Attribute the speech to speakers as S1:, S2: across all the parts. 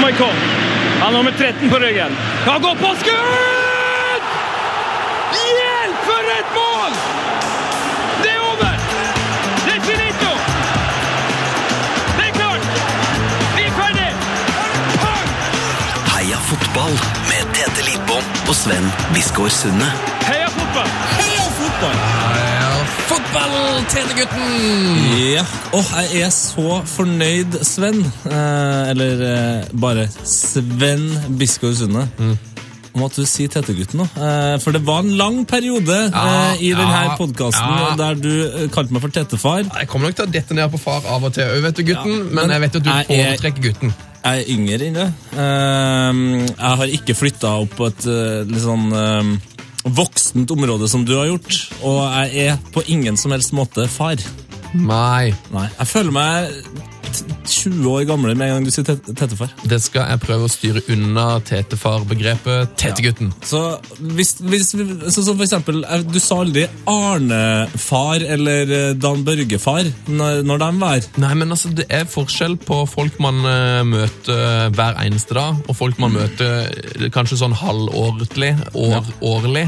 S1: Boikott. Han har nummer 13 på ryggen. Kan gå på skudd! Hjelp, for et mål! Det er over! Det er finito! Det er klart! Vi er ferdig!
S2: Heia fotball med Tete Lidbom og Sven Biskår Sunde.
S1: Heia fotball!
S3: Fotball, Tete-gutten!
S4: Ja. Åh, jeg er så fornøyd, Sven. Eh, eller eh, bare Sven Biskår Sunde.
S3: Mm.
S4: Om at du sier Tete-gutten nå. Eh, for det var en lang periode
S3: Ja,
S4: eh, i denne
S3: ja,
S4: podkasten
S3: ja.
S4: der du eh, kalte meg for Tetefar.
S3: Jeg kommer nok til å dette ned på far av og til òg, vet du, gutten.
S4: Ja,
S3: men,
S4: men
S3: jeg vet at du
S4: jeg er-
S3: foretrekker gutten.
S4: Jeg er yngre inne. Ehm, jeg har ikke flytta opp på et eh, litt sånn ehm, voksent område som du har gjort. Og jeg er på ingen som helst måte far.
S3: Nei,
S4: Nei, Jeg føler meg t- 20 år gamlere med en gang du sier tet- tettefar.
S3: det skal jeg prøve å styre unna tetefar-begrepet tetegutten.
S4: Så hvis, hvis vi- så, så for eksempel, eh, du sa aldri Arne-far eller eh, Dan Børge-far når, når de var her.
S3: Nei, men altså, det er forskjell på folk man eh, møter hver eneste dag, og folk man møter eh, kanskje sånn halvårlig, år, årlig.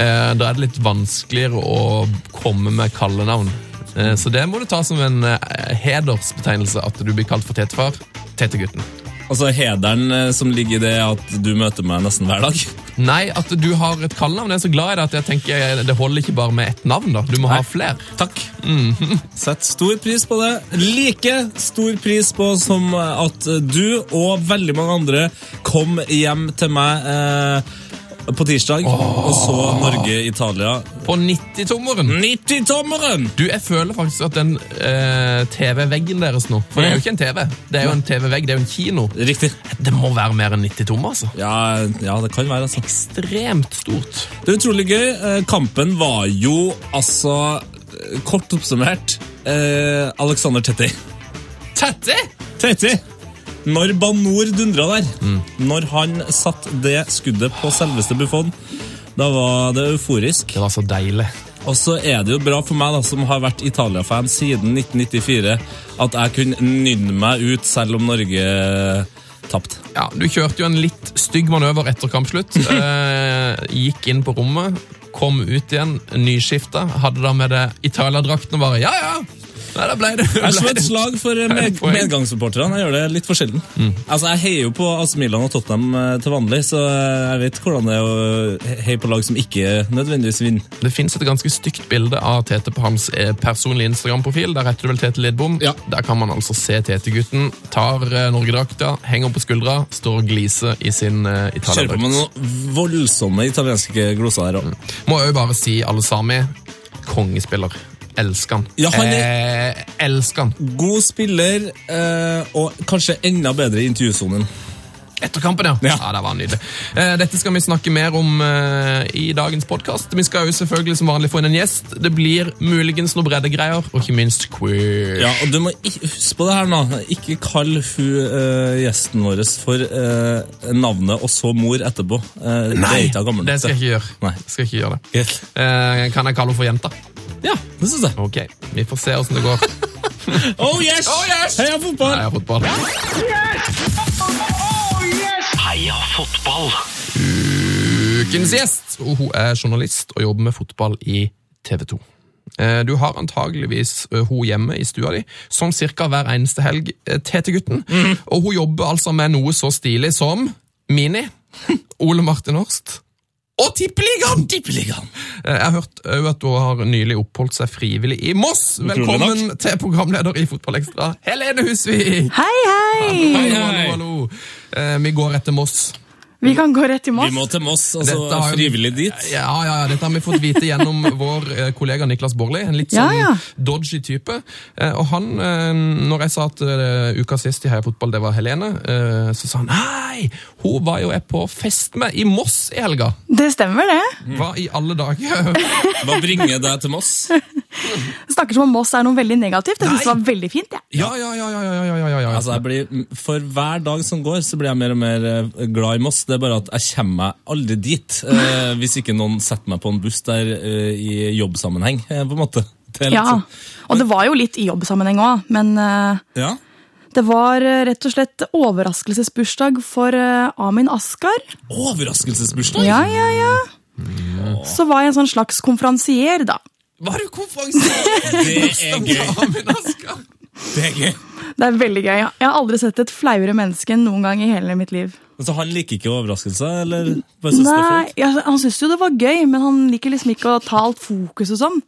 S3: Eh, da er det litt vanskeligere å komme med kallenavn. Eh, så det må du ta som en eh, hedersbetegnelse, at du blir kalt for tetefar. Tetegutten.
S4: Altså hederen eh, som ligger i det at du møter meg nesten hver dag.
S3: Nei, at du har et kallenavn. Jeg er så glad i det at jeg tenker eh, det holder ikke bare med ett navn. da. Du må ha flere.
S4: Takk. Sett stor pris på det. Like stor pris på som at du og veldig mange andre kom hjem til meg eh, på tirsdag og så Norge-Italia.
S3: På 90-tommeren.
S4: 90-tommeren!
S3: Du, jeg føler faktisk at den eh, TV-veggen deres nå For det er jo ikke en TV. Det er jo en TV-vegg, det er jo en kino.
S4: Riktig.
S3: Det må være mer enn 90 tommer, altså.
S4: Ja, ja, det kan være, altså.
S3: Ekstremt stort.
S4: Det er utrolig gøy. Eh, Kampen var jo altså eh, Kort oppsummert eh, Alexander Tetti.
S3: Tette!
S4: Teiti! Når Banor dundra der, når han satt det skuddet på selveste Buffon, da var det euforisk.
S3: Det var så deilig.
S4: Og så er det jo bra for meg, da, som har vært Italia-fan siden 1994, at jeg kunne nynne meg ut selv om Norge eh, tapte.
S3: Ja, Du kjørte jo en litt stygg manøver etter kampslutt. Eh, gikk inn på rommet, kom ut igjen, nyskifta. Hadde da med det Italia-drakten og bare Ja, ja! Nei, da ble det
S4: Jeg slo
S3: ble
S4: et
S3: det-
S4: slag for eh,
S3: Er det
S4: med
S3: poeng? Mm.
S4: medgangssupporterne. Jeg gjør det litt for sjelden. Altså, jeg heier jo på AC Milan og Tottenham eh, til vanlig, så eh, jeg vet hvordan det er å heie på lag som ikke nødvendigvis vinner.
S3: Det fins et ganske stygt bilde av Tete på hans eh, personlige Instagram-profil. Der heter det vel Tete Lidbom.
S4: Ja.
S3: Der kan man altså se Tete-gutten. Tar eh, Norgedrakta, henger på skuldra, står og gliser i sin eh,
S4: Kjører på med
S3: Italia-drakt.
S4: noen voldsomme italienske gloser her òg.
S3: Må jo bare si alle sami kongespiller. Elsker han.
S4: Ja, han
S3: eh, elsker han.
S4: God spiller, eh, og kanskje enda bedre i intervjusonen.
S3: Etter kampen, ja. ja.
S4: Ja.
S3: det var nydelig. Eh, Dette skal vi snakke mer om eh, i dagens podkast. Vi skal jo selvfølgelig som vanlig få inn en gjest. Det blir muligens noe breddegreier, og ikke minst quiz.
S4: Ja, og du må i- huske på det her nå. Ikke kall hun eh, gjesten vår for eh, navnet og så mor etterpå. Eh, det er ikke jeg gammel nok
S3: Det skal jeg
S4: til.
S3: ikke gjøre.
S4: Nei.
S3: Skal ikke gjøre det.
S4: Greit.
S3: Eh, kan jeg kalle henne for jenta?
S4: Ja, det syns jeg.
S3: Ok, vi får se åssen det går.
S4: Oh yes!
S3: Oh, yes!
S4: Heia fotball!
S3: Heia fotball.
S2: Heia fotball!
S3: Ukens gjest og hun er journalist og jobber med fotball i TV 2. Eh, Du har antageligvis eh, hun hjemme i stua di, sånn cirka hver eneste helg, eh, Tete-gutten. Og hun jobber altså med noe så stilig som Mini, Ole Martin Horst og Tippeligaen!
S4: Tippeligaen.
S3: Eh, Jeg har hørt eh, at hun har nylig oppholdt seg frivillig i Moss.
S4: Utrolig
S3: Velkommen til programleder i Fotballekstra, Helene Husvik!
S5: Hei, hei!
S3: Hallo,
S4: hei.
S3: hallo, hallo. Eh, Vi går etter Moss.
S5: Vi kan gå rett i
S4: Vi
S5: Moss.
S4: må til Moss, altså
S3: Dette har jo-
S4: frivillig dit.
S3: Ja, ja, ja, Dette har vi fått vite gjennom vår eh, kollega Niklas Borli. En litt
S5: Ja,
S3: sånn
S5: ja.
S3: dodgy type. Eh, Og han, eh, når jeg sa at eh, uka sist i Heia Fotball det var Helene, eh, så sa han nei, hun var jo jeg på fest med i Moss i helga.
S5: Det stemmer, det.
S4: Mm.
S3: Hva i alle dager?
S4: Hva bringer deg til Moss?
S5: Snakker som om Moss er noe veldig negativt. Jeg synes det
S3: Nei.
S5: var veldig fint. jeg.
S3: Ja, ja, ja, ja, ja, ja, ja, ja, ja.
S4: Altså, jeg blir, for hver dag som går, så blir jeg mer og mer eh, glad i Moss. Det er bare at jeg kommer meg aldri dit, eh, hvis ikke noen setter meg på en buss der eh, i jobbsammenheng, eh, på en måte. Det er litt
S5: Ja.
S4: sånn.
S5: Og det var jo litt i jobbsammenheng òg, men eh,
S4: Ja.
S5: Det var eh, rett og slett overraskelsesbursdag for eh, Amin Askar.
S4: Overraskelsesbursdag?
S5: Ja, ja, ja. Så var jeg en sånn slags konferansier, da.
S3: Var du konferansier?
S4: Det er gøy.
S3: Amin
S4: altså.
S3: Askar?
S4: Det er gøy.
S5: Det er veldig gøy. Jeg har aldri sett et flauere menneske enn noen gang i hele mitt liv.
S4: Så Altså, han liker ikke overraskelser, eller? Bare synes det er
S5: Nei,
S4: flaut?
S5: ja, Han syntes jo det var gøy, men han liker liksom ikke å ta alt fokus og sånn.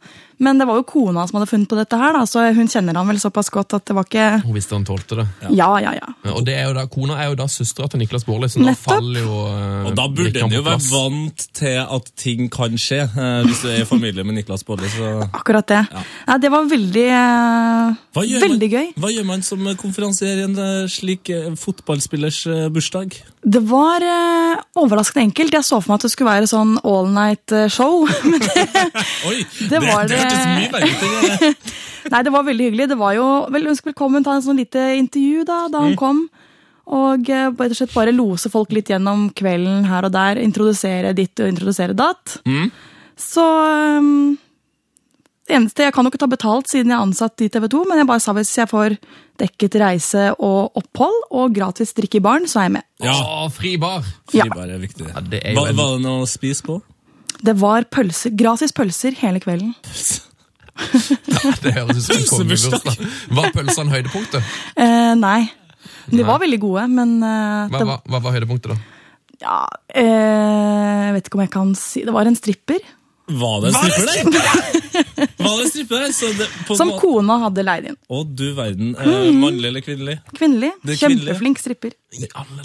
S5: Men det var jo kona som hadde funnet på dette her, da, så hun kjenner han vel såpass godt at det var ikke
S3: Hun visste han tålte det.
S5: Ja, ja, ja.
S3: Og det er jo da, Kona er jo da søstera til Niklas Baarli, så nå
S5: Nettopp.
S3: faller jo eh,
S4: Og da burde
S3: brikkene
S4: en jo
S3: på
S4: være
S3: plass.
S4: vant til at ting kan skje, eh, hvis du er i familie med Niklas Baarli. så-
S5: Akkurat det. Nei, det var veldig eh,
S4: Hva gjør
S5: Veldig
S4: man,
S5: gøy.
S4: Hva gjør man som konferansier i en eh, slik eh, fotballspillers eh, bursdag?
S5: Det var eh, overraskende enkelt. Jeg så for meg at det skulle være sånn all night-show. Men det,
S4: Oi,
S5: Det var eh,
S4: det
S5: det-
S4: hørtes mye verre ut enn det.
S5: nei, det var veldig hyggelig. Det var jo vel, ønsk velkommen til en sånn lite intervju da, da han kom. Og eh, rett og slett bare lose folk litt gjennom kvelden her og der. Introdusere ditt og introdusere datt. Så eh, det eneste, Jeg kan jo ikke ta betalt siden jeg er ansatt i TV 2, men jeg bare sa hvis jeg får dekket reise og opphold og gratis drikke i baren, så er jeg med.
S4: Ja,
S3: Å, fri bar!
S5: Ja.
S4: fribar er viktig.
S3: Ja, det er jo
S4: Hva,
S3: en-
S4: var det noe å spise på?
S5: Det var pølser, gratis pølser hele kvelden.
S3: Det høres ut som en
S4: Pølsebursdag.
S3: kongebursdag. Var pølsene høydepunktet?
S5: Eh, nei. De var veldig gode, men eh,
S3: Hva,
S5: det,
S3: hva, hva var høydepunktet, da?
S5: ja, eh, Jeg vet ikke om jeg kan si Det var en stripper
S4: Var det en stripper der? Var det en stripper der? Så det, på en
S5: som Hmm.
S4: måte-
S5: kona hadde leid inn.
S4: Å, du verden. Eh, mannlig eller kvinnelig?
S5: Kvinnelig.
S4: Det er kvinnelig.
S5: Kjempeflink stripper.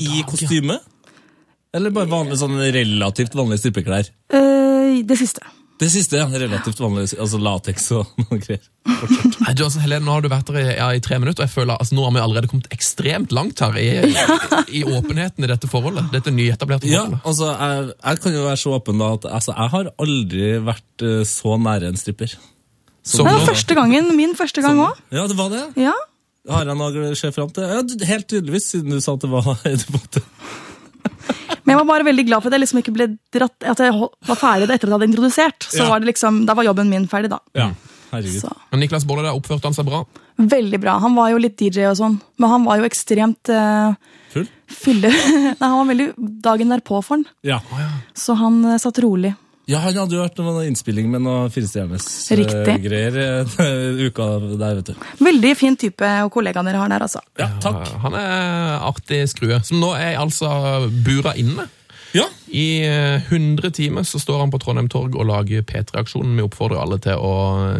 S4: I kostyme? Eller bare vanlig, sånn relativt vanlige strippeklær?
S5: Eh, det siste.
S4: Det siste, ja. Relativt vanlig. Altså lateks og noe greier.
S3: Nei, du, altså, Helene, nå har du vært der i, ja, i tre minutter, og jeg føler altså, nå har vi allerede kommet ekstremt langt her i, i åpenheten i dette forholdet. Dette nyetablerte
S4: Ja,
S3: forholdet.
S4: altså, jeg, jeg kan jo være så åpen da at altså, jeg har aldri vært eh, så nære en stripper.
S3: Som
S5: Det var
S3: nå,
S5: første gangen. Min første gang òg.
S4: Ja, det var det.
S5: Ja.
S4: Har jeg noe å se fram til? Ja, du- helt tydeligvis, siden du sa at det var høydepunktet.
S5: Men jeg var bare veldig glad for at jeg liksom ikke ble dratt, at jeg hol- var ferdig etter at jeg hadde introdusert. Så
S4: Ja.
S5: var det liksom, Da var jobben min ferdig, da.
S4: Ja, herregud.
S5: Så.
S3: Men Niklas Baarli, der oppførte han seg bra.
S5: Veldig bra. Han var jo litt DJ og sånn, men han var jo ekstremt eh,
S4: Full?
S5: fylle... Nei, han var veldig dagen derpå for han.
S4: Ja.
S5: Så han eh, satt rolig.
S4: ja, han hadde jo vært med noen innspilling med noen firestjerners eh,
S5: Riktig.
S4: greier eh, uka der, vet du.
S5: Veldig fin type og kollegaen dere har der, altså.
S4: Ja, takk.
S3: Eh, Han er artig skrue, som nå er altså bura inne.
S4: Ja,
S3: I eh, 100 timer så står han på Trondheim Torg og lager P3-aksjonen. Vi oppfordrer alle til å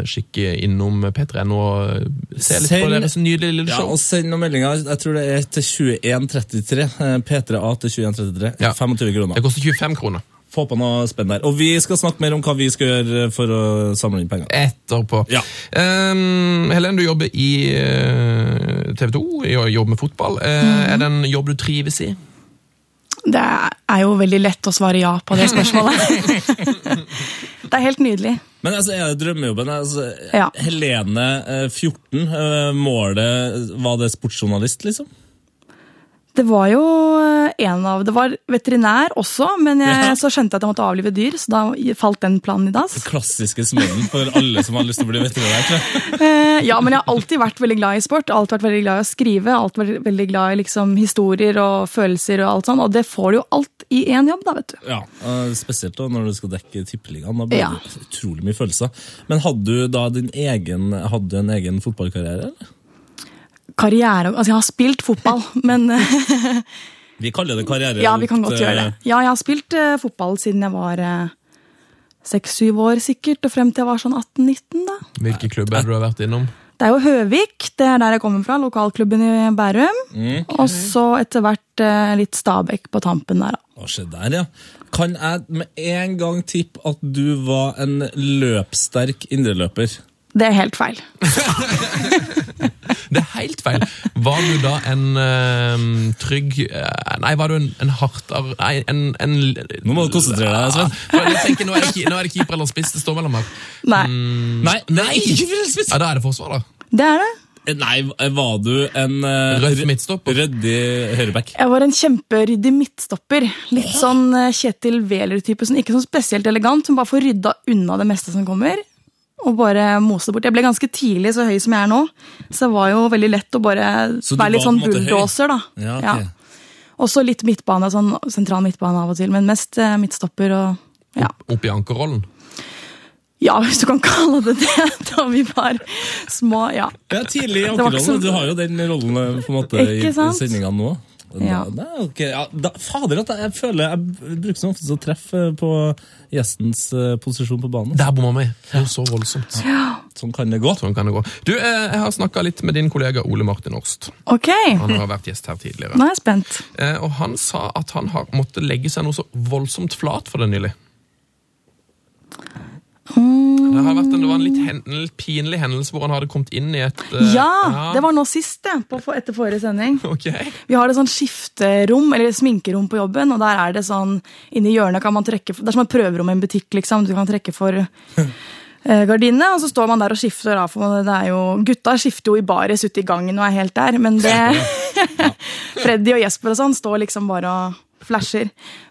S3: kikke innom P3.no og eh, se litt på
S4: Send-
S3: deres nydelige lille
S4: ja
S3: show.
S4: og send noen meldinger. Jeg tror det er til 2133. eh, P3A til 2133.
S3: Ja.
S4: 25 kroner.
S3: Det koster 25 kroner
S4: Få på noe spenn der. Og vi skal snakke mer om hva vi skal gjøre for å samle inn penger.
S3: etterpå.
S4: Ja.
S3: Ehm, Helen, du jobber i eh, TV 2, jobber med fotball. Eh,
S4: Mhm.
S3: Er det en jobb du trives i?
S5: Det er jo veldig lett å svare ja på det spørsmålet. det er helt nydelig.
S4: Men altså, er det drømmejobben? Altså,
S5: Ja.
S4: Helene, eh, 14, eh, målet Var det sportsjournalist, liksom?
S5: Det var jo eh, en av Det var veterinær også, men jeg,
S4: Ja.
S5: så skjønte jeg at jeg måtte avlive dyr, så da falt den planen i dass.
S4: Klassiske smellen for alle som har lyst til å bli veterinær. tror jeg.
S5: Eh, Ja, men jeg har alltid vært veldig glad i sport. Alltid vært veldig glad i å skrive. Alltid vært veldig glad i liksom, historier og følelser og alt sånn. Og det får du jo alt i én jobb, da, vet du.
S4: Ja, eh, Spesielt da når du skal dekke tippeligaen. Da blir
S5: Ja.
S4: det utrolig mye følelser. Men hadde du da din egen, hadde du en egen fotballkarriere? eller?
S5: Karriere Altså, jeg har spilt fotball, men eh,
S4: Vi kaller det karriere.
S5: Ja, vi kan
S4: alt,
S5: godt gjøre det.
S4: eh,
S5: Ja, jeg har spilt eh, fotball siden jeg var eh, seks-syv år sikkert, og frem til jeg var sånn 18-19 da.
S3: Hvilke klubber er det du har vært innom?
S5: Det er jo Høvik, det er der jeg kommer fra, lokalklubben i Bærum. Og så etter hvert eh, litt Stabekk på tampen der da.
S4: eh, Å, se der, ja. Kan jeg med en gang tippe at du var en løpssterk indreløper?
S5: Det er helt feil.
S3: Det er helt feil. Var du da en eh, trygg eh, Nei, var du en, en hardere Nei, en, en
S4: Nå må du konsentrere deg, Sven.
S3: Jeg tenker, nå er det, ki- nå er det keeper eller spiss det står mellom her.
S5: Nei,
S4: Nei, nei! ikke for en spiss-
S3: Ja, Da er det forsvar, da.
S5: det er det.
S4: Nei, var du en eh,
S3: Rødt midtstopper.
S4: ryddig høyreback?
S5: Jeg var en kjemperyddig midtstopper. Litt sånn eh, Kjetil Wæler-type, sånn, ikke sånn spesielt elegant, men bare får rydda unna det meste som kommer. og bare mose det bort. Jeg ble ganske tidlig så høy som jeg er nå, så det var jo veldig lett å bare
S4: Så du
S5: være litt
S4: var på en
S5: sånn
S4: måte høy?
S5: bulldoser, da.
S4: Ja, ok.
S5: Og så litt midtbane, sånn sentral midtbane av og til, men mest eh, midtstopper og ja.
S3: Opp i ankerrollen.
S5: ja, hvis du kan kalle det det, da vi var små. Ja.
S4: Ja, tidlig i
S5: var ikke
S4: ankerrollen.
S5: så-
S4: Du har jo den rollen eh, på en måte i
S5: Ikke sant?
S4: sendinga nå.
S5: Ja.
S4: Da, da, ok. ja, da, fader, at jeg, jeg føler jeg bruker så ofte å treffe eh, på gjestens eh, posisjon på banen.
S3: Der bomma vi! Det er jo så voldsomt.
S4: Sånn kan det gå.
S3: Sånn kan det gå. Du, eh, jeg har snakka litt med din kollega Ole Martin Orst.
S5: Ok, nå
S3: Han har vært gjest her tidligere.
S5: er jeg spent.
S3: Eh, og han sa at han har måttet legge seg noe så voldsomt flat for det nylig. Det har vært en, det var en litt, hen, en litt pinlig hendelse hvor han hadde kommet inn i et eh,
S5: Ja, det var nå sist, det, på, for- etter forrige sending.
S3: Ok.
S5: Vi har et sånn skifterom, eller sminkerom på jobben, og der er det sånn Inni hjørnet kan man trekke for- Det er som et prøverom i en butikk, liksom. Du kan trekke for eh, gardinene, og så står man der og skifter av. For det er jo, gutta skifter jo i baris ute i gangen og er helt der, men det Freddy og Jesper og sånn står liksom bare og flasher.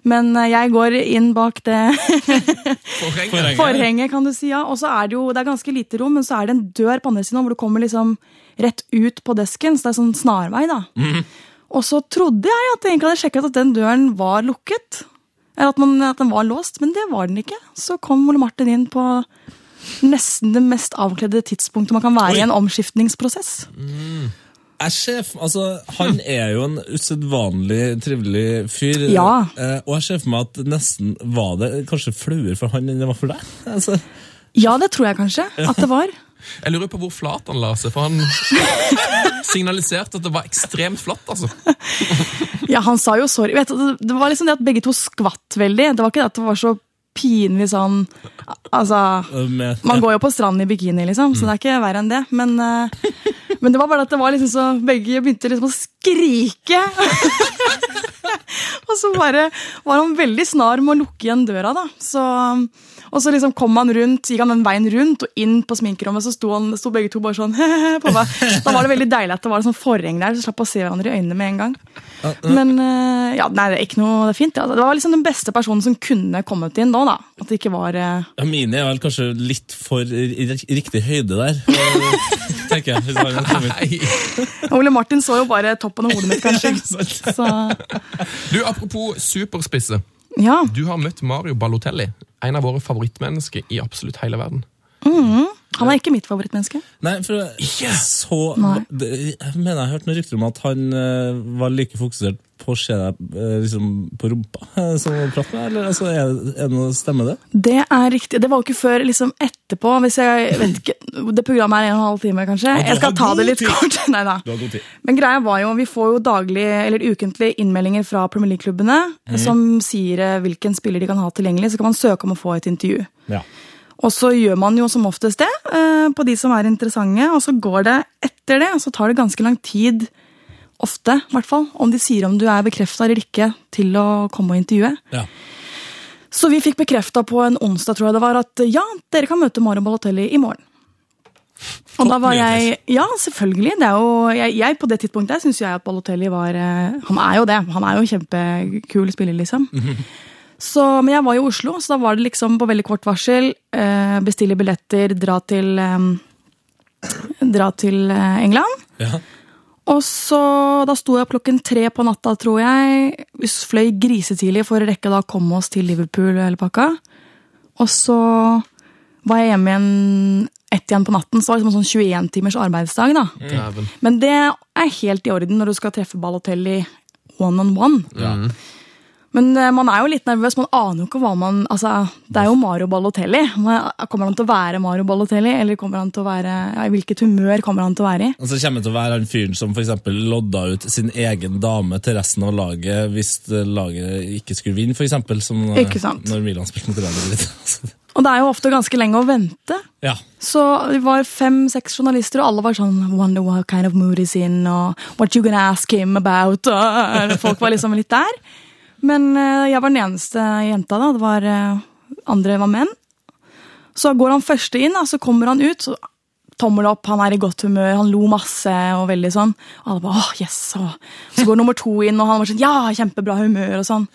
S5: Men eh, jeg går inn bak det
S3: Forhenget.
S5: Forhenget, kan du si, ja. Og så er det jo, det er ganske lite rom, men så er det en dør på andre siden hvor du kommer liksom rett ut på desken, så det er sånn snarvei, da. Og så trodde jeg at jeg egentlig hadde sjekket at den døren var lukket. Eller at, man, at den var låst, men det var den ikke. Så kom Ole Martin inn på nesten det mest avkledde tidspunktet man kan være i en omskiftningsprosess.
S4: Jeg ser, f- altså, han
S5: Hm.
S4: er jo en usedvanlig trivelig fyr.
S5: Ja.
S4: Eh, og jeg ser for meg at nesten var det kanskje flauere for han enn det var for deg. Altså,
S5: Ja, det tror jeg kanskje at det var.
S3: Jeg lurer på hvor flat han la seg, for han signaliserte at det var ekstremt flatt. altså.
S5: Ja, han sa jo sorry. Vet, du, det var liksom det at begge to skvatt veldig. Det var ikke det at det var så pinlig sånn Altså
S4: med,
S5: Man går jo på stranden i bikini, liksom, så det er ikke verre enn det. Men, eh, men det var bare at det var liksom så begge begynte liksom å skrike. og så bare var han veldig snar med å lukke igjen døra, da. Så, og så liksom kom han rundt, gikk han den veien rundt og inn på sminkerommet, så sto, han, sto begge to bare sånn på meg. Da var det veldig deilig at det var et sånt forheng der, så slapp å se hverandre i øynene med en gang. Men eh, ja, nei, det er ikke noe, det er fint. Ja. Det var liksom den beste personen som kunne kommet inn nå, da. At det ikke var eh,
S4: ja, mine er vel kanskje litt for i, i riktig høyde der, eh, tenker jeg. Hvis han hadde kommet.
S3: Nei.
S5: Ole Martin så jo bare toppen av hodet mitt, kanskje. Så,
S3: Du, Apropos superspisse.
S5: ja.
S3: Du har møtt Mario Balotelli, en av våre favorittmennesker i absolutt hele verden.
S5: Han er ikke mitt favorittmenneske.
S4: Nei, for så
S5: Nei.
S4: det, Jeg mener jeg har hørt noen rykter om at han eh, var like fokusert på å se deg eh, liksom, på rumpa eh, som å prate med deg, eller altså, er, er det noe stemmer det?
S5: Det er riktig. Det var jo ikke før liksom etterpå. hvis jeg vet ikke, Det programmet er en og en halv time, kanskje.
S4: du
S5: Jeg
S4: har
S5: skal ta det
S4: god
S5: litt
S4: tid.
S5: kort. Nei da.
S4: Du har god tid.
S5: Men greia var jo, vi får jo daglig, eller ukentlig innmeldinger fra Premier League-klubbene
S4: Mhm.
S5: som sier eh, hvilken spiller de kan ha tilgjengelig. Så kan man søke om å få et intervju.
S4: Ja.
S5: Og så gjør man jo som oftest det eh, på de som er interessante, og så går det etter det, og så tar det ganske lang tid, ofte i hvert fall, om de sier om du er bekrefta eller ikke, til å komme og intervjue.
S4: Ja.
S5: Så vi fikk bekrefta på en onsdag, tror jeg det var, at ja, dere kan møte Mario Balotelli i morgen. Og da var jeg Ja, selvfølgelig. Det er jo, jeg, jeg på det tidspunktet der syns jo jeg at Balotelli var eh, Han er jo det. Han er jo en kjempekul spiller, liksom. Så, men jeg var jo i Oslo, så da var det liksom på veldig kort varsel. eh, Bestille billetter, dra til eh, Dra til eh, England.
S4: Ja.
S5: Og så, Da sto jeg opp klokken tre på natta, tror jeg. Vi fløy grisetidlig for å rekke da å komme oss til Liverpool og hele pakka. Og så var jeg hjemme igjen ett igjen på natten, så det var liksom en sånn 21 timers arbeidsdag. da.
S3: Dæven.
S5: Men det er helt i orden når du skal treffe Balotelli one on one. Men eh, man er jo litt nervøs. Man aner jo ikke hva man Altså, Det er jo Mario Balotelli. Man- Kommer han til å være Mario Balotelli, eller kommer han til å være, ja, i hvilket humør kommer han til å være i?
S4: Og så kommer det til å være han fyren som for eksempel lodda ut sin egen dame til resten av laget hvis eh, laget ikke skulle vinne, for eksempel, som eh,
S5: Ikke sant.
S4: når Milan spilte mot Real Madrid. Altså,
S5: Og det er jo ofte ganske lenge å vente.
S4: Ja.
S5: Så vi var fem-seks journalister, og alle var sånn Wonder what kind of mood he's in, og what you gonna ask him about? Og folk var liksom litt der. Men eh, jeg var den eneste jenta, da. Det var, eh, andre var menn. Så går han første inn, da, så kommer han ut. Så tommel opp, han er i godt humør, han lo masse og veldig sånn. Og alle bare åh, yes. Og så går nummer to inn, og han var sånn ja, kjempebra humør og sånn.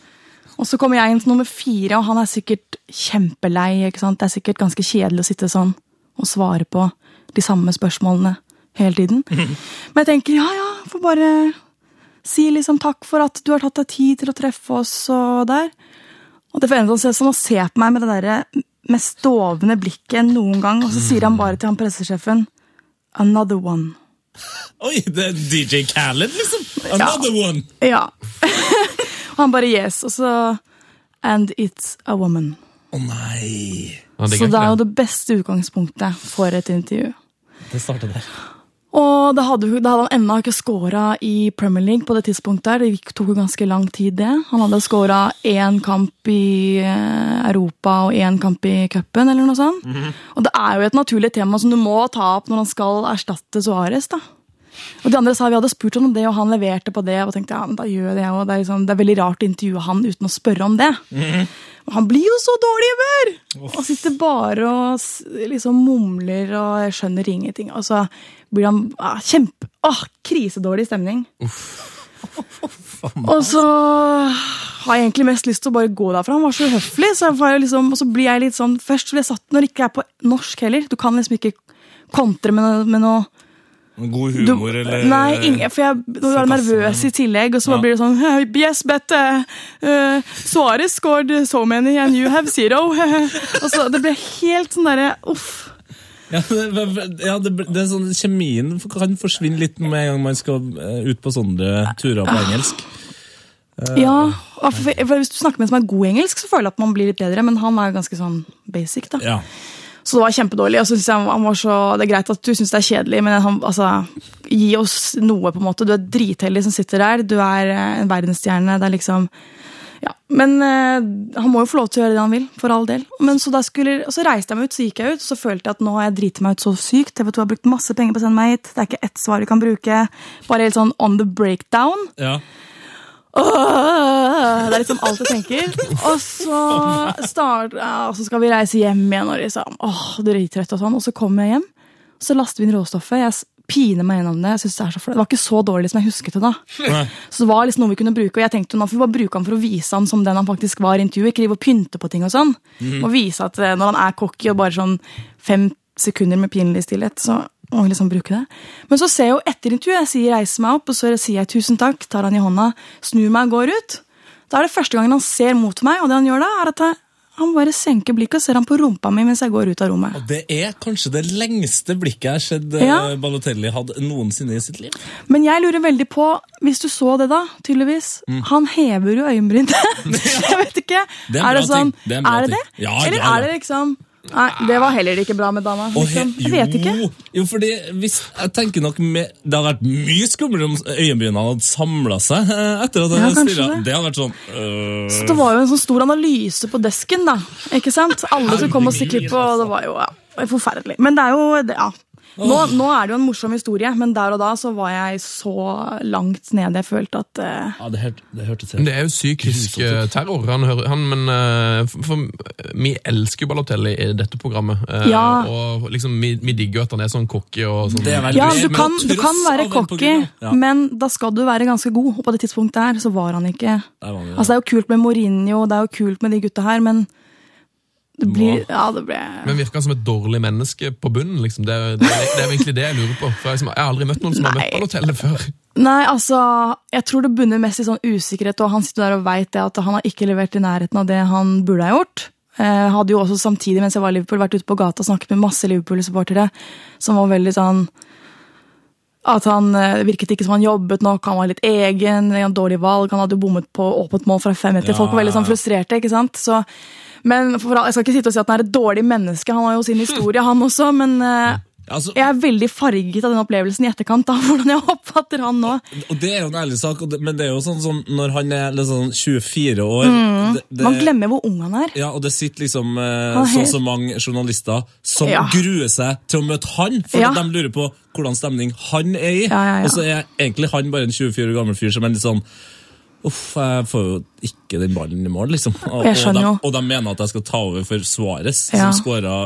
S5: Og så kommer jeg inn til nummer fire, og han er sikkert kjempelei. ikke sant? Det er sikkert ganske kjedelig å sitte sånn og svare på de samme spørsmålene hele tiden. Men jeg tenker ja, ja, får bare si liksom takk for at du har tatt deg tid til å treffe oss og der. Og det forandrer seg som å se på meg med det der mest dovne blikket enn noen gang, og så sier han bare til han pressesjefen Another one.
S4: Oi, det er DJ Khaled, liksom! Another one!
S5: Ja. og han bare yes, og så And it's a woman.
S4: Å nei!
S3: Ja, det
S5: Så det er jo
S3: egentlig-
S5: det beste utgangspunktet for et intervju.
S4: Det starta der.
S5: Og da hadde, hun- da hadde han ennå ikke scora i Premier League på det tidspunktet. der. Det gikk- tok jo ganske lang tid, det. Han hadde scora én kamp i eh, Europa og én kamp i cupen, eller noe sånt. Og det er jo et naturlig tema som du må ta opp når han skal erstatte Suárez, da. Og de andre sa vi hadde spurt om det, og han leverte på det. Og tenkte ja, men da gjør jeg det, og det er, liksom, det er veldig rart å intervjue han uten å spørre om det. Og Han blir jo så dårlig i humør! Og sitter bare og s- liksom mumler og skjønner ingenting. Og så blir han ah, kjempe... Åh, krisedårlig stemning. og så har jeg egentlig mest lyst til å bare gå derfra. Han var så uhøflig. Så jeg får jo liksom, og så blir jeg litt sånn Først ble jeg satt når det ikke er på norsk heller. Du kan liksom ikke kontre med noe, med noe
S4: God
S5: du-
S4: humor, eller
S5: Nei, ingen, for jeg nå var jeg
S4: sarkasme.
S5: nervøs i tillegg, og så
S4: Ja.
S5: blir det sånn «Eh, Yes, but uh, uh, Suarez scored so many and you have zero. og så Det ble helt sånn derre uff.
S4: Ja, det, ja, det, det er sånn, Kjemien kan forsvinne litt med en gang man skal eh, ut på sånne turer på engelsk. Eh.
S5: Ja, og for, for Hvis du snakker med en som er god i engelsk, så føler jeg at man blir litt bedre, men han er jo ganske sånn basic, da.
S4: Ja.
S5: Så det var kjempedårlig. og så synes jeg han var så, Det er greit at du syns det er kjedelig, men han, altså, gi oss noe, på en måte. Du er dritheldig som sitter der. Du er eh, en verdensstjerne. Det er liksom ja, Men eh, han må jo få lov til å gjøre det han vil, for all del. Men så da skulle, og så reiste jeg meg ut, så gikk jeg ut, så følte jeg at nå har jeg driti meg ut så sykt. TV 2 har brukt masse penger på å sende meg hit. Det er ikke ett svar vi kan bruke. Bare helt sånn on the breakdown.
S4: ja.
S5: Åh, det er liksom alt jeg tenker. Og så, start, ja, og så skal vi reise hjem igjen, og liksom, åh, drittrøtt og sånn. Og så kommer jeg hjem, så laster vi inn råstoffet. Jeg s- piner meg gjennom det. Jeg synes det, er så flaut. det var ikke så dårlig som jeg husket det da.
S4: Nei.
S5: Så det var liksom noe vi kunne bruke, og jeg tenkte nå får vi bare bruke han for å vise han som den han faktisk var i intervjuet. Ikke drive og pynte på ting og sånn. Og vise at eh, når han er cocky og bare sånn fem sekunder med pinlig stillhet, så må vi liksom bruke det. Men så ser jeg jo etter intervjuet, jeg sier reiser meg opp, og så sier jeg tusen takk, tar han i hånda, snur meg og går ut. Da er det første gangen han ser mot meg, og det han gjør da, er at jeg- han bare senker blikket og ser han på rumpa mi mens jeg går ut av rommet.
S4: Det er kanskje det lengste blikket jeg har sett eh,
S5: Ja.
S4: Balotelli hadde noensinne i sitt liv.
S5: Men jeg lurer veldig på, hvis du så det da, tydeligvis, han hever jo øyenbrynet. jeg vet ikke.
S4: Mm. Det er en bra ting.
S5: sånn,
S4: Det er en bra
S5: er det det?
S4: ting. Ja,
S5: Eller
S4: ja, ja.
S5: er det liksom Nei, det var heller ikke bra med dama.
S4: Og he-
S5: Liksom. Jeg vet ikke.
S4: Jo, jo fordi hvis, jeg tenker nok med, Det hadde vært mye skumlere om øyenbrynene hadde samla seg eh, etter at
S5: Ja,
S4: han
S5: kanskje
S4: stirret.
S5: det.
S4: Det hadde vært sånn øh,
S5: Så det var jo en sånn stor analyse på desken, da. Ikke sant? Alle som kom og stilte klipp, og
S4: altså.
S5: det var jo ja, forferdelig. Men det er jo det, ja. Nå, nå er det jo en morsom historie, men der og da så var jeg så langt nede jeg følte at eh,
S4: ja, det, hørte, det hørtes
S3: Men
S4: helt
S3: det er jo psykisk eh, terror. Han hører, han, men eh, for, for, vi elsker jo Balotelli i dette programmet. eh,
S5: Ja.
S3: Og liksom, vi, vi digger jo at han er sånn cocky og sånn.
S4: Det er veldig-
S5: Ja,
S4: Men-
S5: du
S4: men
S5: kan,
S4: tross
S5: du kan være
S4: av den på
S5: cocky,
S4: grunn av- Ja.
S5: men da skal du være ganske god. Og på det tidspunktet her så var han ikke
S4: Der var vi, ja.
S5: Altså, det er jo kult med Mourinho, det er jo kult med de gutta her, men det blir
S4: Må.
S5: Ja, det ble
S3: Men virker han som et dårlig menneske på bunnen? liksom. Det er, det er, det er jo egentlig det jeg lurer på. For jeg, som- jeg har aldri møtt noen som har
S5: Nei.
S3: møtt Balotelli før.
S5: Nei, altså, jeg tror det bunner mest i sånn usikkerhet, og han sitter der og veit det at han har ikke levert i nærheten av det han burde ha gjort. Jeg hadde jo også samtidig mens jeg var i Liverpool, vært ute på gata og snakket med masse Liverpool-supportere som var veldig sånn At han eh, virket ikke som han jobbet nok, han var litt egen, han hadde dårlig valg, han hadde jo bommet på åpent mål fra fem meter. Folk var veldig sånn frustrerte, ikke sant. Så, men for, jeg skal ikke sitte og si at han er et dårlig menneske, han har jo sin historie, han også, men eh,
S4: Altså,
S5: jeg er veldig farget av den opplevelsen i etterkant, av hvordan jeg oppfatter han nå.
S4: og det er jo en ærlig sak, og det, men det er jo sånn som når han er liksom 24 år det, det,
S5: Mm. Man glemmer hvor ung han er.
S4: Ja, og det sitter liksom eh,
S5: Han
S4: så
S5: er
S4: og
S5: helt-
S4: så mange journalister som
S5: Ja.
S4: gruer seg til å møte han, for
S5: Ja.
S4: de lurer på hvordan stemning han er i.
S5: Ja, ja, ja.
S4: Og så er egentlig han bare en 24 år gammel fyr som er litt sånn Uff, jeg får jo ikke den ballen i mål, liksom. Og,
S5: Jeg skjønner
S4: og, de,
S5: jo.
S4: og de mener at jeg skal ta over for Suárez,
S5: Ja. Mm.
S4: som skåra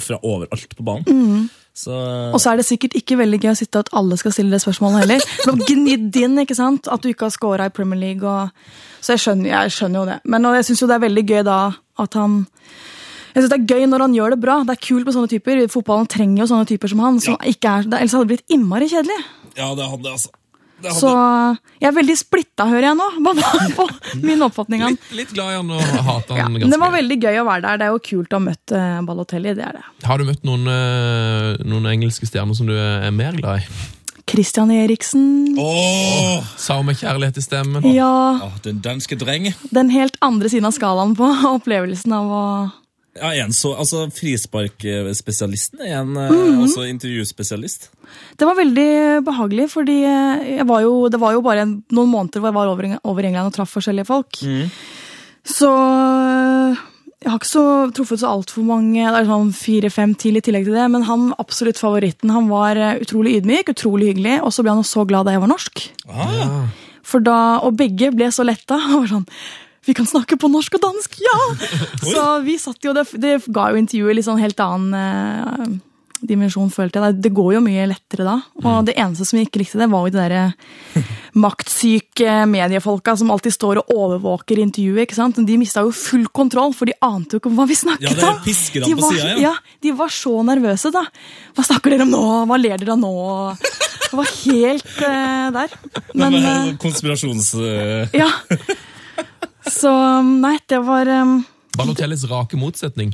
S4: fra overalt på banen. Så
S5: Og så er det sikkert ikke veldig gøy å sitte at alle skal stille det spørsmålet heller. Men Gnidd inn, ikke sant? At du ikke har scora i Premier League. Og... Så jeg skjønner, jeg skjønner jo det. Men og jeg syns jo det er veldig gøy da at han Jeg synes Det er gøy når han gjør det bra. Det er kult med sånne typer. Fotballen trenger jo sånne typer som han. Som ikke er, det- ellers hadde det blitt innmari kjedelig.
S4: Ja, det hadde altså. Det hadde.
S5: Så jeg er veldig splitta, hører jeg nå. Bare på min oppfatning av han.
S3: Litt, litt glad i han og hater
S5: Ja,
S3: han
S5: men det
S3: ganske
S5: var
S3: mye.
S5: veldig gøy å være der. Det er jo kult å ha møtt eh, Balotelli. det er det.
S3: Har du møtt noen, eh, noen engelske stjerner som du er mer glad i?
S5: Christian Eriksen.
S4: Åh,
S3: Sa hun med kjærlighet i stemmen.
S5: Ja,
S4: ja, den danske dreng.
S5: den helt andre siden av skalaen på opplevelsen av å
S4: Ja, en så, altså Frisparkspesialisten er en eh,
S5: Mhm.
S4: også intervjuspesialist.
S5: Det var veldig behagelig, fordi eh, jeg var jo, det var jo bare en, noen måneder hvor jeg var over, over England og traff forskjellige folk. Så eh, jeg har ikke så truffet så altfor mange, det er sånn fire-fem til i tillegg til det, men han absolutt favoritten. Han var eh, utrolig ydmyk, utrolig hyggelig, og så ble han så glad da jeg var norsk.
S4: Ah.
S5: For da, og begge ble så letta. og var sånn, Vi kan snakke på norsk og dansk! Ja! Så vi satt jo, det, det ga jo intervjuet litt sånn helt annen eh, dimensjon, følte jeg. Det går jo mye lettere da.
S4: Mm.
S5: Og det eneste som jeg ikke likte, det var jo de derre maktsyke mediefolka som alltid står og overvåker intervjuet. ikke sant? De mista jo full kontroll, for de ante jo ikke om hva vi
S4: Ja,
S5: snakket
S4: det er
S5: om.
S4: pisker
S5: De
S4: han på
S5: var,
S4: sida, ja.
S5: ja, de var så nervøse, da. Hva snakker dere om nå? Hva ler dere av nå? Det var helt eh, der.
S4: Men,
S5: Men, eh,
S4: konspirasjons... eh,
S5: ja. Så um, nei, det var um,
S3: Balotellis rake motsetning.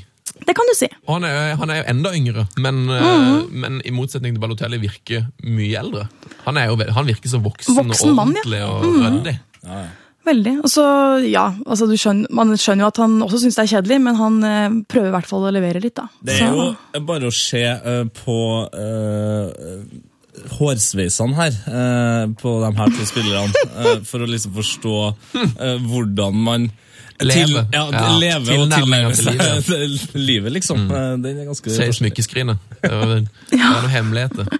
S5: Det kan du si.
S3: Og han er, han er jo enda yngre, men, eh,
S5: Mhm.
S3: men i motsetning til Balotelli virker mye eldre. Han, er jo, ve- han virker så voksen,
S5: Voksen
S3: og
S5: mann,
S3: ordentlig
S5: ja. Mhm.
S3: og ryddig.
S5: Veldig. Og så, ja, altså du skjønner, Man skjønner jo at han også syns det er kjedelig, men han eh, prøver i hvert fall å levere litt, da.
S4: Det
S5: Så-
S4: er jo bare å se eh, på eh, hårsveisene her, eh, på de her to spillerne, eh, for å liksom forstå eh, hvordan man
S3: Lever.
S4: ja,
S3: Ja,
S4: lever og
S3: tilnærmingen
S4: tilnærmer
S3: til Mm.
S4: seg livet, liksom. Eh, Den er ganske
S3: Ser i smykkeskrinet. Det er det er noen hemmeligheter.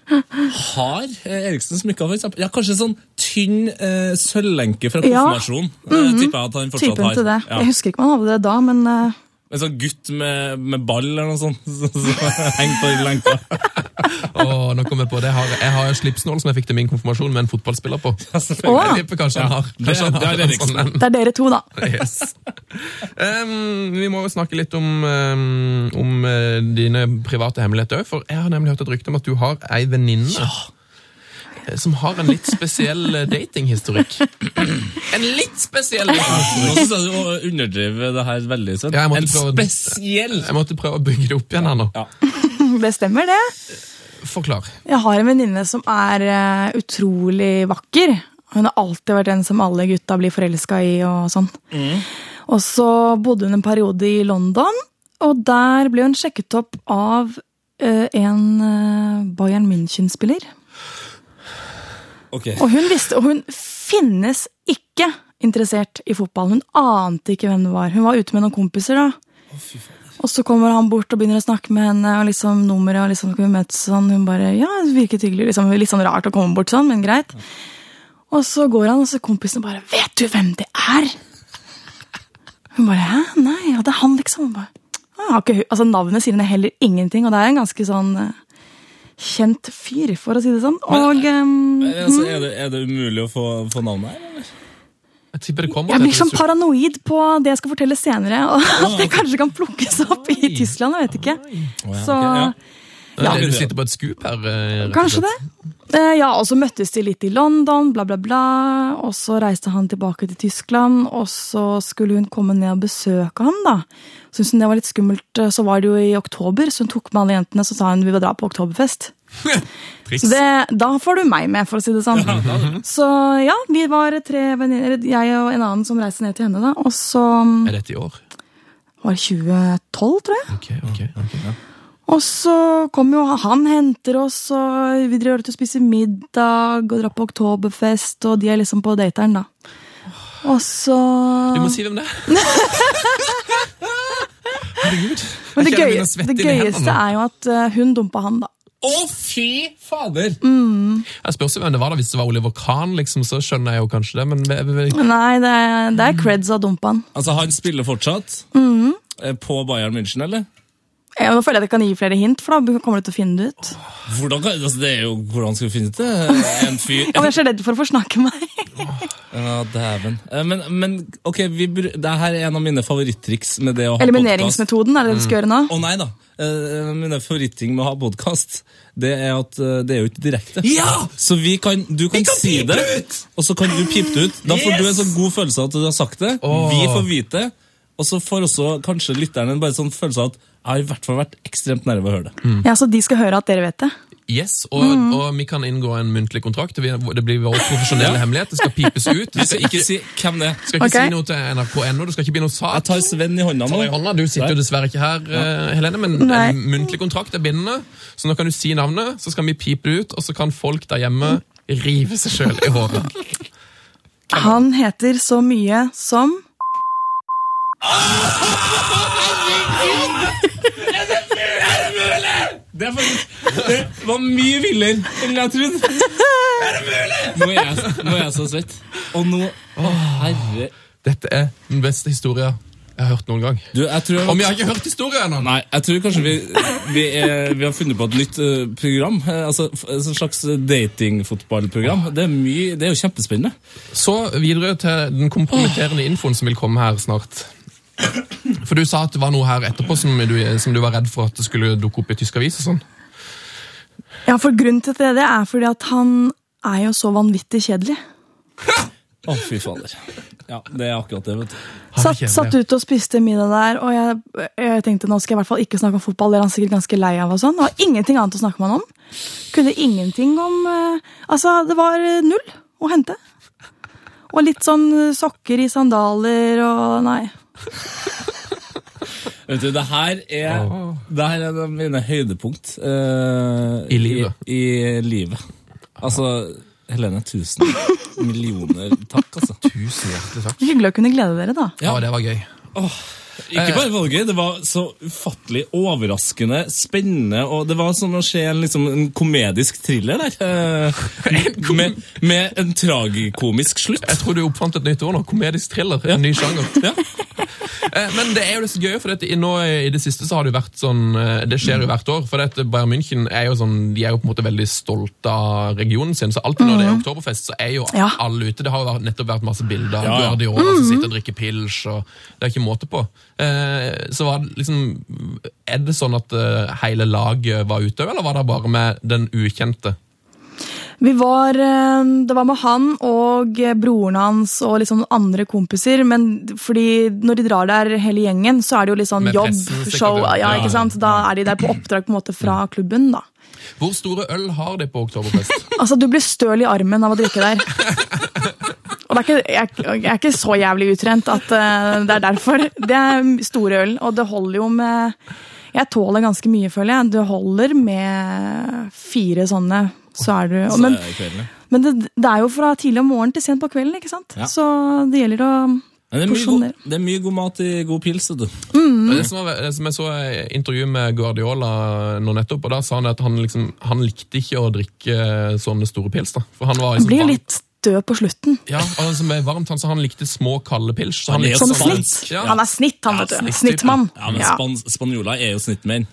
S4: Har eh, Eriksen smykka, for eksempel? Ja, kanskje en sånn tynn eh, sølvlenke fra
S5: Ja. Mhm.
S4: konfirmasjon. eh, Tipper jeg at han fortsatt
S5: Typen
S4: har.
S5: til det.
S4: Ja.
S5: Jeg husker ikke om han hadde det da, men eh,
S4: En sånn gutt med, med ball eller noe sånt. Så, så, heng på den lenka.
S3: Og nå kom jeg på det. Jeg har, jeg har en slipsnål som jeg fikk til min konfirmasjon med en fotballspiller på.
S4: Selvfølgelig.
S3: Jeg tipper kanskje han har.
S4: det
S3: Kanskje han
S4: er
S3: har en
S4: Eriksen.
S3: sånn en.
S5: det er dere to, da.
S3: Yes. Em, vi må jo snakke litt om, em, om eh, dine private hemmeligheter òg, for jeg har nemlig hørt et rykte om at du har ei venninne eh, som har en litt spesiell eh, datinghistorikk. En litt spesiell datinghistorikk!
S4: Nå synes jeg du å- underdriver det her veldig, Sven.
S3: Ja, jeg måtte
S4: en
S3: prøve å-
S4: spesiell
S3: Jeg måtte prøve å bygge det opp igjen her nå.
S4: ja.
S5: Det stemmer, det.
S3: Forklar.
S5: Jeg har en venninne som er eh, utrolig vakker. Hun har alltid vært en som alle gutta blir forelska i og sånn. Og så bodde hun en periode i London, og der ble hun sjekket opp av eh, en eh, Bayern München-spiller.
S4: Ok.
S5: Og hun visste Og hun finnes ikke interessert i fotball. Hun ante ikke hvem det var. Hun var ute med noen kompiser, da. Og så kommer han bort og begynner å snakke med henne, og liksom nummeret, og liksom skal vi møtes sånn. Hun bare Ja, det virket hyggelig. Liksom, litt sånn rart å komme bort sånn, men greit. Og så går han, og så kompisen bare Vet du hvem det er? Hun bare Hæ? Nei, ja, det er han, liksom. Hun bare, «Ah, jeg har ikke, hø-» altså, navnet sier henne heller ingenting, og det er en ganske sånn eh, kjent fyr, for å si det sånn. Og ehm,
S4: Altså, er, det, er det umulig å få, få navnet her? eller?
S3: Jeg tipper det kommer
S5: Jeg
S3: til
S5: blir sånn
S3: et
S5: paranoid på det jeg skal fortelle senere. Og at det kanskje kan plukkes opp i
S3: Oi.
S5: Tyskland, jeg vet ikke. Så
S4: ja.
S3: Det er det Du
S4: Ja.
S3: sitter på et skup her. eh, rett og
S5: kanskje
S3: slett.
S5: det. Eh, Ja, og så møttes de litt i London, bla, bla, bla. Og så reiste han tilbake til Tyskland, og så skulle hun komme ned og besøke han, da. Syntes hun det var litt skummelt. eh, Så var det jo i oktober, så hun tok med alle jentene, så sa hun vi vil dra på oktoberfest.
S3: Triks.
S5: Så det, da får du meg med, for å si det sånn. Så ja, vi var tre venninner, jeg og en annen som reiste ned til henne, da. Og så mm,
S3: Er dette i år?
S5: var det 2012, tror jeg.
S3: Ok, ok.
S5: Og så kom jo han, henter oss, og vi drar ut og spiser middag og drar på oktoberfest, og de er liksom på dateren, da. Og så
S3: Du må si hvem det er. Herregud.
S5: Men det,
S3: Jeg kjenner jeg
S5: gøy,
S3: begynner å svette inn
S5: det
S3: i hendene
S5: gøyeste
S3: nå.
S5: er jo at eh, hun dumpa han, da.
S4: Å, fy fader!
S5: Mm.
S3: Jeg spørs jo hvem det var da, Hvis det var Oliver Kahn, liksom, så skjønner jeg jo kanskje det. Men vi- vi- vi-
S5: Nei, det, er- det er creds av dumpa han. Mhm.
S4: Altså, han spiller fortsatt. Eh, På Bayern München, eller?
S5: Eh, Nå føler jeg at jeg kan gi flere hint, for da kommer du til å finne det ut.
S4: Hvordan, kan, altså, det er jo, hvordan skal vi finne ut det? En fyr
S5: Ja, men jeg er så redd for å forsnakke meg.
S4: Ja, dæven. Eh, Men, men ok, vi, br- det her er en av mine favoritttriks med det å ha podkast.
S5: Elimineringsmetoden, er det det du skal
S3: Mm.
S5: gjøre nå?
S4: Å nei da. Eh, mine favorittting med å ha podkast, det er at eh, det er jo ikke direkte.
S3: Ja!
S4: Så vi kan, du kan,
S3: kan
S4: si
S3: pipe
S4: det,
S3: det ut!
S4: og så kan du pipe det ut. Da får du en
S3: Yes!
S4: sånn god følelse av at du har sagt det.
S3: Åh.
S4: Vi får vite det. Og så får også kanskje lytteren en bare sånn følelse av at jeg har i hvert fall vært ekstremt nærme å høre det.
S3: Mm.
S5: Ja, Så de skal høre at dere vet det?
S3: Yes, og,
S5: Mhm.
S3: og vi kan inngå en muntlig kontrakt. og vi- Det blir vår profesjonelle hemmelighet. Det skal pipes ut. Du skal ikke,
S4: Si hvem det er.
S3: skal ikke
S5: Ok.
S3: si noe til NRK.no. Det skal ikke bli noe
S4: Jeg
S3: sak.
S4: tar Sven i hånda nå.
S3: Oi, Anna, Du sitter jo dessverre ikke her, eh, Helene, men
S5: Nei.
S3: en muntlig kontrakt er bindende. Så nå kan du si navnet, så skal vi pipe det ut, og så kan folk der hjemme rive seg sjøl i håret.
S5: Han heter så mye som
S4: Det, er faktisk, det var mye villere enn jeg trodde. Er det mulig?! Nå er jeg, nå er jeg så svett. Og nå Å, herre
S3: Dette er den beste historien jeg har hørt noen gang.
S4: Du, jeg tror jeg
S3: Om jeg har ikke hørt historien ennå!
S4: Nei, jeg tror kanskje vi, vi, er, vi har funnet på et nytt eh, program. eh, Altså f- Et slags datingfotballprogram. Det, er mye- det er jo kjempespennende.
S3: Så videre til den kompromitterende infoen som vil komme her snart. For du sa at det var noe her etterpå som du, som du var redd for at det skulle dukke opp i tysk avis og sånn.
S5: Ja, for grunnen til at det er det er fordi at han er jo så vanvittig kjedelig.
S4: Å, fy fader. Ja, det er akkurat det, vet du.
S3: Han er
S5: Satt,
S3: kjedelig,
S5: satt
S3: ja.
S5: ute og spiste middag der, og jeg, jeg tenkte nå skal jeg i hvert fall ikke snakke om fotball. Det er han sikkert ganske lei av. og sånn. Det var ingenting annet å snakke med han om. Kunne ingenting om eh, Altså, det var eh, null å hente. Og litt sånn eh, sokker i sandaler og Nei.
S4: Vet du, det her er, det her er en av mine høydepunkt eh,
S3: I livet.
S4: I, i livet. Altså, Helene, tusen millioner takk, altså.
S3: Tusen hjertelig takk.
S5: Hyggelig å kunne glede dere, da.
S3: Ja, det var gøy.
S4: Ikke bare var det gøy, det var så ufattelig overraskende, spennende, og det var som å se en, liksom, en komedisk thriller der. eh, med, med en tragikomisk slutt.
S3: Jeg tror du oppfant et nytt ord nå. Komedisk thriller. En ny sjanger. Eh, Men det er jo det så gøye, for dette, i- nå eh, i det siste så har det jo vært sånn eh, Det skjer jo hvert år. For dette Bayern München er jo sånn De er jo på en måte veldig stolte av regionen sin. Så alltid når det er oktoberfest, så er jo
S5: Ja.
S3: alle ute. Det har jo vært- nettopp vært masse bilder av
S4: Ja, ja.
S3: Guardiola som sitter og drikker pils, og det er ikke måte på. Eh, Så var det liksom Er det sånn at eh, hele laget var ute, eller var det bare med den ukjente?
S5: Vi var, eh, Det var med han og eh, broren hans og liksom andre kompiser. Men fordi når de drar der hele gjengen, så er det jo litt sånn
S3: Med
S5: jobb,
S3: pressen, sikkert,
S5: show.
S3: ja.
S5: Ja,
S4: Ja,
S5: ikke sant? Da er de der på oppdrag på en måte fra klubben. da.
S3: Hvor store øl har de på oktoberfest?
S5: Altså, Du blir støl i armen av å drikke der. Og det er ikke, jeg, jeg er ikke så jævlig utrent at eh, det er derfor. Det er store øl, og det holder jo med Jeg tåler ganske mye, føler jeg. Det holder med fire sånne, så er du men-
S4: Så er Eh, kvelden.
S5: Men det, det er jo fra tidlig om morgenen til sent på kvelden, ikke sant?
S4: Ja.
S5: Så det gjelder å
S4: Men det, er mye
S5: porsjoner.
S4: god, det er mye god mat i god pils. vet du.
S5: Mm.
S3: Det som, var, det som Jeg så i intervju med Guardiola nå nettopp, og da sa han at han, liksom, han likte ikke å drikke eh, sånne store pils. da. For han var
S5: Han
S3: liksom
S5: blir jo
S3: varm-
S5: litt død på slutten.
S3: Ja, og han som er varmt, han, så han likte små, kalde pils. Så han
S4: Han er
S3: likte
S4: jo
S5: Sånn
S4: spansk.
S5: snitt.
S3: Ja.
S5: Han er snitt, han, vet du.
S3: snitttypen.
S5: Snittmann.
S4: Ja, men
S5: Ja.
S4: span Spanjoler er jo snittmenn.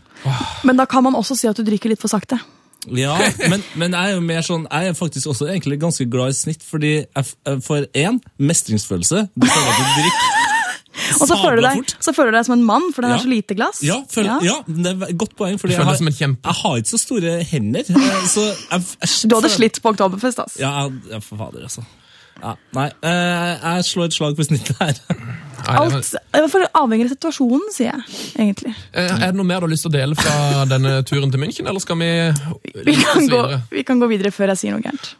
S5: Men da kan man også si at du drikker litt for sakte.
S4: Ja, men, men jeg er jo mer sånn Jeg er faktisk også egentlig ganske glad i snitt, fordi jeg, f- jeg får én mestringsfølelse. Du føler at du drikker
S5: Og så føler, du
S4: sabla
S5: deg,
S4: fort.
S5: så føler du deg som en mann, for den
S4: Ja.
S5: er så lite glass.
S4: Ja, føler, ja. det er et godt poeng, fordi jeg
S3: føler deg
S4: har,
S3: som en kjempe.
S4: jeg har ikke så store hender. eh, Så jeg, jeg,
S5: Du hadde
S4: føler-
S5: slitt på Oktoberfest, altså.
S4: Ja, jeg- ja, for fader, altså. Ja, nei, eh, jeg slår et slag på snittet
S3: Nei,
S4: her.
S3: det var-
S5: Alt eh, for avhenger av situasjonen, sier jeg egentlig.
S3: Eh, Er det noe mer du har lyst til å dele fra denne turen til München, eller skal vi
S5: Vi kan,
S3: oss
S5: gå,
S3: videre?
S5: vi kan gå videre før jeg sier noe gærent.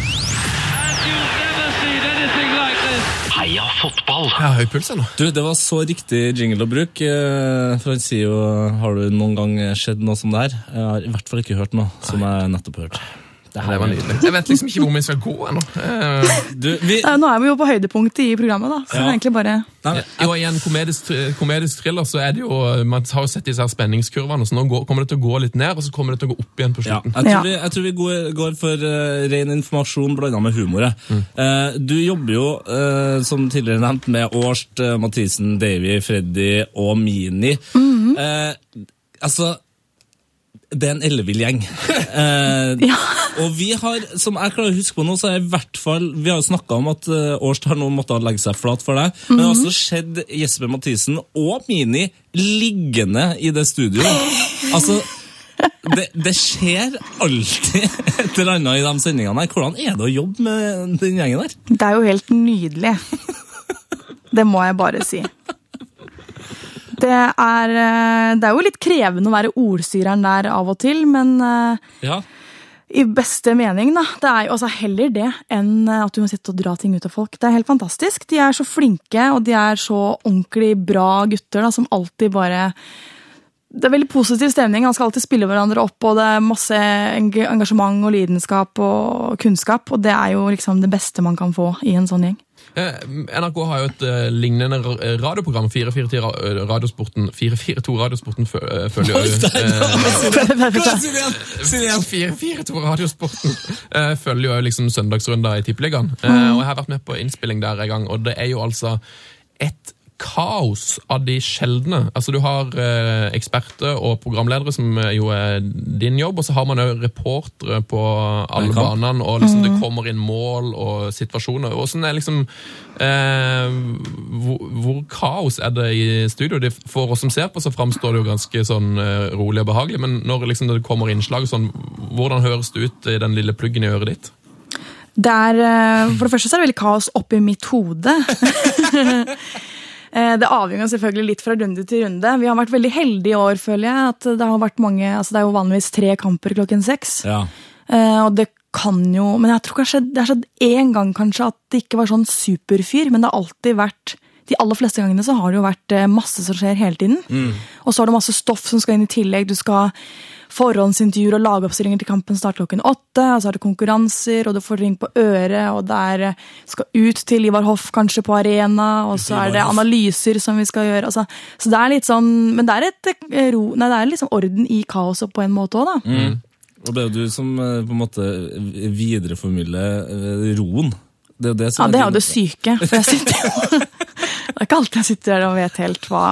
S1: You've never seen anything like this.
S2: Heia fotball.
S3: Jeg har høy puls ennå.
S4: Du, det var så riktig jingle å bruke. eh, For han sier jo Har du noen gang skjedd noe som det her? Jeg har i hvert fall ikke hørt noe som jeg nettopp hørte. Det her
S3: Det var nydelig. Jeg vet liksom ikke hvor vi skal gå ennå. Eh,
S4: Du, vi,
S5: Nei, Nå er vi jo på høydepunktet i programmet, da. Så det
S4: Ja.
S5: er egentlig bare
S4: nei,
S3: Jo, I en komedisk, thr- komedisk thriller så er det jo Man har jo sett disse her spenningskurvene, så nå går, kommer det til å gå litt ned, og så kommer det til å gå opp igjen på
S4: Ja,
S3: slutten.
S4: jeg tror
S5: Ja.
S4: vi, jeg tror vi går, går for eh, ren informasjon blanda med humor. jeg.
S3: Mm.
S4: Eh, du jobber jo, eh, som tidligere nevnt, med Årst, eh, Mathisen, Davy, Freddy og Mini.
S5: Mhm.
S4: Eh, altså det er en ellevill gjeng. Eh,
S5: Ja.
S4: Og vi har, som jeg klarer å huske på nå, så er jeg i hvert fall Vi har jo snakka om at eh, Årst har nå måttet legge seg flat for deg. Men det
S5: Mhm.
S4: har også skjedd Jesper Mathisen og Mini liggende i det studioet. Altså det, det skjer alltid et eller annet i de sendingene her. Hvordan er det å jobbe med den gjengen der?
S5: Det er jo helt nydelig. Det må jeg bare si. Det er, eh, det er jo litt krevende å være ordstyreren der av og til, men eh,
S4: Ja,
S5: i beste mening, da. Det er jo altså heller det enn eh, at du må sitte og dra ting ut av folk. Det er helt fantastisk. De er så flinke, og de er så ordentlig bra gutter da, som alltid bare Det er veldig positiv stemning. Han skal alltid spille hverandre opp, og det er masse eng- engasjement og lidenskap og kunnskap, og det er jo liksom det beste man kan få i en sånn gjeng.
S3: Eh, NRK har jo et eh, lignende ra- eh, radioprogram, 442 ra- eh, Radiosporten, 442 Radiosporten fø- eh, følger jo eh,
S4: Si det igjen!
S3: 442 Radiosporten eh, følger jo liksom søndagsrunder i Tippeligaen. Eh, og jeg har vært med på innspilling der en gang, og det er jo altså et kaos av de sjeldne. Altså, du har eh, eksperter og programledere, som eh, jo er din jobb, og så har man jo reportere på alle
S4: Hver kamp.
S3: banene, og liksom
S5: Mm.
S3: det kommer inn mål og situasjoner. Hvordan er liksom eh, hvor, hvor kaos er det i studio? Det for oss som ser på, så framstår det jo ganske sånn eh, rolig og behagelig, men når liksom det kommer innslag sånn, hvordan høres det ut i den lille pluggen i øret ditt?
S5: Det er, eh, for det første så er det veldig kaos oppi mitt hode. Eh, det avhenger selvfølgelig litt fra runde til runde. Vi har vært veldig heldige i år, føler jeg. at Det har vært mange, altså det er jo vanligvis tre kamper klokken seks.
S4: Ja.
S5: Eh, og det kan jo Men jeg tror kanskje det har skjedd én gang kanskje at det ikke var sånn superfyr, men det har alltid vært de aller fleste gangene så har det jo vært eh, masse som skjer hele tiden.
S4: Mm.
S5: Og så har du masse stoff som skal inn i tillegg. Du skal forhåndsintervjuer og lagoppstillinger til kampen starter klokken åtte. Og så er det konkurranser, og du får ring på øret, og det er eh, skal ut til Ivar Hoff kanskje på arena, og så er det
S4: Ivar Hoff.
S5: analyser som vi skal gjøre. Altså, så det er litt sånn Men det er et eh, ro... Nei, det er liksom orden i kaoset på en måte òg, da.
S4: Mm. Og det er jo du som eh, på en måte videreformidler eh, roen. Det er jo det som
S5: Ja, det er jo
S4: din-
S5: det syke. For jeg sitter jo Det er ikke alltid jeg sitter der og vet helt hva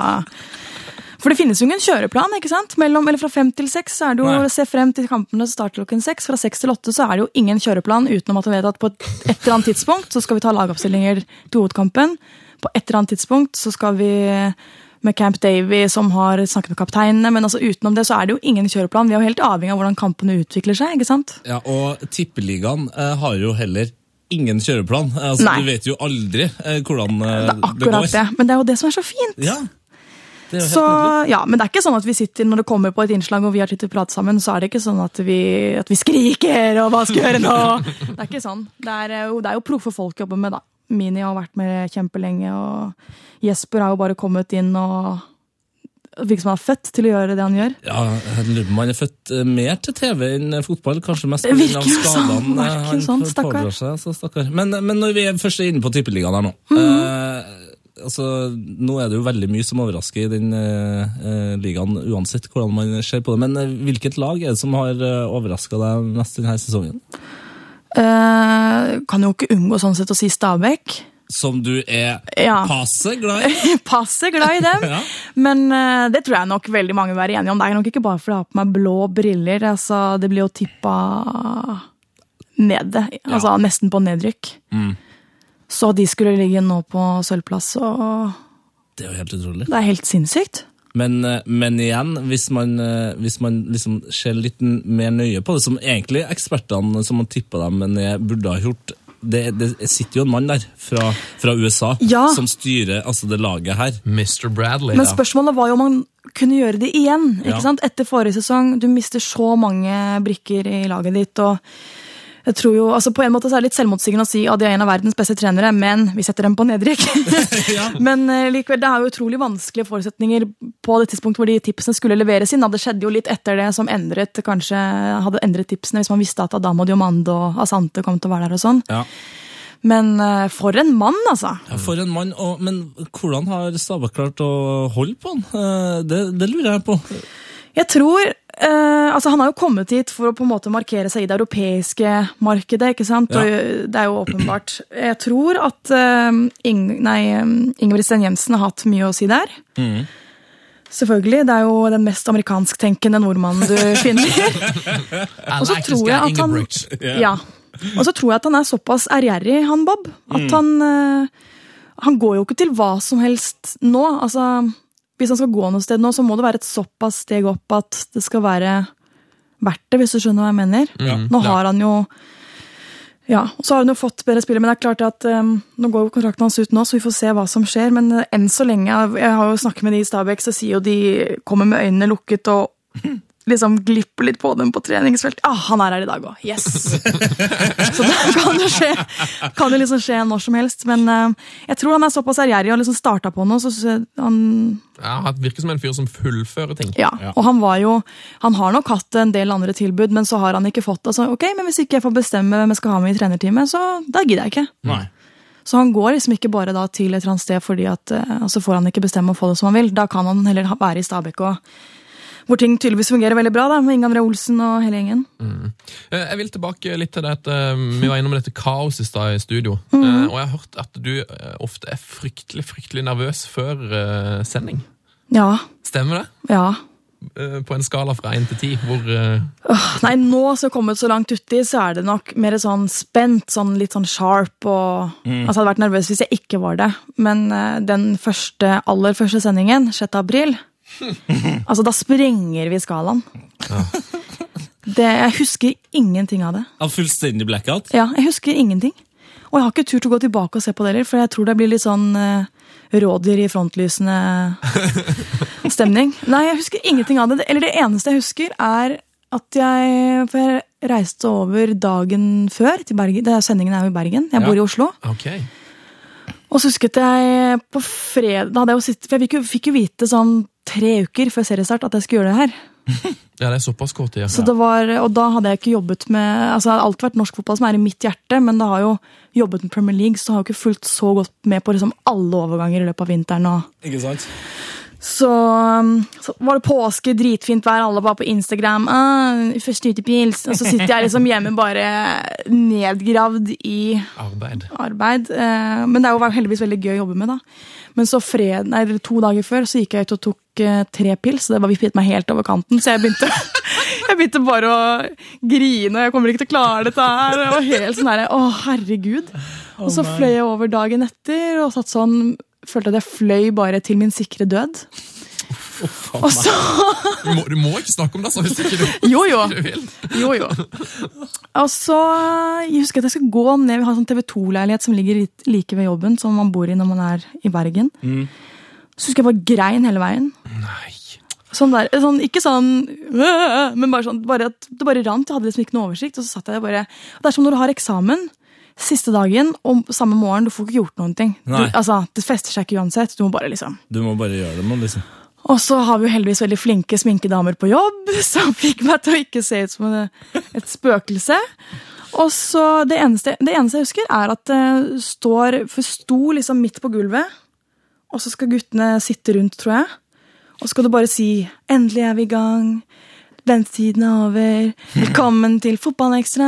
S5: For det finnes jo ingen kjøreplan, ikke sant? Mellom, eller fra fem til seks så er det jo
S4: Nei.
S5: å se frem til kampene som starter klokken seks. Fra seks til åtte så er det jo ingen kjøreplan utenom at du vet at på et et eller annet tidspunkt så skal vi ta lagoppstillinger til hovedkampen. På et eller annet tidspunkt så skal vi med Camp Davy, som har snakket med kapteinene. Men altså utenom det så er det jo ingen kjøreplan. Vi er jo helt avhengig av hvordan kampene utvikler seg. ikke sant?
S4: Ja, og Tippeligaen eh, har jo heller ingen kjøreplan. Altså,
S5: Nei.
S4: Du vet jo aldri eh, hvordan eh,
S5: Det er akkurat det. Men det er jo det som er så fint.
S4: Ja. Det er jo helt
S5: Så,
S4: nydelig.
S5: ja, men det er ikke sånn at vi sitter når det kommer på et innslag og vi har tid til å prate sammen, så er det ikke sånn at vi, at vi skriker og hva skal vi gjøre nå? Det er ikke sånn. Det er eh, jo, det er jo proffe folk jobber med, da. Mini har vært med kjempelenge, og Jesper har jo bare kommet inn og virker som han er født til å gjøre det han gjør.
S4: ja, jeg lurer på om han er født eh, mer til TV enn eh, fotball. Kanskje mest
S5: Det
S4: pga.
S5: virker jo sånn,
S4: skadene eh,
S5: virker
S4: han
S5: sånn,
S4: får-
S5: stakkar.
S4: pådrar seg. Så stakkar. Men, eh, men når vi er først inne på Tippeligaen her nå
S5: Mhm.
S4: eh, Altså, nå er det jo veldig mye som overrasker i den eh, eh, ligaen, uansett hvordan man ser på det. Men eh, hvilket lag er det som har eh, overraska deg mest denne sesongen?
S5: Eh, kan jo ikke unngå sånn sett å si Stabæk.
S4: Som du er
S5: Ja.
S4: passe glad i?
S5: passe glad i dem.
S4: Ja.
S5: Men eh, det tror jeg nok veldig mange vil være enige om. Det er nok ikke bare fordi jeg har på meg blå briller. Altså, det blir jo tippa nede. Altså nesten på nedrykk. Så de skulle ligge nå på sølvplass, og
S4: Det er jo helt utrolig.
S5: det er helt sinnssykt.
S4: Men, eh, men igjen, hvis man, eh, hvis man liksom ser litt n- mer nøye på det, som egentlig ekspertene som har tippa dem ned, burde ha gjort det, det sitter jo en mann der fra, fra USA
S5: Ja.
S4: som styrer altså det laget her.
S3: Mr. Bradley.
S5: Men spørsmålet var jo om man kunne gjøre det igjen. ikke
S4: Ja.
S5: sant? Etter forrige sesong. Du mister så mange brikker i laget ditt. og jeg tror jo, altså På en måte så er det litt selvmotsigende å si at de er en av verdens beste trenere, men vi setter dem på nedrykk. Men eh, likevel, det er jo utrolig vanskelige forutsetninger på det tidspunktet hvor de tipsene skulle leveres inn. da. Det skjedde jo litt etter det som endret kanskje hadde endret tipsene, hvis man visste at Adamo Diomando og Asante kom til å være der og sånn.
S4: Ja.
S5: Men eh, for en mann, altså!
S4: For en mann. Og, men hvordan har Stabæk klart å holde på han? Eh, Det, det lurer jeg på.
S5: Jeg tror eh, altså Han har jo kommet hit for å på en måte markere seg i det europeiske markedet. ikke sant? Og det er jo åpenbart. Jeg tror at eh, Ing nei, eh, Ingebrigt Sten Jensen har hatt mye å si der. Selvfølgelig. Det er jo den mest amerikansktenkende nordmannen du finner.
S3: I
S5: Og så
S3: like this
S5: tror
S3: guy,
S5: jeg at han
S3: Ingebrigt.
S5: ja. Og så tror jeg at han er såpass ærgjerrig, han Bob, at han eh, Han går jo ikke til hva som helst nå. Altså, hvis han skal gå noe sted nå, så må det være et såpass steg opp at det skal være verdt det, hvis du skjønner hva jeg mener. Nå har han jo ja, og så har hun jo fått bedre spillere, men det er klart at eh, nå går jo kontrakten hans ut nå, så vi får se hva som skjer. Men eh, enn så lenge Jeg har jo snakket med de i Stabæk, så sier jo de kommer med øynene lukket og liksom glipper litt på dem på treningsfeltet. Ah, han er her i dag òg! Yes! så da kan det skje kan det liksom skje når som helst. Men eh, jeg tror han er såpass ærgjerrig og liksom starta på noe, så synes jeg han
S3: Ja, han virker som en fyr som fullfører ting.
S5: ja. Og han var jo Han har nok hatt en del andre tilbud, men så har han ikke fått det. Så ok, men hvis ikke jeg får bestemme hvem jeg skal ha med i trenerteamet, så da gidder jeg ikke.
S4: Nei.
S5: Så han går liksom ikke bare da til et eller annet sted fordi at eh, altså får han ikke bestemme og få det som han vil. Da kan han heller ha- være i Stabæk og hvor ting tydeligvis fungerer veldig bra, da, med Inge André Olsen og hele gjengen.
S3: Eh, Jeg vil tilbake litt til dette Vi var innom dette kaoset i stad i studio. Eh,
S5: Mhm.
S3: Og jeg har hørt at du eh, ofte er fryktelig fryktelig nervøs før eh, sending.
S5: Ja,
S3: Stemmer det?
S5: ja.
S3: Eh, På en skala fra én til ti, hvor eh,
S5: Nei, nå som jeg har kommet så langt uti, så er det nok mer sånn spent, sånn litt sånn sharp og Altså, jeg hadde vært nervøs hvis jeg ikke var det, men eh, den første, aller første sendingen, 6. april Altså, da sprenger vi skalaen. Det, jeg husker ingenting av det.
S4: Av fullstendig blackout?
S5: Ja, jeg husker ingenting. Og jeg har ikke turt å gå tilbake og se på det heller, for jeg tror det blir litt sånn eh, rådyr i frontlysene stemning. Nei, jeg husker ingenting av det. Eller det eneste jeg husker, er at jeg For jeg reiste over dagen før til Bergen. Det er sendingen er jo i Bergen. Jeg bor i Oslo.
S3: Ok.
S5: Og så husket jeg på fredag da hadde jeg jo sitt, For jeg fikk jo, fikk jo vite sånn tre uker før seriestart at jeg skulle gjøre det her.
S3: Ja, det er såpass kort tid.
S5: Så det var, og da hadde jeg ikke jobbet med altså Det har alltid vært norsk fotball som er i mitt hjerte, men da har jo jobbet med Premier League, så har jeg ikke fulgt så godt med på liksom alle overganger i løpet av vinteren. og
S4: Ikke sant?
S5: så, um, så var det påske, dritfint vær, alle var på Instagram. Ah, første utepils. Og så sitter jeg liksom hjemme bare nedgravd i
S3: Arbeid.
S5: arbeid. eh, Men det er jo heldigvis veldig gøy å jobbe med, da. Men så fred, nei, eller to dager før så gikk jeg ut og tok eh, tre pils, og det var vippet meg helt over kanten. Så jeg begynte, jeg begynte bare å grine, og jeg kommer ikke til å klare dette her. Og helt sånn her, å herregud. Og så fløy jeg over dagen etter og satt sånn, følte at jeg fløy bare til min sikre død. Og så
S3: Du må, du må ikke snakke om det, så hvis ikke du,
S5: Jo, jo.
S3: du vil.
S5: Jo, jo. Og så eh, jeg husker at jeg skal gå ned. Vi har en sånn TV 2-leilighet som ligger litt like ved jobben, som man bor i når man er i Bergen.
S3: Mm.
S5: Så husker jeg bare grein hele veien.
S3: Nei.
S5: Sånn der, sånn, ikke sånn «Åh!», Men bare sånn, bare at det bare rant. Jeg hadde liksom ikke noe oversikt. Og så satt jeg der bare Det er som når du har eksamen siste dagen og samme morgen. Du får ikke gjort noen ting. Du,
S4: Nei.
S5: altså, Det fester seg ikke uansett. Du må bare liksom
S4: Du må bare gjøre det nå, liksom.
S5: og så har vi jo heldigvis veldig flinke sminkedamer på jobb, som fikk meg til å ikke se ut som en- et spøkelse. Og så det eneste, det eneste jeg husker, er at det står, for sto liksom midt på gulvet, og så skal guttene sitte rundt, tror jeg. Og så skal du bare si 'endelig er vi i gang'. Venstiden er over. Velkommen til Fotballekstra!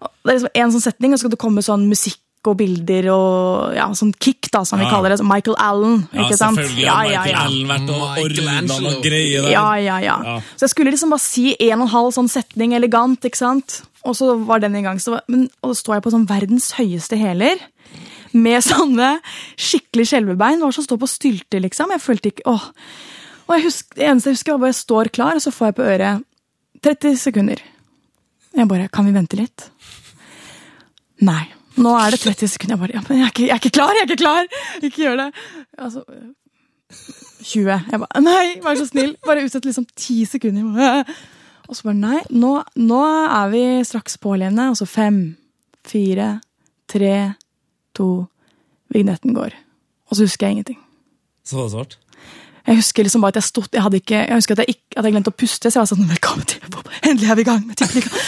S5: Og Det er liksom en sånn setning, og så skal det komme sånn musikk og bilder og ja, sånn kick, da, som vi
S4: Ja.
S5: kaller det. så Michael Allen,
S4: Ja,
S5: ikke sant?
S4: selvfølgelig. har Michael Allen vært og
S3: Michael
S4: ordna
S3: Angelo.
S4: noe greier der.
S5: Ja, ja, ja,
S4: Ja.
S5: Så jeg skulle liksom bare si en og en halv sånn setning elegant, ikke sant? Og så var den i gang. Så, var- men, og så står jeg på sånn verdens høyeste hæler. Med sånne skikkelig skjelvebein. Hva som står på stylter, liksom? Jeg følte ikke åh. Og jeg husk- det eneste jeg husker, var bare jeg står klar, og så får jeg på øret 30 sekunder. Jeg bare Kan vi vente litt? Nei. Nå er det 30 sekunder. Jeg bare ja, men jeg, er ikke, jeg er ikke klar! Jeg er ikke klar! Ikke gjør det! Altså 20. Jeg bare Nei, vær så snill! Bare utsett liksom 10 sekunder. Og så bare Nei, nå, nå er vi straks pålevende. Og så fem, fire, tre, to Vignetten går. Og så husker jeg ingenting.
S4: Så var det svart.
S5: Jeg husker liksom bare at jeg stod, jeg hadde ikke, jeg husker at jeg, ikke, at jeg glemte å puste, så jeg var sånn, velkommen til Bob, endelig er vi i gang med tippeligaen.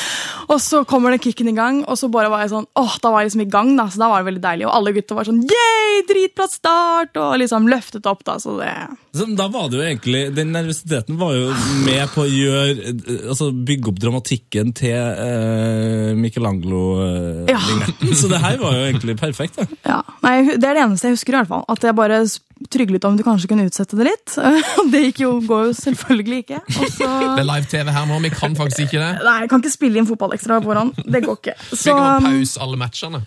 S5: Og så kommer den kicken i gang, og så bare var jeg sånn, åh, da var jeg liksom i gang da, så da var det veldig deilig, og alle gutter var sånn, yay, dritbra start, og liksom løftet opp da, så det,
S4: Så da var det jo egentlig, Den nervøsiteten var jo med på å gjøre, altså bygge opp dramatikken til eh, Michelangelo-vignetten.
S5: Ja.
S4: Så det her var jo egentlig perfekt. da.
S5: ja. Nei, jeg hu- det er det eneste jeg husker i hvert fall, at jeg bare s- trygle litt om du kanskje kunne utsette det litt. Det gikk jo, går jo selvfølgelig ikke. Og så
S3: Det er live-TV her nå, vi kan faktisk ikke det.
S5: Nei, jeg kan ikke spille inn fotballekstra på forhånd. Det går ikke.
S3: Vi
S5: Så
S3: kan ha
S5: um,
S3: pause alle matchene.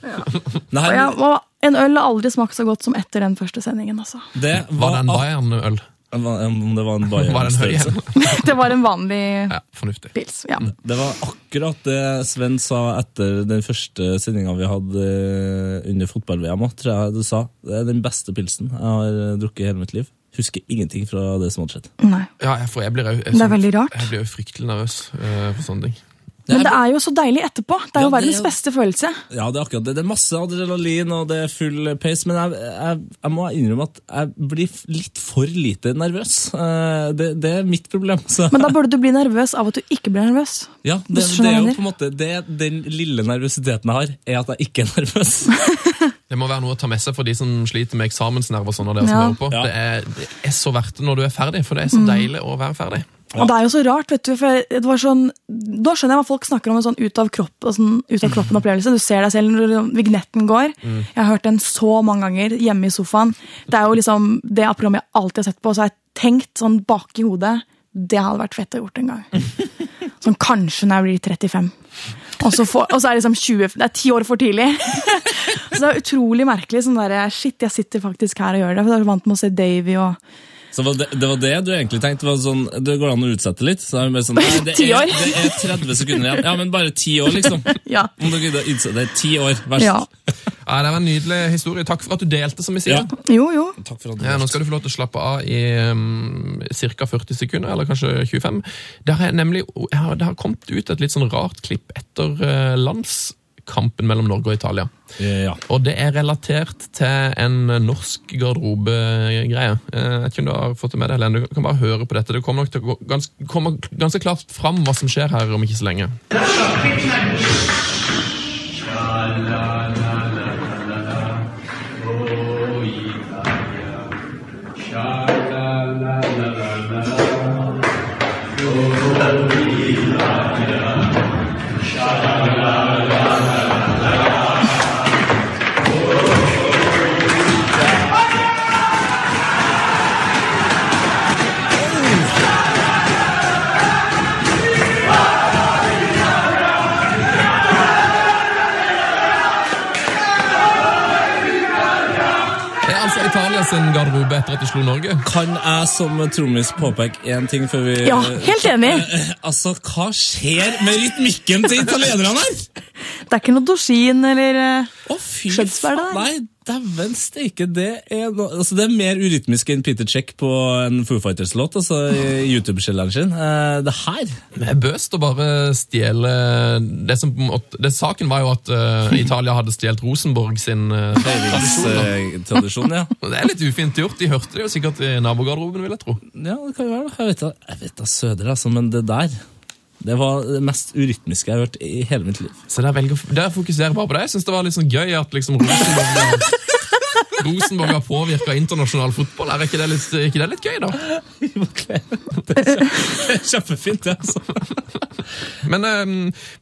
S4: Nei,
S5: ja, og en øl har aldri smakt så godt som etter den første sendingen, altså.
S4: det
S3: Var det
S4: var,
S3: en Bayern-øl?
S4: ak- Om det var en
S3: Var det en høy
S4: Bayern-størrelse.
S3: en?
S5: Det var en vanlig
S3: Ja, fornuftig.
S5: pils. Ja.
S4: Det var akkurat det Sven sa etter den første sendinga vi hadde eh, under fotball-VM. også, tror jeg Du sa det er den beste pilsen jeg har eh, drukket i hele mitt liv. Husker ingenting fra det som hadde skjedd.
S5: Nei.
S3: Ja, jeg, for jeg blir jo jeg,
S5: Det er veldig rart.
S3: Jeg blir jo fryktelig nervøs eh, for sånne ting.
S5: Men det er jo så deilig etterpå. Det
S4: Ja,
S5: er
S4: det
S5: jo
S4: er
S5: verdens
S4: jo-
S5: beste følelse.
S4: Ja, det er akkurat det. Det er masse adrenalin og det er full pace, men jeg, jeg, jeg må innrømme at jeg blir f- litt for lite nervøs. Eh, Det, det er mitt problem. Så.
S5: Men da burde du bli nervøs av at du ikke blir nervøs.
S4: Ja,
S5: Du
S4: det, det
S5: skjønner
S4: er
S5: hva
S4: jo
S5: jeg
S4: på en måte det, Den lille nervøsiteten jeg har, er at jeg ikke er nervøs.
S3: Det må være noe å ta med seg for de som sliter med eksamensnerver. og sånn, og dere som
S5: Ja.
S3: hører på.
S4: Ja.
S3: Det, er, det er så verdt det når du er ferdig, for det er så deilig å være ferdig.
S5: Og det er jo så rart, vet du, for det var sånn, Da skjønner jeg hva folk snakker om en sånn ut av, kropp, og sånn ut av kroppen-opplevelse. Du ser deg selv når vignetten går. Jeg har hørt den så mange ganger hjemme i sofaen. Det er jo liksom det programmet jeg alltid har sett på, og så har jeg tenkt sånn bak i hodet Det hadde vært fett å gjort en gang. Sånn kanskje når jeg blir 35. Og så, får- og så er det liksom 20, det er ti år for tidlig. så det er utrolig merkelig. sånn der, Shit, jeg sitter faktisk her og gjør det. For jeg er så vant med å se Davy og
S4: Så var det, det var det du egentlig tenkte? var sånn, Det går an å utsette litt? Så er det bare sånn, nei, det,
S5: Ti
S4: er,
S5: år.
S4: det er 30 sekunder igjen. Ja, men bare ti år, liksom.
S5: Ja.
S4: Om dere gidder å utsette det. Ti år, vær så
S5: ja.
S4: snill.
S3: Ja, det var en nydelig historie. Takk for at du delte, som vi sier.
S4: Ja.
S5: Jo, jo.
S4: Takk for at
S3: Ja, nå skal du få lov til å slappe av i um, ca. 40 sekunder, eller kanskje 25. Det har, jeg nemlig, jeg har, det har kommet ut et litt sånn rart klipp etter eh, landskampen mellom Norge og Italia.
S4: Eh, Ja.
S3: Og det er relatert til en norsk garderobegreie. Eh, Jeg vet ikke om du har fått det med deg, Helene. Du kan bare høre på dette. Det kommer nok til å gå ganske, kommer ganske klart fram hva som skjer her om ikke så lenge. Det er altså Italias garderobe etter at de slo Norge.
S4: Kan jeg som trommis påpeke én ting før vi
S5: Ja, helt enig.
S4: Altså, hva skjer med rytmikken til italienerne her?!
S5: Det er ikke noe dosin eller eh,
S4: Å, fy
S5: Skjønnsberg, det der.
S4: Nei, dæven steike. Det er, no, altså, det er mer urytmisk enn Peter Check på en Foo Fighters-låt, altså i YouTube-kjelleren sin. Eh, det her
S3: Det er bøst å bare stjele det som, på en måte- det, Saken var jo at eh, Italia hadde stjålet Rosenborg sin eh, tradisjon. da.
S4: Altså, eh, Tradisjon, ja.
S3: Og Det er litt ufint gjort. De hørte det jo sikkert i nabogarderoben, vil jeg tro.
S4: Ja, det kan jo være. da. Jeg vet da, jeg vet da søder, altså, men det der Det var det mest urytmiske jeg har hørt i hele mitt liv.
S3: Så der, velger, der fokuserer jeg bare på det. Jeg synes det var litt sånn gøy at liksom Rosenborg Rosenborg har påvirka internasjonal fotball. Er ikke det, litt, er ikke det litt gøy, da?
S4: det er kjempe- kjempefint, det, altså.
S3: Men eh,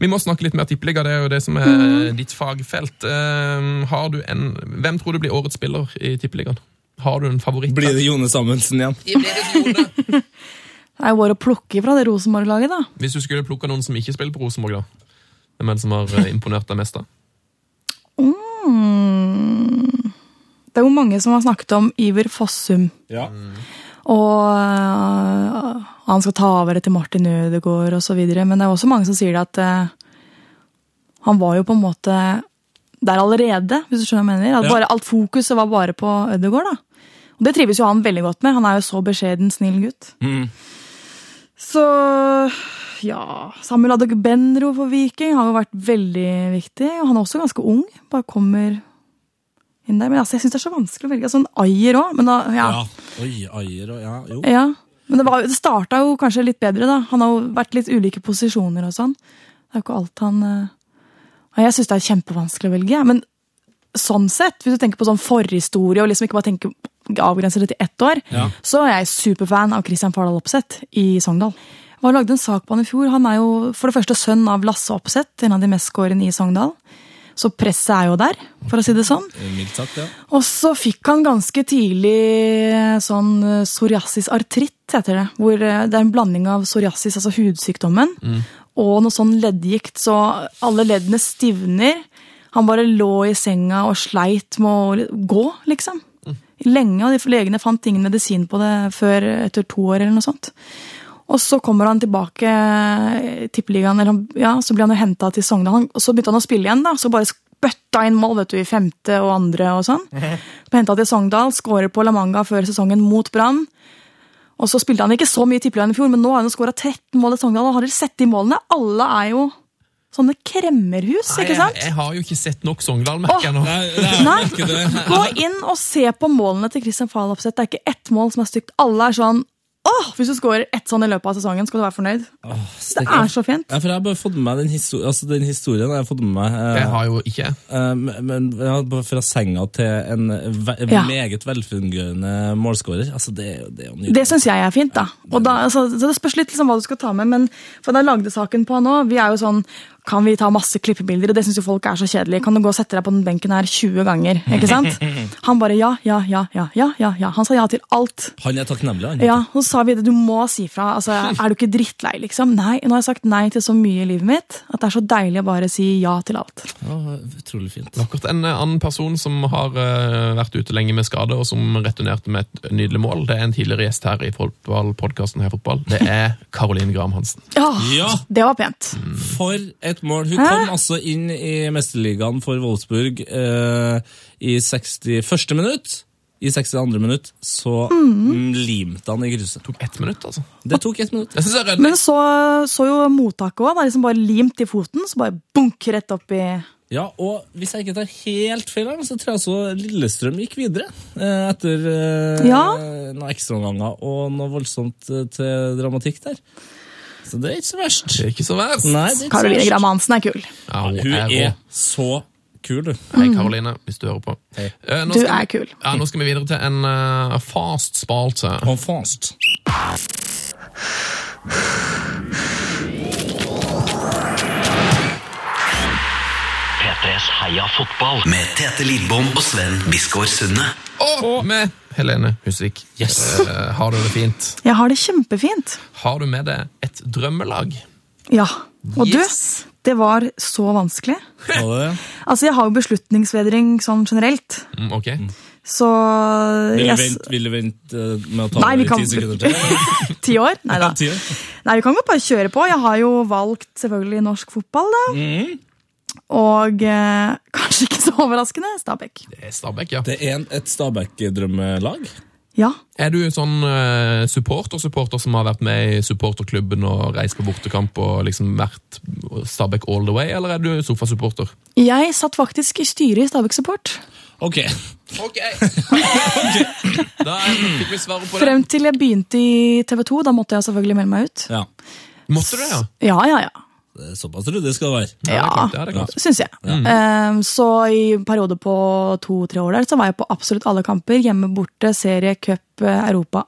S3: vi må snakke litt mer tippeliga. Det er jo det som er ditt fagfelt. Eh, har du en, hvem tror du blir årets spiller i tippeligaen? Har du en favoritt?
S4: Blir det Jone Samuelsen igjen?
S5: Det er jo bare å plukke fra det Rosenborg-laget, da.
S3: Hvis du skulle plukka noen som ikke spiller på Rosenborg, da? Hvem er det som har eh, imponert deg mest, da?
S5: Det er jo mange som har snakket om Iver Fossum.
S4: Ja.
S5: Og eh, han skal ta over etter Martin Ødegaard osv. Men det er også mange som sier det at eh, han var jo på en måte der allerede, hvis du skjønner hva jeg mener. At
S4: Ja.
S5: bare, alt fokuset var bare på Ødegaard, da. Og det trives jo han veldig godt med. Han er jo så beskjeden, snill gutt. Så ja Samuel Adegbenro for Viking har jo vært veldig viktig. Og han er også ganske ung. Bare kommer inn der. Men altså, jeg syns det er så vanskelig å velge. Sånn Ayer òg, men da ja.
S4: Ja. Oi, Ayer og ja, jo.
S5: ja. Men det, var, jo- det starta jo kanskje litt bedre, da. Han har jo vært litt ulike posisjoner og sånn. Det er jo ikke alt han eh, og Jeg syns det er kjempevanskelig å velge, jeg. men sånn sett, hvis du tenker på sånn forhistorie og liksom ikke bare tenker avgrenser det til ett år, så er jeg superfan av Christian Fardal Opseth i Sogndal. Jeg lagde en sak på han i fjor. Han er jo for det første sønn av Lasse Opseth, en av de mest skårende i Sogndal. Så presset er jo der, for å si det sånn.
S4: Mildt sagt, ja.
S5: Og så fikk han ganske tidlig sånn eh, psoriasis artritt, heter det. Hvor eh, det er en blanding av psoriasis, altså hudsykdommen, og noe sånn leddgikt. Så alle leddene stivner. Han bare lå i senga og sleit med å li- gå, liksom. Lenge, og de legene fant ingen medisin på det før etter to år eller noe sånt. Og så kommer han tilbake eh, i tippeligaen, eller han- ja, så blir han jo henta til Sogndal. Han- Og så begynte han å spille igjen, da. Så bare bøtta inn mål vet du, i femte og andre og sånn.
S3: Mhm.
S5: Ble henta til Sogndal, skårer på La Manga før sesongen mot Brann. Og så spilte han ikke så mye i tippeligaen i fjor, men nå har han skåra 13 mål i Sogndal. Og har dere sett de målene? Alle er jo sånne kremmerhus, ikke sant?
S3: Jeg, jeg har jo ikke sett nok Sogndal, merker jeg nå.
S4: Nei, det er
S5: Nei.
S4: jo ikke det.
S5: Gå inn og se på målene til Christian Falopseth. Det er ikke ett mål som er stygt. Alle er sånn Åh, hvis du skårer ett sånn i løpet av sesongen, skal du være fornøyd. Det er så fint.
S4: Ja, for jeg har bare fått med meg den, histor altså, den historien. har jeg fått med meg. eh,
S3: Det har jo ikke jeg.
S4: Eh, men- men ja, bare fra senga til en ve
S5: Ja.
S4: meget velfungerende målskårer. Altså, det, er jo- det er jo nydelig.
S5: Det syns jeg er fint, da. Og da altså, så det spørs litt liksom, hva du skal ta med, men for da lagde saken på han òg. Vi er jo sånn Kan vi ta masse klippebilder? Og det syns jo folk er så kjedelig. Kan du gå og sette deg på den benken her 20 ganger? Ikke sant? Han bare ja, ja, ja, ja, ja, ja. ja. Han sa ja til alt.
S4: Han er takknemlig, han.
S5: Ja, og så sa vi det, du må si fra. Altså, er du ikke drittlei, liksom? Nei, nå har jeg sagt nei til så mye i livet mitt at det er så deilig å bare si ja til alt.
S4: Ja, utrolig fint.
S3: Akkurat en eh, annen person som har eh, vært ute lenge med skade, og som returnerte med et nydelig mål, det er en tidligere gjest her i podkasten Heia Fotball. Det er Caroline Graham Hansen.
S5: Ja,
S4: Ja.
S5: det var pent.
S4: For et mål! Hun
S5: Mm. Hæ?
S4: kom altså inn i mesterligaen for Wolfsburg eh, i 61. minutt. I 62. minutt så mm, limte han i krysset.
S3: Ett minutt, altså.
S4: Det tok ett minutt.
S3: Jeg synes det er redelig.
S5: Men så, så jo mottaket òg. Liksom bare limt i foten, så bare bunk rett opp i
S4: Ja, og hvis jeg ikke tar helt feil, her, så tror jeg også Lillestrøm gikk videre. eh, Etter eh,
S5: Ja.
S4: noen ekstraomganger og noe voldsomt eh, til dramatikk der. Så det er ikke så verst.
S3: Det er ikke så verst.
S4: Nei, det er ikke
S5: Karoline
S4: så verst.
S5: Gram Hansen er kul.
S3: Ja, hun,
S4: Hun
S3: er rå.
S4: er så kul, du.
S3: Hei, Karoline, hvis du hører på.
S4: Hei.
S3: Eh, nå
S5: Du
S3: skal-
S5: er kul.
S3: Ja, nå skal vi videre til en eh, fast spalte.
S4: Og fast.
S2: P3s Heia fotball med Tete Lidbom og Sven Biskår Sunne.
S3: Og med Helene Husvik. Eh, har du det fint?
S5: Jeg har det kjempefint.
S3: Har du med deg et drømmelag?
S5: Ja. Og du,
S3: Yes.
S5: det var så vanskelig.
S4: Var det det?
S5: Altså, jeg har jo beslutningsvedring sånn generelt,
S3: Mm, ok.
S5: så
S4: Vil du
S5: jeg s-
S4: vente, vil du vente eh, med å ta
S5: Nei, vi
S4: det i
S5: kan-
S4: ti sekunder til?
S5: Ti år? Nei da.
S4: Ti år?
S5: Nei, vi kan godt bare kjøre på. Jeg har jo valgt selvfølgelig norsk fotball, da.
S4: Mm.
S5: Og eh, kanskje ikke så overraskende Stabæk.
S3: Det er Stabæk, ja.
S4: Det er en, et Stabæk-drømmelag.
S5: Ja.
S3: Er du en sånn eh, supporter-supporter som har vært med i supporterklubben og reist på bortekamp og liksom vært Stabæk all the way, eller er du sofasupporter?
S5: Jeg satt faktisk i styret i Stabæk Support.
S4: Ok.
S3: Ok! Da fikk vi svaret på det.
S5: Frem til jeg begynte i TV 2. Da måtte jeg selvfølgelig melde meg ut.
S4: Ja.
S3: Måtte du det, ja?
S5: Ja, ja, ja.
S4: Det er Eh, Såpass ryddig skal det være.
S3: Ja, det er klart, det er Mm. det
S5: Ja,
S3: klart.
S5: syns jeg. Eh, så i en periode på to-tre år der, så var jeg på absolutt alle kamper. Hjemme, borte, serie, cup, eh, Europa.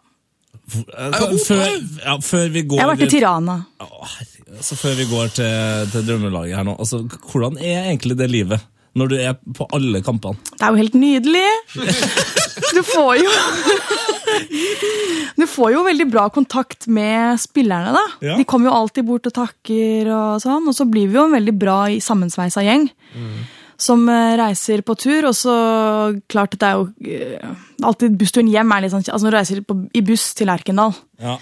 S4: Eh, Før, ja, før vi går
S5: Jeg har vært i Tirana.
S4: Å, herregud, altså Før vi går til, til drømmelaget her nå, altså, hvordan er egentlig det livet? Når du er på alle kampene.
S5: Det er jo helt nydelig! Du får jo Du får jo veldig bra kontakt med spillerne, da.
S4: Ja.
S5: De kommer jo alltid bort og takker og sånn, og så blir vi jo en veldig bra i- sammensveisa gjeng. Som eh, reiser på tur, og så klart at det er jo eh, alltid Bussturen hjem er litt sånn Altså når du reiser på, i buss til Lerkendal,
S4: Ja.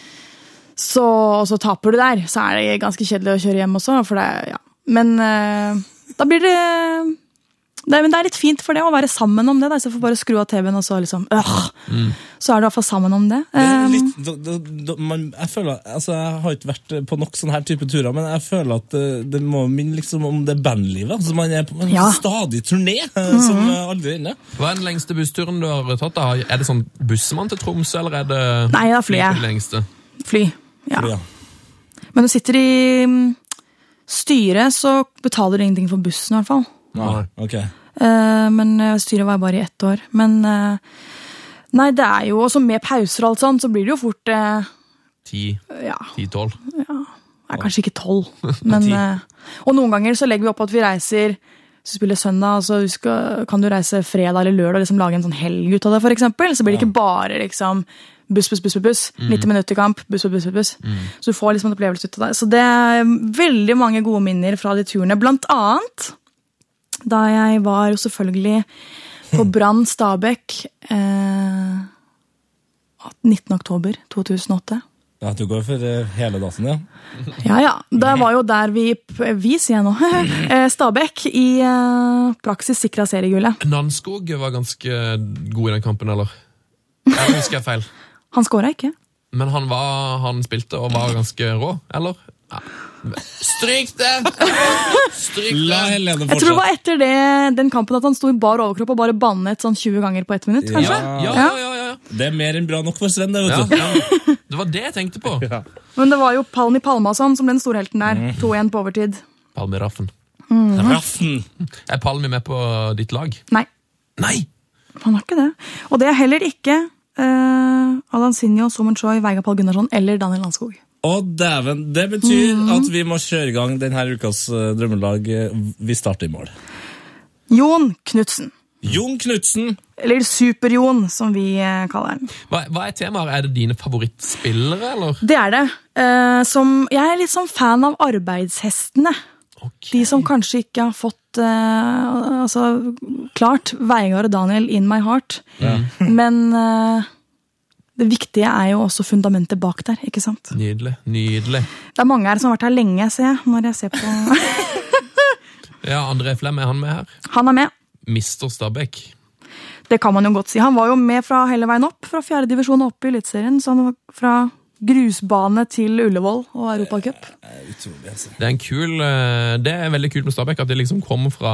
S5: så, og så taper du der, så er det ganske kjedelig å kjøre hjem også. For det, er- ja. Men eh, da blir det, det Men det er litt fint for det å være sammen om det. da, Istedenfor bare å skru av TV-en og så liksom øh, Så er du i hvert fall sammen om det. Eh,
S4: Litt, da, da, da, man, jeg, føler, altså, jeg har ikke vært på nok sånne her type turer, men jeg føler at det, det må minne liksom om det bandlivet. Altså, man er på en
S5: Ja. Mhm.
S4: stadig turné eh, som eh, aldri er inne.
S3: Hva er den lengste bussturen du har tatt? da? Er det sånn bussemann til Tromsø, eller er det
S5: Nei, det er flyet.
S3: på det lengste?
S5: fly. Ja.
S4: Ja.
S5: Men du sitter i mm, styret, så betaler du ingenting for bussen, i hvert fall.
S4: Nei. Ok.
S5: Eh, men eh, styret var bare i ett år. Men eh, Nei, det er jo også med pauser og alt sånt, så blir det jo fort eh,
S3: Ti?
S5: Ja.
S3: Ti-tolv?
S5: er kanskje ikke tolv, men eh, Og noen ganger så legger vi opp at vi reiser Hvis du spiller søndag, og så husker- kan du reise fredag eller lørdag og liksom lage en sånn helg ut av det, for eksempel. Så blir det ikke bare liksom buss, buss, buss, buss, buss. 90 minutter kamp, buss, buss, buss, buss, buss. Så du får liksom en opplevelse ut av det. Så det er veldig mange gode minner fra de turene. Blant annet da jeg var jo selvfølgelig på Brann Stabekk eh, 19. oktober 2008.
S4: Ja, du går for eh, hele dassen, ja.
S5: Ja, ja.
S3: Mm.
S5: Det var jo der vi Vi, sier jeg nå. Eh, Stabæk i eh, praksis sikra seriegullet.
S3: Nanskog var ganske god i den kampen, eller? Jeg husker jeg feil.
S5: Han skåra ikke.
S3: Men han, var, han spilte og var ganske rå, eller? Ja. Stryk det! Stryk
S4: La
S3: det!
S4: Helene
S5: Jeg tror det
S4: fortsette.
S5: var etter det, den kampen at han sto i bar overkropp og bare bannet sånn 20 ganger på ett minutt,
S3: Ja,
S5: kanskje.
S3: ja, ja, ja, ja.
S4: Det er mer enn bra nok for Sven, det,
S3: ja.
S4: vet du.
S3: Det var det jeg tenkte på.
S5: Men det var jo Palmi Palmason som ble den storhelten
S3: Mm.
S5: der. 2-1 på overtid.
S3: Palmi Raffen.
S5: Mhm.
S4: Raffen!
S3: Er Palmi med på ditt lag?
S5: Nei,
S3: Nei!
S5: han var ikke det. Og det er heller ikke eh, Alan Sinjo, Somon Choi, Veigar Pall Gunnarsson eller Daniel Landskog.
S4: Å, dæven. Det betyr
S5: Mm.
S4: at vi må kjøre i gang denne ukas eh, drømmelag. eh, Vi starter i mål.
S5: Jon Knutsen.
S4: Jon Knutsen.
S5: Eller Super-Jon, som vi eh, kaller han.
S3: Hva, hva er temaet? Er det dine favorittspillere, eller?
S5: Det er det. Eh, som, jeg er litt sånn fan av arbeidshestene.
S3: Ok.
S5: De som kanskje ikke har fått eh, altså, Klart, Veigar og Daniel in my heart. Men eh, det viktige er jo også fundamentet bak der. ikke sant?
S3: Nydelig. Nydelig.
S5: Det er mange her som har vært her lenge, ser jeg. når jeg ser på...
S3: Ja, André Flem, er han med her?
S5: Han er med.
S3: Mister Stabæk.
S5: Det kan man jo godt si. Han var jo med fra hele veien opp, fra fjerde divisjon og opp i Eliteserien. Så han var fra grusbane til Ullevål og Europacup.
S3: Det er en kul eh, Det er veldig kult med Stabæk at det liksom kom fra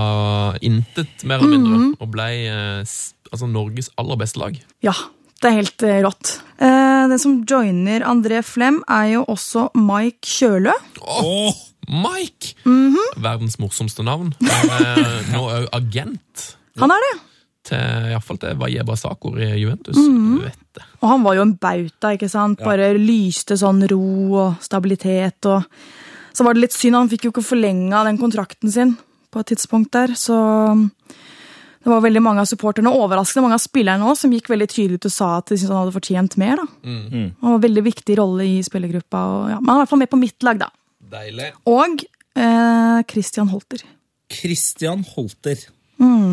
S3: intet, mer eller mindre, og ble eh, s- altså, Norges aller beste lag.
S5: Ja, det er helt eh, rått. Eh, den som joiner André Flem, er jo også Mike Kjølø.
S4: Åh,
S3: Mike!
S5: Mhm.
S3: Verdens morsomste navn. Han er nå òg agent
S5: Han er det!
S3: til iallfall til Vajeba Sakor i Juventus.
S5: Mhm.
S3: Du vet det.
S5: Og han var jo en bauta, ikke sant? Bare lyste sånn ro og stabilitet og Så var det litt synd, han fikk jo ikke forlenga den kontrakten sin på et tidspunkt der, så det var veldig mange av supporterne, og overraskende mange av spillerne òg, som gikk veldig tydelig ut og sa at de syntes han hadde fortjent mer. da. Og en veldig viktig rolle i spillergruppa. Og, ja. Men han er i hvert fall med på mitt lag, da.
S3: Deilig.
S5: Og eh, Christian Holter.
S4: Christian Holter.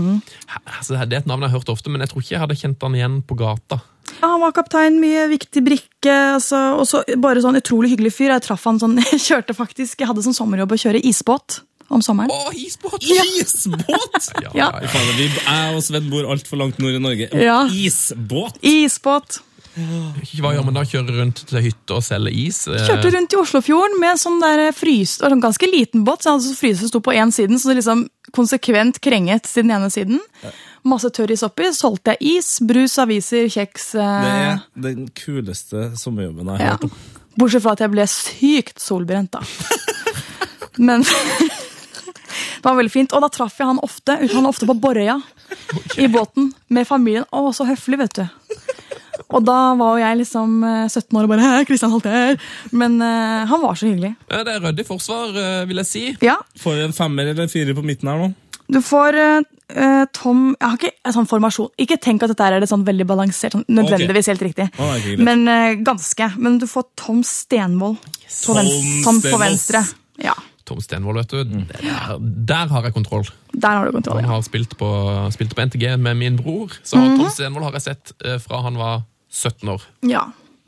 S3: Altså, det er et navn jeg har hørt ofte, men jeg tror ikke jeg hadde kjent han igjen på gata.
S5: Ja, han var kaptein, mye viktig brikke, altså, og så bare sånn utrolig hyggelig fyr. Jeg traff han sånn, jeg kjørte faktisk, jeg hadde som sommerjobb å kjøre isbåt om sommeren.
S3: Å, isbåt!
S4: Isbåt!
S3: Ja,
S5: Ja.
S3: ja,
S4: Fader, vi, jeg og Sven bor altfor langt nord i Norge.
S5: Ja.
S4: Isbåt!
S5: Isbåt!
S3: Ikke hva gjør man da? Kjøre rundt til hytta og selge is? eh,
S5: Kjørte rundt i Oslofjorden med sånn der frys, og sånn ganske liten båt, så jeg hadde så frysen sto på en siden, så det liksom konsekvent krenget til den ene siden. Masse tørr is oppi, solgte jeg is, brus, aviser, kjeks.
S4: Det
S5: Eh,
S4: er den kuleste sommerjobben jeg har
S5: ja.
S4: hørt om.
S5: Bortsett fra at jeg ble sykt solbrent, da. Men det var veldig fint. Og da traff jeg han ofte. Uten han ofte på Borøya. I båten med familien. Å, så høflig, vet du. Og da var jo jeg liksom eh, 17 år og bare «Hæ, Christian Halter. Men eh, han var så hyggelig.
S3: eh, Det er ryddig forsvar, eh, vil jeg si.
S5: Ja,
S4: Får du en femmer eller en firer på midten her nå?
S5: du får eh, eh, Tom Jeg har ikke en sånn formasjon. Ikke tenk at dette er det sånn veldig balansert. Sånn, nødvendigvis helt riktig.
S4: Å, det er ikke greit.
S5: Men eh, ganske. Men du får Tom Stenvold på, venstre,
S4: Tom
S5: Tom på
S4: Stenvold.
S5: venstre. Ja,
S3: Tom Stenvold, vet du. Der, der har jeg kontroll.
S5: Der har du
S3: Han
S5: kontroll. ja. Mhm.
S3: har spilt på, spilte på NTG med min bror, så Tom Stenvold har jeg sett eh, fra han var 17 år.
S5: Ja.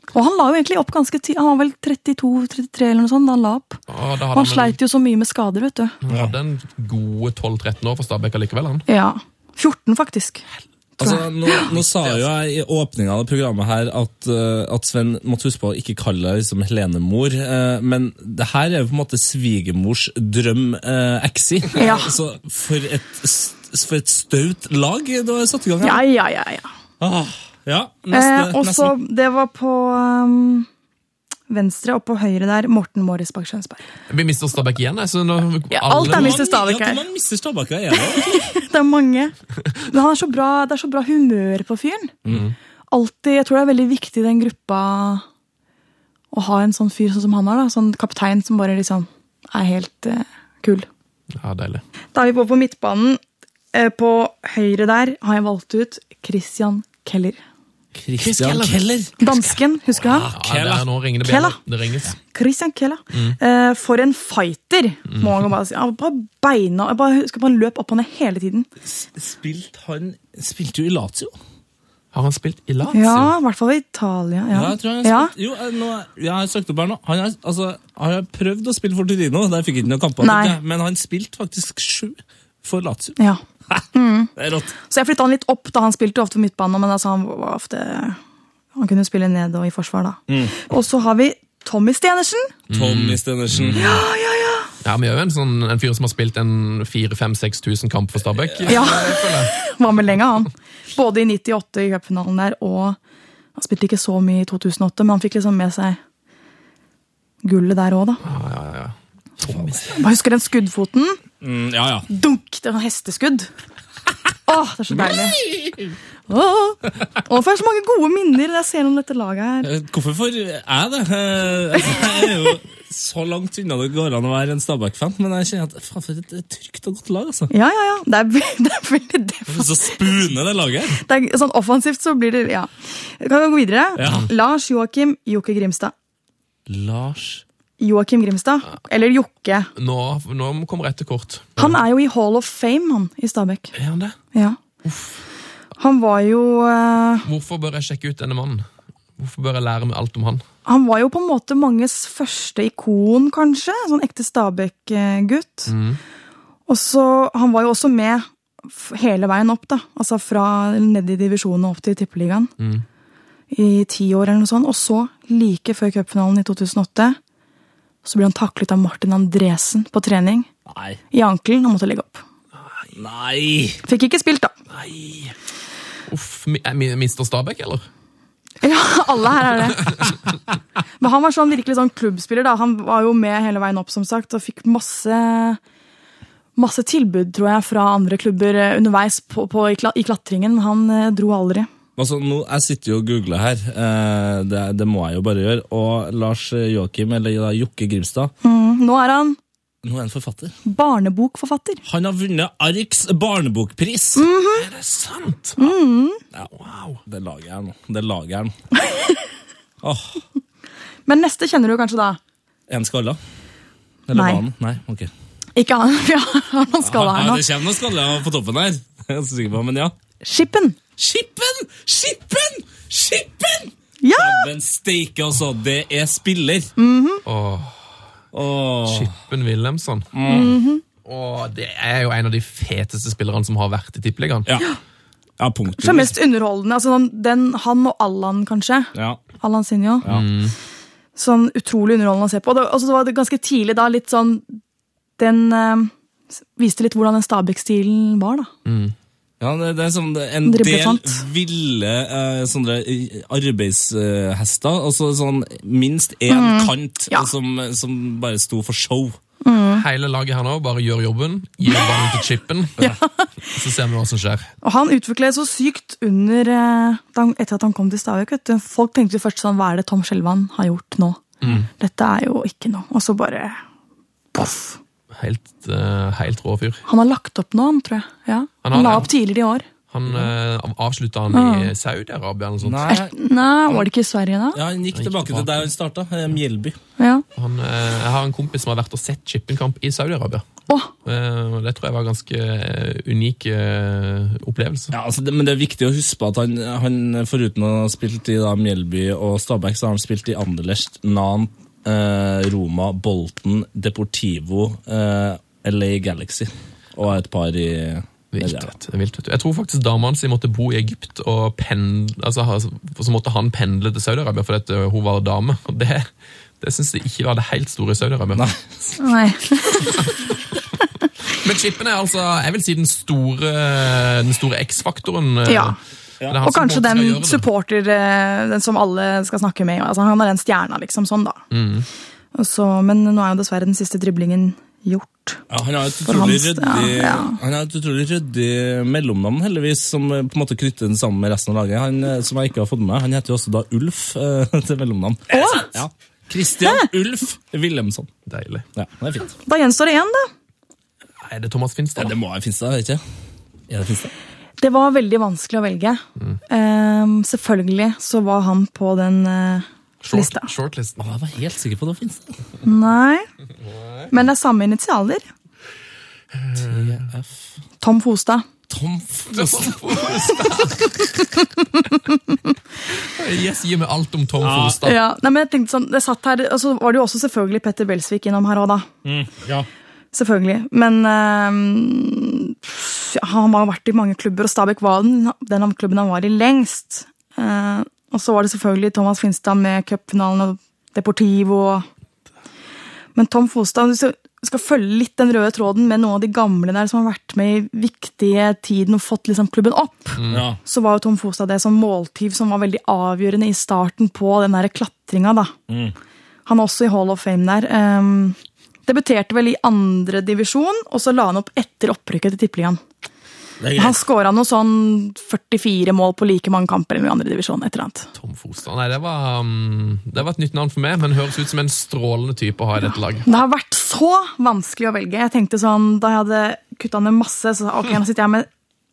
S5: Og han la jo egentlig opp ganske tidlig. Han var vel 32-33 eller noe sånt da han la opp.
S3: Og da hadde
S5: Han
S3: han,
S5: sleit jo så mye med skader, vet du.
S3: en,
S4: Mm.
S3: han hadde en gode 12-13 år for Stabæk allikevel, han.
S5: Ja. 14, faktisk.
S4: Altså, nå, nå sa jo jeg i åpninga av programmet her at, eh, at Sven måtte huske på å ikke kalle deg liksom Helene-mor, eh, men det her er jo på en måte svigermors drøm eh, exi.
S5: Ja.
S4: Altså, for et, s- for et staut lag du har satt i gang
S5: Ja,
S4: her.
S5: ja, ja. ja.
S4: Ah, ja, neste,
S5: Eh, og så, det var på um, venstre og på høyre der, Morten Morris Bach Skjønsberg.
S3: Vi mister Stabæk igjen, jeg, så nå,
S5: Ja, alt er
S3: alle-
S5: mist- Mister Stabæk her.
S4: Ja, man mister Stabæk her. Ja.
S5: Det er mange. Men han er så bra, det er så bra humør på fyren.
S4: Mm.
S5: Alltid, Jeg tror det er veldig viktig i den gruppa å ha en sånn fyr sånn som han har. da, Sånn kaptein som bare liksom er helt eh, kul.
S3: Ja, deilig.
S5: Da er vi på på midtbanen. Eh, På høyre der har jeg valgt ut Christian Keller.
S4: Christian Keller.
S5: Dansken, husker du han?
S3: Ja, det er, nå ringer det
S5: Kella.
S3: bjeller. Det ringes.
S5: Christian Keller.
S4: Mm.
S5: Eh, For en fighter, må man bare si. Han var bare beina, jeg bare husker han løp opp og ned hele tiden.
S4: Spilte han Spilte jo i Lazio?
S3: Har han spilt i Lazio?
S5: Ja, i hvert fall i Italia. Ja,
S4: Ja, jeg tror han har
S5: ja.
S4: spilt Jo, eh, nå, jeg har søkt opp her nå. Han har, altså, han har prøvd å spille for Torino, der fikk han ikke noen kamper.
S5: Nei.
S4: tenkte jeg. Men han spilte faktisk sju for Lazio.
S5: ja.
S4: Det er rått.
S5: Så jeg flytta han litt opp, da han spilte jo ofte på midtbanen. Men altså, han var ofte Han kunne spille ned og i forsvar, da. Og så har vi Tommy Stenersen.
S4: Tommy Stenersen.
S3: Ja, men jeg er jo en, sånn, en fyr som har spilt en 4-5-6 tusen kamp for Stabæk.
S5: Ja, Var med lenge, han. Både i 98 i cupfinalen der og Han spilte ikke så mye i 2008, men han fikk liksom med seg gullet der òg, da.
S3: Ja, ja, ja.
S5: Bare husker den skuddfoten.
S4: Mm, ja, ja.
S5: Dunk! Det var hesteskudd. Åh, det er så deilig. Åh. Og for så mange gode minner når jeg ser om dette laget her.
S4: Eh, Hvorfor får jeg det? Eh, altså, Jeg er jo så langt unna det går an å være en Stabæk-fan, men jeg kjenner at faen, for et et trygt og godt lag, altså.
S5: Ja, ja, ja. Det er, ve- det er veldig def-
S4: Så spune det laget her.
S5: det er, Sånn offensivt så blir det Ja. Kan vi gå videre?
S4: Ja.
S5: Lars Joakim Jokke Grimstad.
S4: Lars
S5: Joakim Grimstad, eller Jokke.
S3: Nå, nå kommer ett til kort.
S5: Han er jo i Hall of Fame, han, i Stabæk.
S3: Er han det?
S5: Ja. Han var jo eh,
S3: Hvorfor bør jeg sjekke ut denne mannen? Hvorfor bør jeg lære meg alt om han?
S5: Han var jo på en måte manges første ikon, kanskje. Sånn ekte Stabæk-gutt. Og så Han var jo også med f- hele veien opp, da. Altså fra ned i divisjonen og opp til Tippeligaen. I ti år eller noe sånt. Og så, like før cupfinalen i 2008, så ble han taklet av Martin Andresen på trening.
S4: Nei.
S5: I ankelen og måtte legge opp.
S4: Nei.
S5: Fikk ikke spilt, da.
S3: Uff, mi- er mi- Mister Stabæk, eller?
S5: Ja, alle her er det. Men han var sånn virkelig sånn klubbspiller. da. Han var jo med hele veien opp som sagt, og fikk masse, masse tilbud tror jeg, fra andre klubber eh, underveis på, på, i, kla, i klatringen. men Han eh, dro aldri.
S4: Altså, nå, jeg sitter jo og googler her, eh, det, det må jeg jo bare gjøre. Og Lars Joakim, eller da Jokke Grimstad,
S5: Mm, Nå er han
S4: nå er han forfatter.
S5: barnebokforfatter.
S4: Han har vunnet Arks barnebokpris.
S5: Mhm.
S3: Er det sant?
S4: Ja, wow. Det laget her nå. Det laget her nå. Åh,
S5: Men neste kjenner du kanskje da.
S4: en skalla? Eller
S5: Nei.
S4: var han? Nei, ok.
S5: Ikke han, for jeg har noen skalla her
S4: Ja,
S5: nå.
S4: det kommer noen skaller på toppen her. Jeg er så sikker på, men ja.
S5: Skippen!
S4: Skippen! Skippen! Skippen!
S5: Ja!
S4: Men steike, altså. Det er spiller.
S5: Mhm.
S3: Åh,
S4: Åh.
S3: Chippen Wilhelmsson.
S5: Mhm.
S3: Åh, det er jo en av de feteste spillerne som har vært i Tippeligaen.
S4: Ja. Ja, punktum.
S5: Som er mest underholdende. altså den, den, Han og Allan, kanskje.
S4: Ja.
S5: Allan Sinjo.
S4: Ja.
S5: Sånn utrolig underholdende å se på. Og det, og så var det ganske tidlig da, litt sånn Den eh, s- viste litt hvordan den Stabæk-stilen var, da.
S4: Ja, det, det er sånn det- en del
S5: Driblefant.
S4: ville eh, sånne eh, arbeidshester. Altså sånn minst én kant
S5: Ja.
S4: som, som bare sto for show.
S3: Hele laget her nå bare gjør jobben, gir ballen til Chippen, så ser vi hva som skjer.
S5: Og han utviklet seg så sykt under eh, da han- etter at han kom til Stabæk. vet du. Folk tenkte jo først sånn Hva er det Tom Skjelvan har gjort nå? Dette er jo ikke noe. Og så bare poff.
S3: Helt, eh, helt rå fyr.
S5: Han har lagt opp nå, han, tror jeg. Ja.
S3: Han
S5: Han,
S3: har det,
S5: la
S3: ja.
S5: opp tidligere i år.
S3: Han eh, avslutta han i Saudi-Arabia eller noe sånt.
S4: Nei,
S5: Nei, var det ikke i Sverige da?
S4: ja, Han gikk tilbake til der han starta, Mjelby.
S5: Ja.
S3: Han, eh, jeg har en kompis som har vært og sett Chippen-kamp i Saudi-Arabia.
S5: Åh,
S3: Eh, og det tror jeg var en ganske eh, unik eh, opplevelse.
S4: Ja, altså det, men det er viktig å huske på at han, han foruten å ha spilt i da, Mjelby og Stabæk, så har han spilt i Anderlecht, Nan, eh, Roma, Bolten, Deportivo, eh, LA Galaxy og et par i
S3: Det er Vilt,
S4: Ja.
S3: vet du. Det er vilt, vet du. Jeg tror faktisk dama hans måtte bo i Egypt, og pendle, altså, ha- så måtte han pendle til Saudi-Arabia fordi at eh, hun var dame. Og det, det syns jeg ikke var det helt store i Saudi-Arabia.
S4: Nei.
S5: nei.
S3: Men chipen er altså, jeg vil si den store, den store X-faktoren. eh,
S5: Ja.
S3: det er han
S5: Og
S3: som
S5: kanskje
S3: på en måte
S5: den
S3: skal gjøre det.
S5: supporter eh, den som alle skal snakke med. Altså, han er den stjerna, liksom. Sånn, da.
S3: Mm.
S5: Og Så, men nå er jo dessverre den siste driblingen gjort.
S4: Ja, han har et
S5: For
S4: utrolig
S5: hans-
S4: ryddig,
S5: ja, ja.
S4: han har et utrolig ryddig mellomnavn, heldigvis, som eh, på en måte knytter den sammen med resten av laget. Han, eh, som jeg ikke har fått med meg, han heter jo også da Ulf eh, til mellomnavn.
S5: Å!
S4: Ja. Christian Ulf Wilhelmsson.
S3: Deilig.
S4: Ja, det er fint.
S5: Da gjenstår det én, da.
S3: Er det Thomas Finstad?
S4: Det må være Finstad, vet jeg. Ja, det er Finstad.
S5: Det var veldig vanskelig å velge.
S3: Mm.
S5: Ehm, selvfølgelig så var han på den eh,
S3: Short,
S5: lista.
S3: shortlisten.
S4: Jeg var helt sikker på at det var Finstad.
S5: Nei. Men det er samme initialer.
S4: TF.
S5: Tom Fostad.
S4: Tom Fosen.
S3: Yes, gi meg alt om Tom Fostad.
S5: Ja, nei, men jeg tenkte sånn, det satt her, og så var det jo også selvfølgelig Petter Belsvik innom her òg, da.
S4: ja.
S5: Selvfølgelig. Men eh, pff, ja, han har vært i mange klubber, og Stabæk var den, den av klubben han var i lengst. Eh, og så var det selvfølgelig Thomas Finstad med cupfinalen og Deportivo og Men Tom Fostad Hvis du skal følge litt den røde tråden med noen av de gamle der som har vært med i viktige tiden og fått liksom klubben opp,
S4: ja.
S5: så var jo Tom Fostad det som måltyv som var veldig avgjørende i starten på den der klatringa. da.
S4: Mm.
S5: Han er også i Hall of Fame der. Ehm, debuterte vel i andre divisjon, og så la han opp etter opprykket til Tippeligaen.
S4: Det er
S5: Han
S4: greit.
S5: skåra noe sånn 44 mål på like mange kamper enn i andre divisjon. et eller annet.
S3: Tom Fostad. Nei, det var, um, det var et nytt navn for meg, men høres ut som en strålende type å ha i dette laget.
S5: Det har vært så vanskelig å velge. Jeg tenkte sånn, Da jeg hadde kutta ned masse, så sa jeg, ok, nå sitter jeg med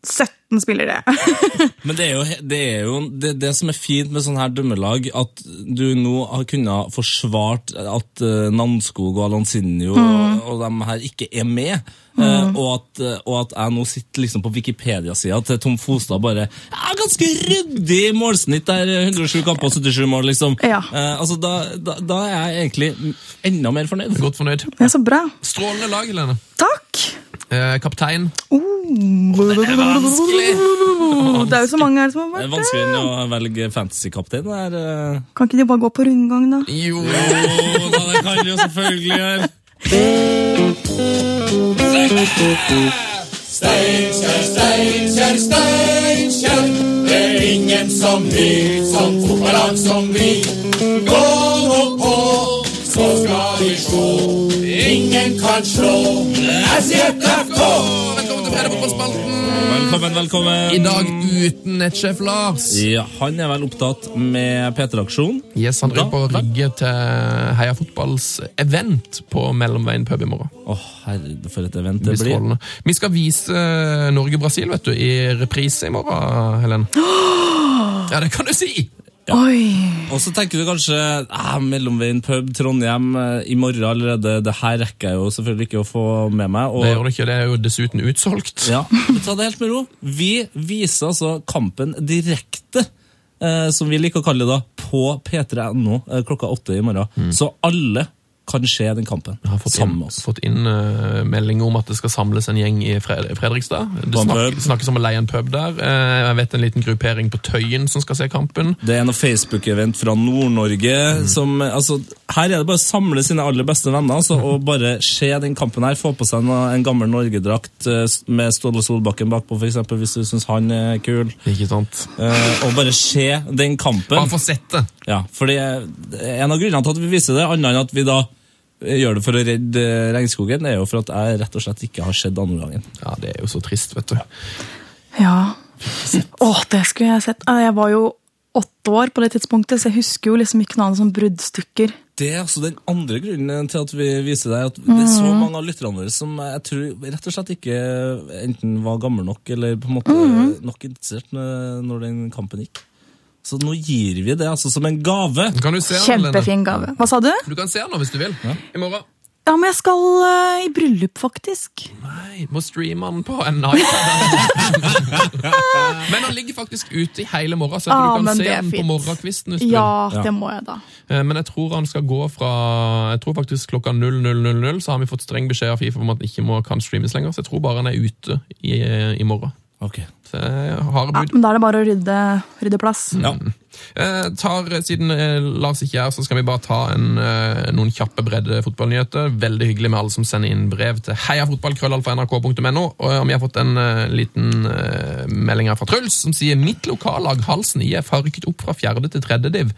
S5: 17 spillere.
S4: Men det er jo, he- det, er jo det, det som er fint med sånne her dømmelag, at du nå har kunnet forsvart at eh, Namskog og Alansinho og, og de her ikke er med. Eh, og, at, eh, og at jeg nå sitter liksom på Wikipedia-sida til Tom Fostad bare ja, Ganske ryddig målsnitt der! eh, 107 kamper og 77 mål, liksom.
S5: Ja.
S4: Eh, altså, da, da, da er jeg egentlig enda mer fornøyd.
S3: Godt fornøyd.
S5: Det er så bra.
S3: Strålende lag, Helene.
S5: Takk!
S3: Eh, kaptein.
S5: Det er jo så mange her som
S4: Det er
S5: har vært det.
S4: vanskeligere enn å velge fantasy-kaptein. det er, eh.
S5: Kan ikke de bare gå på rundgang, da?
S3: Jo
S4: Jo da, det kan vi jo selvfølgelig gjøre.
S6: Steinkjer, Steinkjer, Steinkjer. Det er ingen som vi, som fotballag som vi. Gå nå på, så skal vi slå. Ingen kan slå. SJFK!
S3: Velkommen til Fredagspopspalten.
S4: Velkommen, velkommen.
S3: I dag uten nettsjef Lars.
S4: Ja, han er vel opptatt med P3-aksjonen.
S3: Yes, Han driver på å
S4: Da-
S3: rigge til Heia Fotballs event på Mellomveien pub i morgen.
S4: Å, herre, for et event
S3: Det
S4: det
S3: blir
S4: blir.
S3: strålende. Vi skal vise eh, Norge-Brasil vet du, i reprise i morgen, Helen. Ja, det kan du si!
S5: Oi!
S4: Og så tenker du kanskje ah, Mellomveien pub, Trondheim, eh, i morgen allerede. Det her rekker jeg jo selvfølgelig ikke å få med meg.
S3: Det
S4: Og,
S3: gjør det ikke, det er jo dessuten utsolgt.
S4: ja, ta det helt med ro. Vi viser altså kampen direkte, eh, som vi liker å kalle det, da, på p3.no eh, klokka åtte i morgen. Så alle kan se den kampen
S3: Mm. Jeg har fått
S4: sammen
S3: inn,
S4: med oss.
S3: fått inn eh, meldinger om at det skal samles en gjeng i Fred Fredrikstad. Det
S4: På en
S3: snak
S4: pub.
S3: snakkes om å leie en pub der. Eh, jeg vet en liten gruppering på Tøyen som skal se kampen.
S4: Det er noe Facebook-event fra Nord-Norge som altså, Her er det bare å samle sine aller beste venner altså, og bare se den kampen her. Få på seg noe, en gammel Norgedrakt eh, s- med Ståle Solbakken bakpå, f.eks., hvis du syns han er kul.
S3: Ikke sant?
S4: Eh, og bare se
S3: Bare
S4: den kampen.
S3: få sett det.
S4: Ja, for det er En av grunnene til at vi viser det, annet enn at vi da eh, gjør det for å redde eh, regnskogen, er jo for at jeg rett og slett ikke har sett andre gangen.
S3: Ja, det er jo så trist, vet du.
S5: Ja. Åh, det skulle jeg sett. Eh, Jeg var jo åtte år på det tidspunktet, så jeg husker jo liksom ikke noe annet som bruddstykker.
S4: Det er altså den andre grunnen til at vi viser deg at det er så mange av lytterne våre som jeg tror rett og slett ikke enten var gammel nok eller på en måte nok interessert når når den kampen gikk. Så nå gir vi det altså som en gave.
S3: Kan du se den, Helene?
S5: Kjempefin gave. Hva sa du?
S3: Du kan se den nå hvis du vil. I morgen.
S5: Ja, men jeg skal eh, i bryllup, faktisk.
S3: Nei, må streame den på en iPad. men den ligger faktisk ute i hele morgen, så jeg tror
S5: Ah,
S3: du kan
S5: men
S3: se
S5: det er
S3: den på
S5: fint.
S3: morgenkvisten. hvis du
S5: Ja,
S4: Ja.
S5: det må jeg da.
S3: vil. Eh, Men jeg tror han skal gå fra Jeg tror faktisk klokka 00.00 så har vi fått streng beskjed av Fifa om at den ikke må, kan streames lenger, så jeg tror bare han er ute i, i morgen.
S4: Ok.
S3: Så jeg har
S5: Ja,
S3: bud.
S5: men da er det bare å rydde, rydde plass.
S4: Ja.
S3: Eh, tar, siden eh, Lars ikke er her, så skal vi bare ta en, eh, noen kjappe bredde fotballnyheter. Veldig hyggelig med alle som sender inn brev til heiafotballkrøllalfa.nrk.no. Og eh, vi har fått en eh, liten eh, melding her fra Truls som sier mitt lokallag Halsen IF har rykket opp fra fjerde til tredje div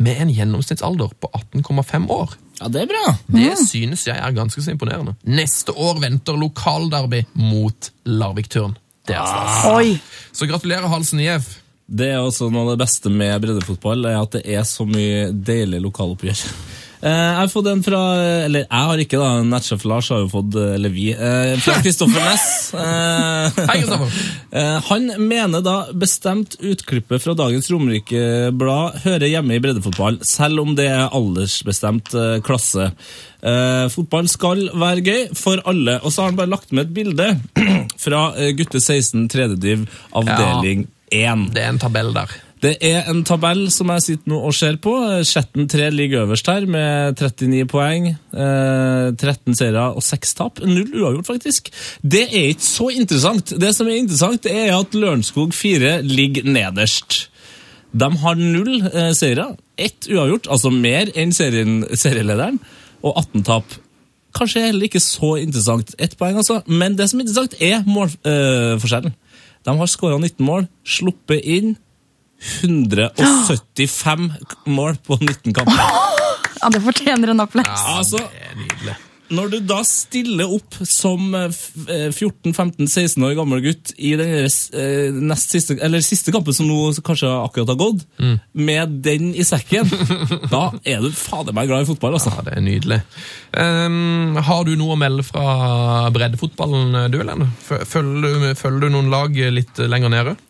S3: med en gjennomsnittsalder på 18,5 år.
S4: Ja, det er bra.
S3: Det synes jeg er ganske så imponerende. Neste år venter lokalderby mot Larvik-Turn. Det er stas.
S5: Oi!
S3: Så gratulerer Halsen IF.
S4: altså Det er også noe av det beste med breddefotball, er at det er så mye deilig lokaloppgjør. Eh, Jeg har fått en fra Eller jeg har ikke, da. Nettsjef Lars har jo fått Eller vi. eh, Fra Kristoffer Næss. Eh,
S3: Hei, Kristoffer.
S4: Eh, Han mener da bestemt utklippet fra dagens Romerike-blad hører hjemme i breddefotball, selv om det er aldersbestemt eh, klasse. Eh, fotball skal være gøy for alle. Og så har han bare lagt med et bilde fra eh, gutte 16 tredjediv avdeling 1.
S3: Det er en tabell der.
S4: Det er en tabell som jeg sitter nå og ser på. Skjetten 3 ligger øverst her med 39 poeng. Eh, 13 seire og 6 tap. Null uavgjort, faktisk. Det er ikke så interessant. Det som er interessant, det er at Lørenskog 4 ligger nederst. De har null eh, seire, ett uavgjort, altså mer enn serien, serielederen, og 18 tap. Kanskje heller ikke så interessant. Ett poeng, altså. Men det som er interessant, er målforskjellen. de har skåra 19 mål, sluppet inn 175 mål på 19 kamper.
S5: Ja, det fortjener en applaus.
S4: Altså,
S3: Det er nydelig.
S4: når du da stiller opp som eh, f- eh, 14-15-16 år gammel gutt i den deres, eh, nest siste, eller siste kampen som nå kanskje akkurat har gått, med den i sekken, da er du fader meg glad i fotball, altså.
S3: Ja, det er nydelig. Ehm, har du noe å melde fra breddefotballen, eh, du, Helene? Fø- Følger du, følger du noen lag litt eh, lenger nede?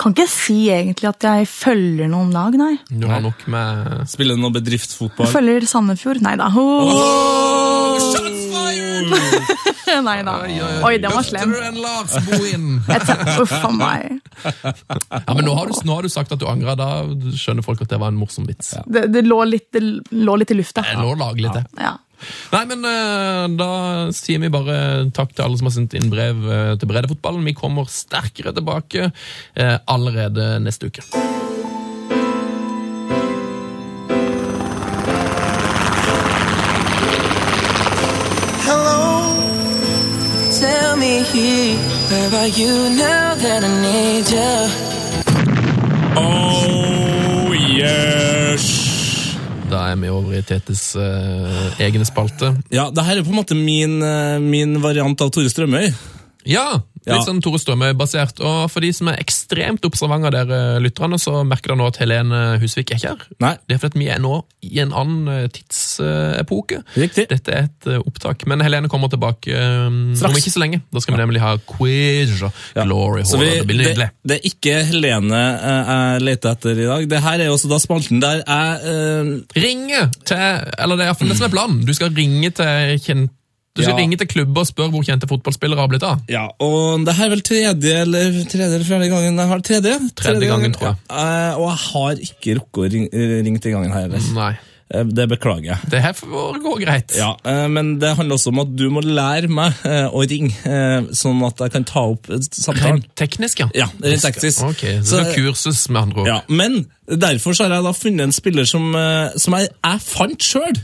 S5: Kan ikke si egentlig at jeg følger noen lag, nei.
S3: Du har nok med
S4: Spiller noe
S5: Jeg
S4: bedriftsfotball.
S5: følger Sandefjord. Nei da. Ho. Nei da. Oi, den var slem.
S3: Bøtter enn Lars Bohin!
S5: Jeg tar- Uff a meg.
S3: Ja, men nå har, du, nå har du sagt at du angrer. Da skjønner folk at det var en morsom vits. Eh,
S5: Det, det, lå litt, det lå litt i lufta.
S3: Jeg lå laglig til.
S5: Ja.
S3: Nei, men eh, da sier vi bare takk til alle som har sendt inn brev eh, til breddefotballen. Vi kommer sterkere tilbake eh, allerede neste uke.
S7: Hello, tell me where are you now that I need you?
S4: Oh, yes!
S3: Da er vi over i Tetes eh, egne spalte.
S4: Ja, det her er på en måte min, eh, min variant av Tore Strømøy.
S3: Ja, litt
S4: Ja.
S3: sånn Tore Strømøy-basert. Og for de som er ekstremt observante av dere eh, lytterne, så merker dere nå at Helene Husvik er ikke her.
S4: Nei.
S3: Det er fordi at vi er nå i en annen eh, tidsepoke.
S4: Riktig.
S3: Dette er et eh, opptak. Men Helene kommer tilbake eh, om ikke så lenge. Da skal vi nemlig ha quiz og
S4: Ja.
S3: glory
S4: Så
S3: hall.
S4: vi-
S3: Det blir nydelig.
S4: Det, det er ikke Helene eh, jeg leter etter i dag. Det her er også da spalten der jeg eh,
S3: Ringe til Eller det er i hvert fall det som er planen. Du skal ringe til kjente du skal
S4: Ja.
S3: ringe til klubber og spørre hvor kjente fotballspillere har blitt av.
S4: Ja, og det her er vel tredje eller tredje eller fjerde gangen jeg har Tredje? Tredje,
S3: gangen, tror jeg.
S4: Ja, eh, og jeg har ikke rukket å ring, ringe til gangen her. heller.
S3: Nei,
S4: Eh, Det beklager jeg.
S3: det her foregår greit.
S4: Ja, eh, Men det handler også om at du må lære meg eh, å ringe, eh, sånn at jeg kan ta opp eh, samtalen.
S3: Rent teknisk, ja.
S4: Ja, rent teknisk.
S3: Ok, så det
S4: Så-
S3: skal kurses med andre ord.
S4: Ja, men derfor så har jeg da funnet en spiller som, eh, som jeg, jeg fant sjøl.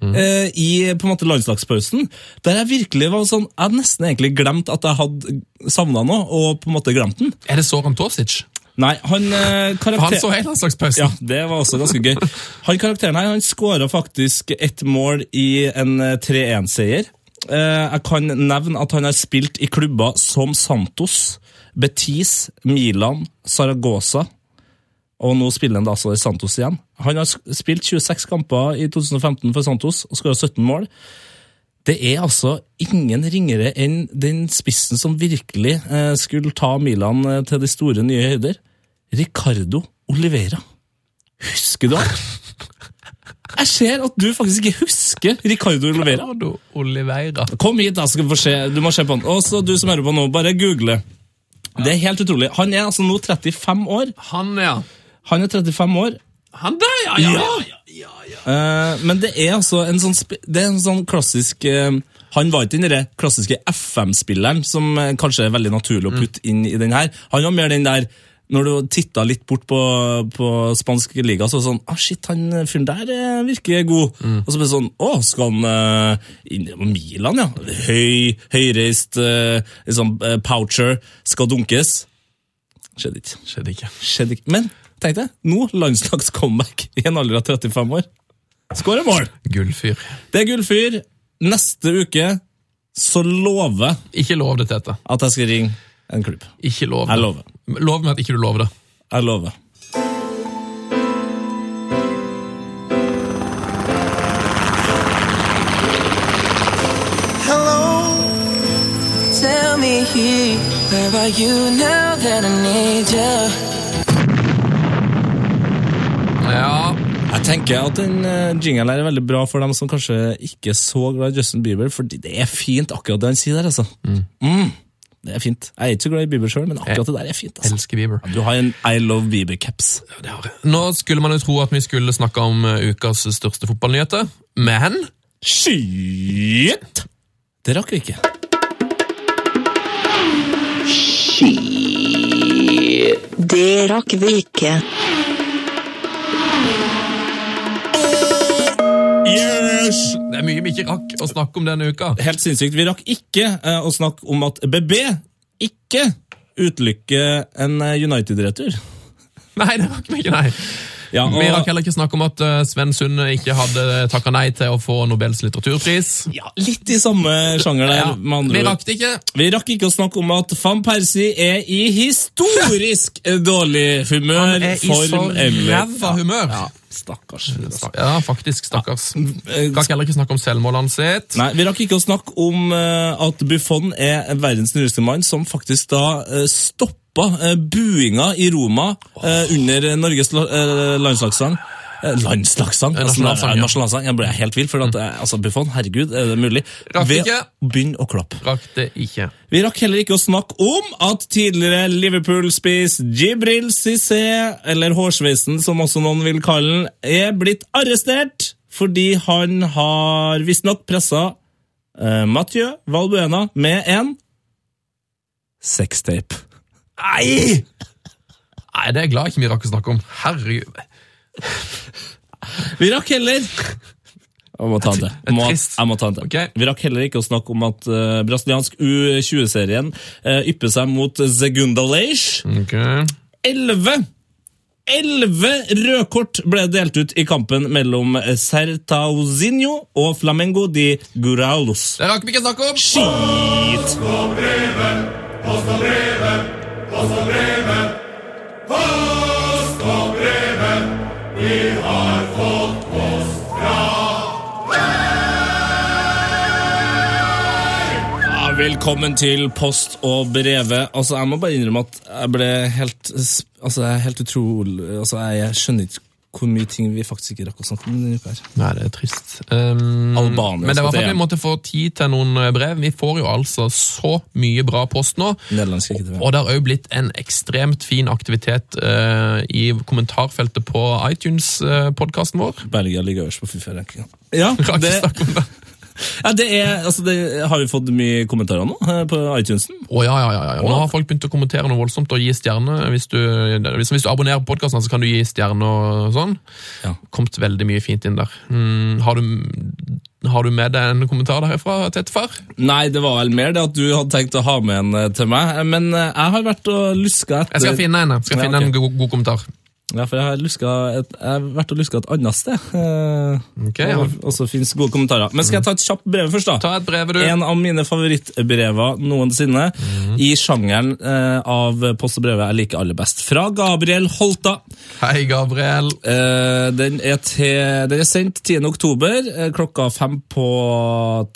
S4: I på en måte landslagspausen, der jeg virkelig var sånn Jeg hadde nesten egentlig glemt at jeg hadde savna noe, og på en måte glemt den.
S3: Er det Soran Tosic?
S4: Nei, han eh, karakter...
S3: Han så helt landslagspausen.
S4: Ja, det var også ganske gøy. Han karakteren her, han skåra faktisk ett mål i en eh, 3-1-seier. Eh, Jeg kan nevne at han har spilt i klubber som Santos, Betis, Milan, Saragossa, og nå spiller han da altså i Santos igjen. Han har sk- spilt 26 kamper i 2015 for Santos og skåra 17 mål. Det er altså ingen ringere enn den spissen som virkelig eh, skulle ta Milan eh, til de store, nye høyder. Ricardo Olivera. Husker du han? Jeg ser at du faktisk ikke husker Ricardo Olivera.
S3: Ricardo Oliveira.
S4: Kom hit, da, skal du få se. Du må se på han. Og så du som hører på nå, bare google. Det er helt utrolig. Han er altså nå 35 år.
S3: Han, ja.
S4: Han er 35 år.
S3: Han der, ja! ja, ja.
S4: Eh, men det er altså en sånn, sp- det er en sånn klassisk eh, Han var ikke den der klassiske FM-spilleren som eh, kanskje er veldig naturlig å
S3: Mm.
S4: putte inn i den her. Han var mer den der når du titta litt bort på, på spansk liga, så var det sånn ah, shit, han fyren der eh, virker god.
S3: Mm.
S4: Og så ble det sånn Å, skal han eh, inn i Milan, ja? Høy, høyreist, eh, liksom, eh, poucher, skal dunkes. Skjedde ikke
S3: Skjedde ikke.
S4: skjedde ikke. Men tenk deg, nå landslagscomeback i en alder av 35 år. Skårer mål!
S3: Gullfyr.
S4: Det er gullfyr. Neste uke så lover jeg
S3: Ikke lov det, Tete.
S4: at jeg skal ringe en klubb.
S3: Ikke lov det.
S4: Jeg lover.
S3: Lov meg at ikke du lover det.
S4: Jeg lover.
S7: about you now that I need you.
S3: Ja,
S4: Jeg tenker at den eh, jinglen her er veldig bra for dem som kanskje ikke er så glad i Justin Bieber, fordi det er fint akkurat det han sier der, altså. Mm. Det er fint. Jeg er ikke så glad i Bieber sjøl, men akkurat det der er fint. altså.
S3: elsker Bieber.
S4: Du har en I love Bieber-caps.
S3: Nå skulle man jo tro at vi skulle snakke om eh, ukas største fotballnyheter, men
S4: Shit! Det rakk vi ikke.
S8: Det rakk vi ikke.
S3: det er mye vi ikke rakk å snakke om denne uka.
S4: Helt sinnssykt. Vi rakk ikke eh, å snakke om at BB ikke utelukker en eh, United-retur.
S3: Nei, det rakk vi ikke, nei.
S4: Ja, og-
S3: Vi rakk heller ikke snakke om at eh, Sven Sund ikke hadde takka nei til å få Nobels litteraturpris.
S4: ja, litt i samme sjanger der.
S3: Ja,
S4: med andre
S3: vi
S4: ord.
S3: rakk det ikke.
S4: Vi rakk ikke å snakke om at van Persie er i historisk dårlig humør,
S3: Han er Eh, i sånn så
S4: form eller
S3: ræva humør.
S4: Ja, stakkars. fyr, altså.
S3: Ja, faktisk. Stakkars.
S4: eh,
S3: Rakk heller ikke snakke om selvmålet hans sitt.
S4: Nei, Vi rakk ikke å snakke om eh, at Buffon er verdens snilleste mann, som faktisk da uh, stoppa eh, buinga i Roma eh, under Norges la, eh, landslagssang. Eh, landslagssang?
S3: Eh,
S4: Altså,
S3: nasjonalsang,
S4: nei,
S3: ja.
S4: nasjonalsang. Jeg ble helt vill, for at, eh, altså, Buffon, herregud, er det mulig?
S3: Rakk
S4: Ved
S3: ikke.
S4: å begynne å klappe.
S3: Rakk det ikke.
S4: Vi rakk heller ikke å snakke om at tidligere Liverpool-spiss Jibril Cissé, eller hårsveisen som også noen vil kalle den, er blitt arrestert fordi han har visstnok pressa eh, Mathieu Valbuena med en sextape.
S3: Nei! Nei, det er jeg glad ikke vi rakk å snakke om. Herregud.
S4: Vi rakk heller Jeg må ta det.
S3: Det er
S4: Må,
S3: trist.
S4: jeg må ta det.
S3: Ok.
S4: Vi rakk heller ikke å snakke om at eh, brasiliansk U20-serien eh, ypper seg mot Zegunda Leish.
S3: Ok.
S4: 11 11 rødkort ble delt ut i kampen mellom Sertauzinho og Flamengo de Guraulos.
S3: Det rakk vi ikke å snakke om.
S4: Skit! Ja, velkommen til Post og brevet. Altså, Jeg må bare innrømme at jeg ble helt s- Altså, jeg er helt utrolig Altså, jeg, jeg skjønner ikke hvor mye ting vi faktisk ikke rakk å snakke om denne uka her.
S3: Nei, det er trist. Um,
S4: Albania altså,
S3: men det
S4: skal
S3: var for
S4: til
S3: at vi
S4: EM.
S3: måtte få tid til noen eh, brev. Vi får jo altså så mye bra post nå.
S4: Nederlandsk ikke det.
S3: Og det har òg blitt en ekstremt fin aktivitet eh, i kommentarfeltet på iTunes-podkasten vår.
S4: Belgia ligger øverst på FIFA-rankinga. Ja,
S3: Rakk
S4: det,
S3: å snakke om det.
S4: ja, det er Altså, det har vi fått mye kommentarer nå eh, på iTunesen.
S3: Å, ja, ja, ja, ja. Nå har folk begynt å kommentere noe voldsomt og gi stjerner. Hvis du, hvis, hvis du abonnerer på podkasten, så kan du gi stjerner og sånn.
S4: Ja.
S3: Kommet veldig mye fint inn der. Mm, har, du, har du med deg en kommentar derfra, Tettefar?
S4: Nei, det var vel mer det at du hadde tenkt å ha med en eh, til meg, eh, men eh, jeg har vært og luska etter
S3: Jeg skal finne en, jeg. skal
S4: Ja,
S3: finne
S4: ok.
S3: en god, god kommentar.
S4: Ja, for jeg har, luska et, jeg har vært og luska et annet sted. eh,
S3: Ok, ja.
S4: og, og så fins gode kommentarer. Men skal jeg ta et kjapt brev først, da?
S3: Ta et brev, Mhm. du.
S4: En av mine favorittbrever noensinne i sjangeren eh, av post og brevet jeg liker aller best. Fra Gabriel Holta.
S3: Hei, Gabriel.
S4: Eh, den, er til, den er sendt 10. oktober, eh, klokka fem på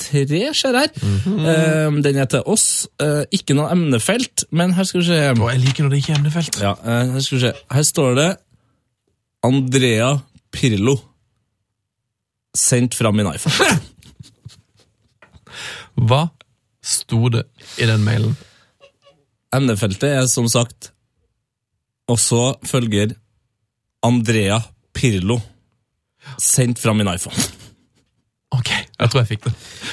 S4: tre, ser jeg her. Eh, den er til oss. Eh, ikke noe emnefelt, men her skal vi se.
S3: Å, jeg liker når det ikke er emnefelt.
S4: Ja, eh, her skal vi se. Her står det Andrea Pirlo. Sendt fra min iPhone.
S3: Hva sto det i den mailen?
S4: Emnefeltet er som sagt Og så følger Andrea Pirlo. Sendt fra min iPhone.
S3: Ok, jeg tror jeg fikk det.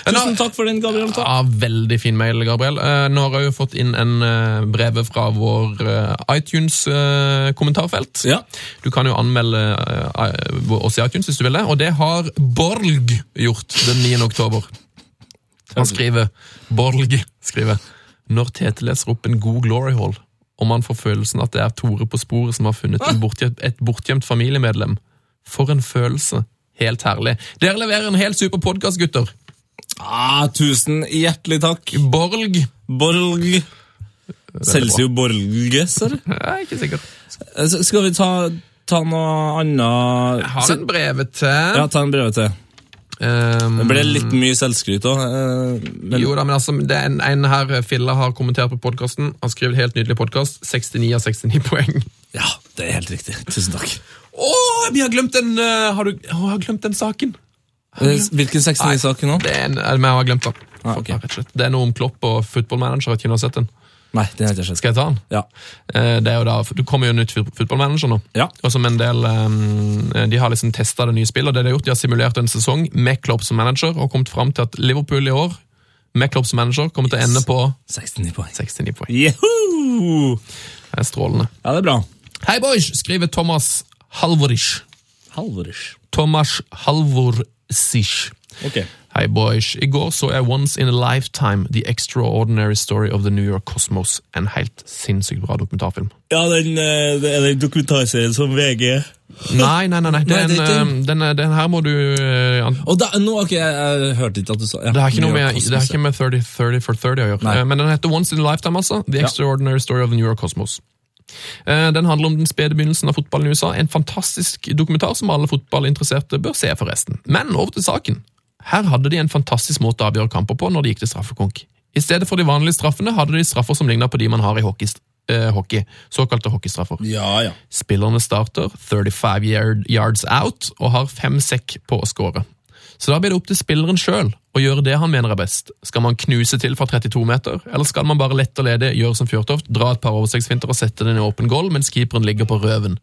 S4: Tusen takk for den, Gabriel. Takk.
S3: Ja, veldig fin mail, Gabriel. Eh, Nå har jeg jo fått inn en eh, brev fra vår eh, iTunes-kommentarfelt.
S4: Ja.
S3: Du kan jo anmelde eh, i- oss i iTunes hvis du vil det, og det har Borg gjort den 9. oktober. Han skriver, Borg skriver, når Tete leser opp en god glory hall, og man får følelsen at det er Tore på sporet som har funnet en bortgjemt, et bortgjemt familiemedlem. For en følelse. Helt herlig. Dere leverer en helt super podcast, gutter.
S4: Ah, tusen hjertelig takk.
S3: Borg.
S4: Borg. Selges jo Borge, ser du.
S3: Jeg er ikke sikker.
S4: Eh, s- Skal vi ta, ta noe annet
S3: Jeg har en brev til.
S4: Ja, ta en brev til.
S3: Um,
S4: Det ble litt mye selvskryt òg. Men
S3: Jo da, men altså, det er en, en her Fille har kommentert på podkasten. Han skriver et helt nydelig podkast. 69 av 69 poeng.
S4: ja, det er helt riktig. Tusen takk.
S3: Å, vi har glemt den eh, Har du å, jeg har glemt den saken?
S4: Eh, Hvilken 69-sak nå?
S3: Det er en, eller, men jeg har glemt den.
S4: Ah,
S3: Fuck,
S4: ok.
S3: ja, rett og slett. Det er noe om Klopp og fotballmanager. Har ikke noen sett den?
S4: Nei, den har jeg ikke sett.
S3: Skal jeg ta den?
S4: Ja.
S3: Eh, Det er jo da, for- Du kommer jo nytt fotballmanager nå.
S4: Ja.
S3: Og som en del, eh, De har liksom testa det nye spillet. og det De har gjort, de har simulert en sesong med Klopp som manager og kommet fram til at Liverpool i år med Klopp som manager kommer til å ende på
S4: 69 poeng.
S3: 69 poeng.
S4: Juhu!
S3: Det er strålende.
S4: Ja, det er bra.
S3: Hei, boys! skriver Thomas Halvorish.
S4: Halvorish.
S3: Thomas Halvorsish.
S4: Ok.
S3: Hei, boys. I går så jeg Once in a Lifetime, The Extraordinary Story of the New York Cosmos. En helt sinnssykt bra dokumentarfilm.
S4: Ja, den, eh, det er den dokumentarserien som VG
S3: Nei, nei, nei. nei.
S4: Nei,
S3: Den,
S4: det er ikke den.
S3: eh, den, eh, den her må du eh, an-
S4: Og da, nå, ok, jeg, jeg hørte ikke at du sa ja,
S3: Det har ikke noe
S4: New York
S3: med, det har
S4: Cosmos,
S3: ikke med 30, 30 for 30 å gjøre.
S4: Nei.
S3: Eh, Men den heter Once in a Lifetime, altså. The Extraordinary Story of the New York Cosmos. Eh, Den handler om den spede begynnelsen av fotballen i USA. En fantastisk dokumentar som alle fotballinteresserte bør se, forresten. Men over til saken. Her hadde de en fantastisk måte å avgjøre kamper på når det gikk til straffekonk. I stedet for de vanlige straffene hadde de straffer som lignet på de man har i hockey, eh, hockey såkalte hockeystraffer.
S4: Ja, ja.
S3: Spillerne starter 35 yard, yards out og har fem sekk på å score. Så da blir det opp til spilleren sjøl å gjøre det han mener er best. Skal man knuse til fra 32 meter, eller skal man bare lett og ledig gjøre som Fjørtoft, dra et par oversiktsfinter og sette den i åpen goal mens keeperen ligger på røven?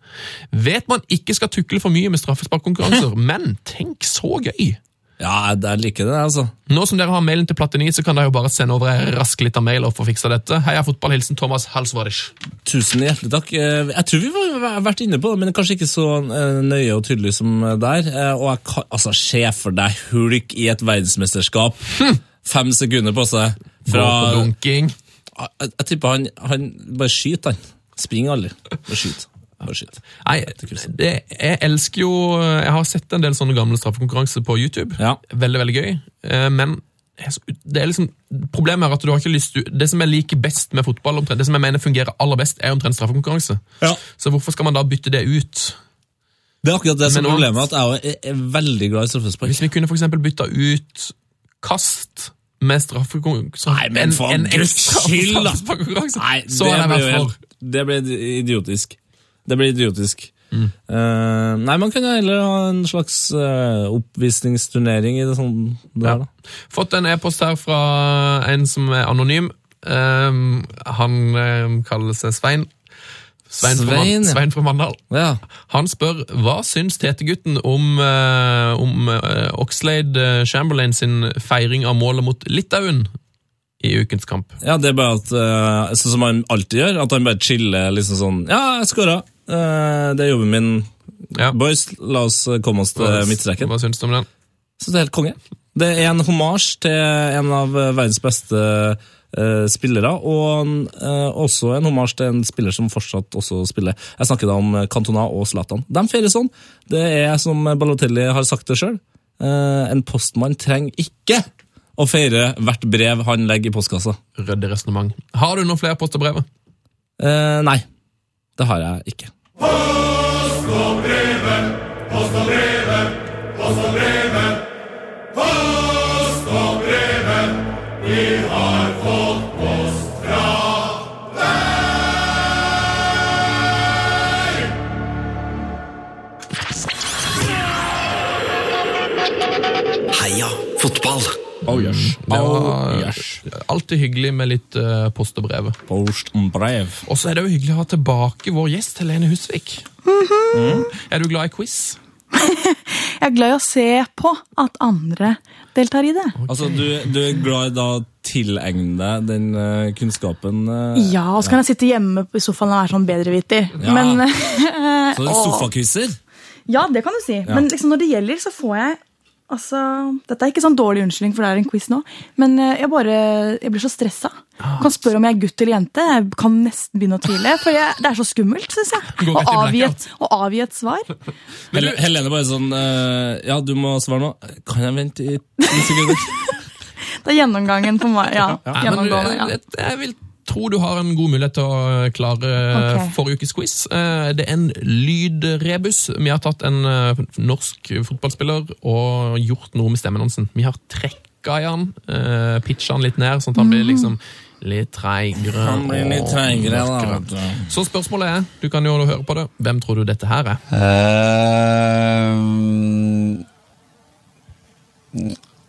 S3: Vet man ikke skal tukle for mye med straffesparkkonkurranser, men tenk så gøy!
S4: Ja, jeg- jeg liker det, altså.
S3: Nå som dere har mailen til Platini, så kan dere jo bare sende over ei rask lita mail og få fiksa dette. Heia fotball, hilsen Thomas Halsvarish.
S4: Tusen hjertelig takk. Eh, Jeg tror vi var- har vært inne på det, men kanskje ikke så eh, nøye og tydelig som eh, der. Eh, Og jeg kan, altså, se for deg hulk i et verdensmesterskap. Fem sekunder Hm. på seg.
S3: Fra
S4: Fra, jeg,
S3: dunking.
S4: jeg, jeg tipper han, han bare skyter, han. Springer aldri. Bare skyter. Bare skyter.
S3: Nei, det, jeg elsker jo Jeg har sett en del sånne gamle straffekonkurranser på YouTube.
S4: Ja.
S3: Veldig, veldig gøy. Eh, Men jeg så- det er liksom, problemet er at du har ikke lyst til- Det som jeg liker best med fotball, omtrent, det som jeg mener fungerer aller best, er omtrent straffekonkurranse.
S4: Ja.
S3: Så hvorfor skal man da bytte det ut?
S4: Det er akkurat det som
S3: Men
S4: er
S3: nå-
S4: problemet, at jeg er, er veldig glad i straffespark.
S3: Hvis vi kunne for eksempel bytta ut kast med straffekonkurranse
S4: Nei, men for Guds
S3: ekstra
S4: skyld, da!
S3: straffekonkurranse,
S4: Nei,
S3: Så
S4: det
S3: hadde jeg
S4: blir jo
S3: vært for.
S4: helt- Det blir idiotisk. Det blir idiotisk.
S3: Mm.
S4: Eh, nei, man kunne heller ha en slags eh, oppvisningsturnering i det sånn det her, da.
S3: Fått en e-post her fra en som er anonym. Ehm, han ehm, kaller seg Svein. Svein, fra,
S4: Svein,
S3: Man
S4: ja.
S3: Svein fra Mandal.
S4: Ja.
S3: Han spør hva syns Tetegutten om, eh, om eh, Oxlade eh, Chamberlain sin feiring av målet mot Litauen i ukens kamp.
S4: ja, det er bare at eh, Sånn som han alltid gjør, at han bare chiller liksom sånn Ja, jeg scora! Eh, det er jobben min.
S3: Ja.
S4: Boys, la oss eh, komme oss til midtstreken.
S3: Hva syns du om den?
S4: Så det er helt konge. Det er en hommage til en av eh, verdens beste eh, spillere, og en, eh, også en hommage til en spiller som fortsatt også spiller. Jeg snakker da om eh, Cantona og Zlatan. De feirer sånn. Det er, som Balotelli har sagt det sjøl, en postmann trenger ikke å feire hvert brev han legger i postkassa.
S3: Ryddig resonnement. Har du noen flere post og brev?
S4: Eh, nei, det har jeg ikke.
S6: Post og brevet, post og brevet, post og brevet. Post og brevet, vi har fått post fra
S2: Heia fotball!
S4: Oh, yes.
S3: Det
S4: Oh,
S3: var alltid hyggelig med litt eh, post og brev.
S4: Post og brev.
S3: Og så er det jo hyggelig å ha tilbake vår gjest, Helene Husvik. Er du glad i quiz?
S5: Jeg er glad i å se på at andre deltar i det.
S4: Altså, du, du er glad i da å tilegne deg den eh, kunnskapen eh,
S5: Ja, og så kan jeg sitte hjemme i sofaen og være sånn bedreviter.
S4: Ja.
S5: Men
S4: Så det er sofakvisser?
S5: ja, det kan du si. Men liksom når det gjelder, så får jeg Altså, Dette er ikke sånn dårlig unnskyldning, for det er en quiz nå, men eh, jeg bare, jeg blir så stressa. Du kan spørre om jeg er gutt eller jente. Jeg kan nesten begynne å tvile. For jeg, det er så skummelt, syns jeg.
S3: Går
S5: Å
S3: rett i
S5: avgi, et,
S3: blackout.
S5: å avgi et svar.
S4: Hel Helene bare sånn eh, Ja, du må svare nå. Kan jeg vente i ti sekunder?
S5: Det er gjennomgangen på meg. Ja,
S3: Nei, men eh, du,
S5: gjennomgående.
S3: jeg,
S5: Ja.
S3: jeg vil tror du har en god mulighet til å eh, klare
S5: Ok.
S3: forrige ukes quiz. Eh, Det er en lydrebus. Vi har tatt en eh, norsk fotballspiller og gjort noe med stemmen hans. Vi har trekka i han, eh, pitcha han litt ned, sånn at han
S5: Mm.
S3: blir liksom litt treigere.
S4: Han blir litt
S3: og
S4: treigere, da,
S3: mørkere.
S4: vet du.
S3: Så spørsmålet er, du kan jo høre på det, hvem tror du dette her er?
S9: Eh,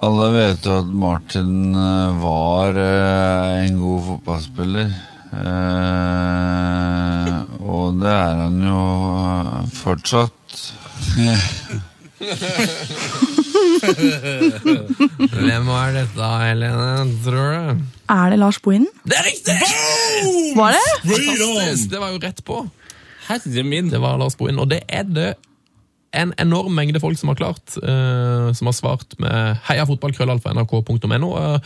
S9: alle vet jo at Martin eh, var eh, en god fotballspiller. Eh, og det er han jo eh, fortsatt.
S3: Hvem er dette, Helene, tror du?
S5: Er det Lars Bohinen?
S3: Det er riktig!
S5: Var det?
S3: Fantastisk! Det var jo rett på.
S4: Herre min.
S3: Det var Lars Bohin, og det er det en enorm mengde folk som har klart, eh, som har svart med heiafotballkrøllalfa.nrk.no. Eh,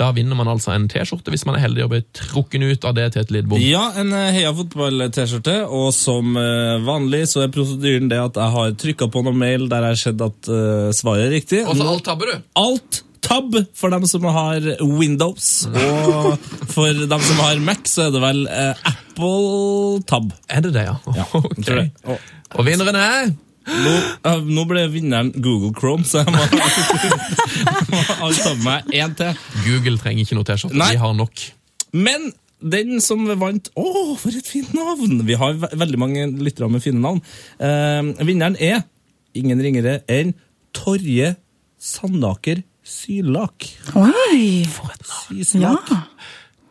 S3: Da vinner man altså en T-skjorte hvis man er heldig og blir trukken ut av det til et Lidbom.
S4: Ja, en eh, Heia fotball-T-skjorte. Og som eh, vanlig så er prosedyren det at jeg har trykka på noen mail der jeg har sett at eh, svaret er riktig.
S3: Og så alt tabber du!
S4: Alt tab for dem som har Windows. Og for dem som har Mac, så er det vel eh, Apple tab.
S3: Er det det, ja?
S4: jeg tror det.
S3: Ok. Og vinneren er
S4: Nå, eh, nå ble vinneren Google Chrome, så jeg må, må alle ta med meg én til.
S3: Google trenger ikke noe T-skjorte,
S4: Nei.
S3: de har nok.
S4: Men den som vant Å, for et fint navn! Vi har ve veldig mange lyttere med fine navn. Eh, vinneren er ingen ringere enn Torje Sandaker Sylak.
S5: Oi! Ja.
S4: Syslak.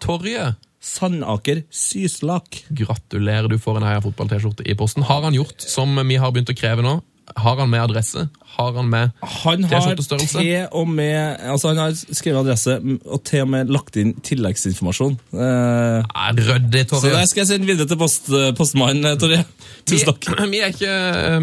S3: Torje,
S4: Sandaker Syslak.
S3: gratulerer, du får en Heia fotball-T-skjorte i posten. Har han gjort som vi har begynt å kreve nå? Har han med adresse? Har han med
S4: Han har,
S3: T-skjortestørrelse?
S4: til og med, altså han har skrevet adresse og til og med lagt inn tilleggsinformasjon. Eh,
S3: Nei, Ryddig,
S4: så
S3: Torje.
S4: det skal jeg sende videre til post, postmannen, eh, Torje. Tusen takk.
S3: Vi, vi, er ikke,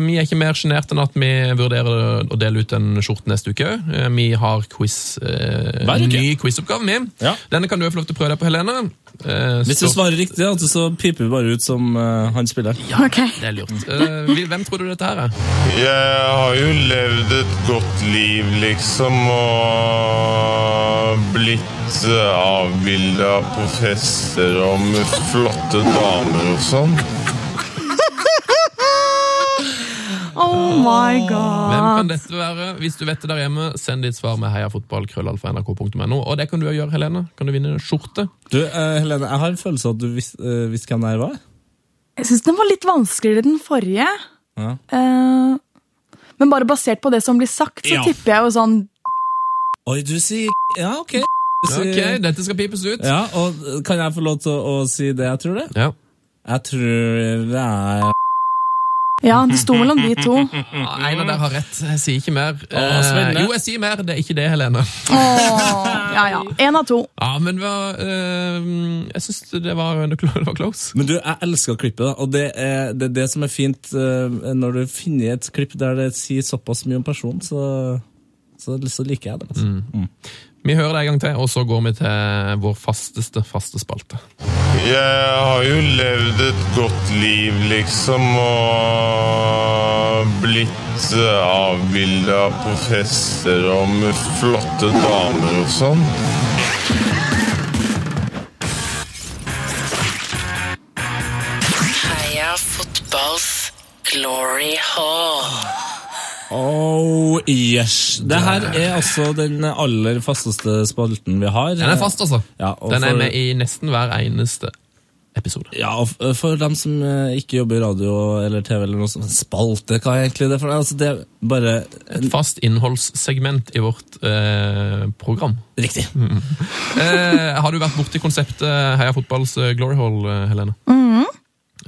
S3: vi er ikke mer sjenerte enn at vi vurderer å dele ut en skjorte neste uke. Eh, Vi har quiz, eh,
S4: Hver uke.
S3: ny quizoppgave. vi.
S4: Ja.
S3: Denne kan du få lov til å prøve deg på, Helene. Eh,
S4: Hvis du
S3: så-
S4: svarer riktig, da, så piper vi bare ut som eh, han spilleren.
S5: Ok.
S3: Det er lurt. Eh, vi- Hvem tror du dette her er?
S10: Jeg har jo levd et godt liv, liksom, og blitt eh, avbilda på fester og med flotte damer og sånn.
S5: Oh my god.
S3: Hvem kan dette være? Hvis du vet det der hjemme, send ditt svar med heiafotballkrøllalfa.nrk.no. Og det kan du jo gjøre, Helene. Kan du vinne en skjorte?
S4: Du, eh, Helene, jeg har en følelse av at du vis, eh, visste hvem det her var.
S5: Jeg syns den var litt vanskeligere enn den forrige.
S4: Ja.
S5: Eh, men bare basert på det som blir sagt, så
S4: Ja.
S5: tipper jeg jo sånn
S4: Oi, du sier Ja, ok. Du sier-
S3: Ok, dette skal pipes ut.
S4: Ja, og eh, Kan jeg få lov til å, å si det jeg tror det?
S3: Ja.
S4: Jeg tror det er
S5: Ja, det sto mellom de to.
S3: Ah, En av dere har rett. Jeg sier ikke mer.
S4: Å, spennende.
S3: Eh, jo, jeg sier mer. Det er ikke det, Helene.
S5: Åh, ja, ja. Én av to.
S3: Ja, men hva, eh, jeg syns det var, det var close.
S4: Men du, jeg elsker klippet, da. Og det er det, er det som er fint eh, når du finner et klipp der det sier såpass mye om personen, så, så, så liker jeg det. Altså.
S3: Vi hører det en gang til, og så går vi til vår fasteste faste spalte.
S10: Jeg har jo levd et godt liv, liksom, og blitt eh, avbilda på fester og med flotte damer og sånn.
S11: Heia fotballs glory hall.
S4: Oh, yes. Det her er altså den aller fasteste spalten vi har.
S3: Den er fast, altså.
S4: Ja, og
S3: Den er
S4: for-
S3: med i nesten hver eneste episode.
S4: Ja, og f- for dem som eh, ikke jobber i radio eller TV eller noe sånt, spalte, hva er egentlig det for noe? Altså, det er bare
S3: Et fast innholdssegment i vårt eh, program.
S4: Riktig.
S3: Eh, har du vært borti konseptet Heia fotballs eh, glory hall, eh, Helene?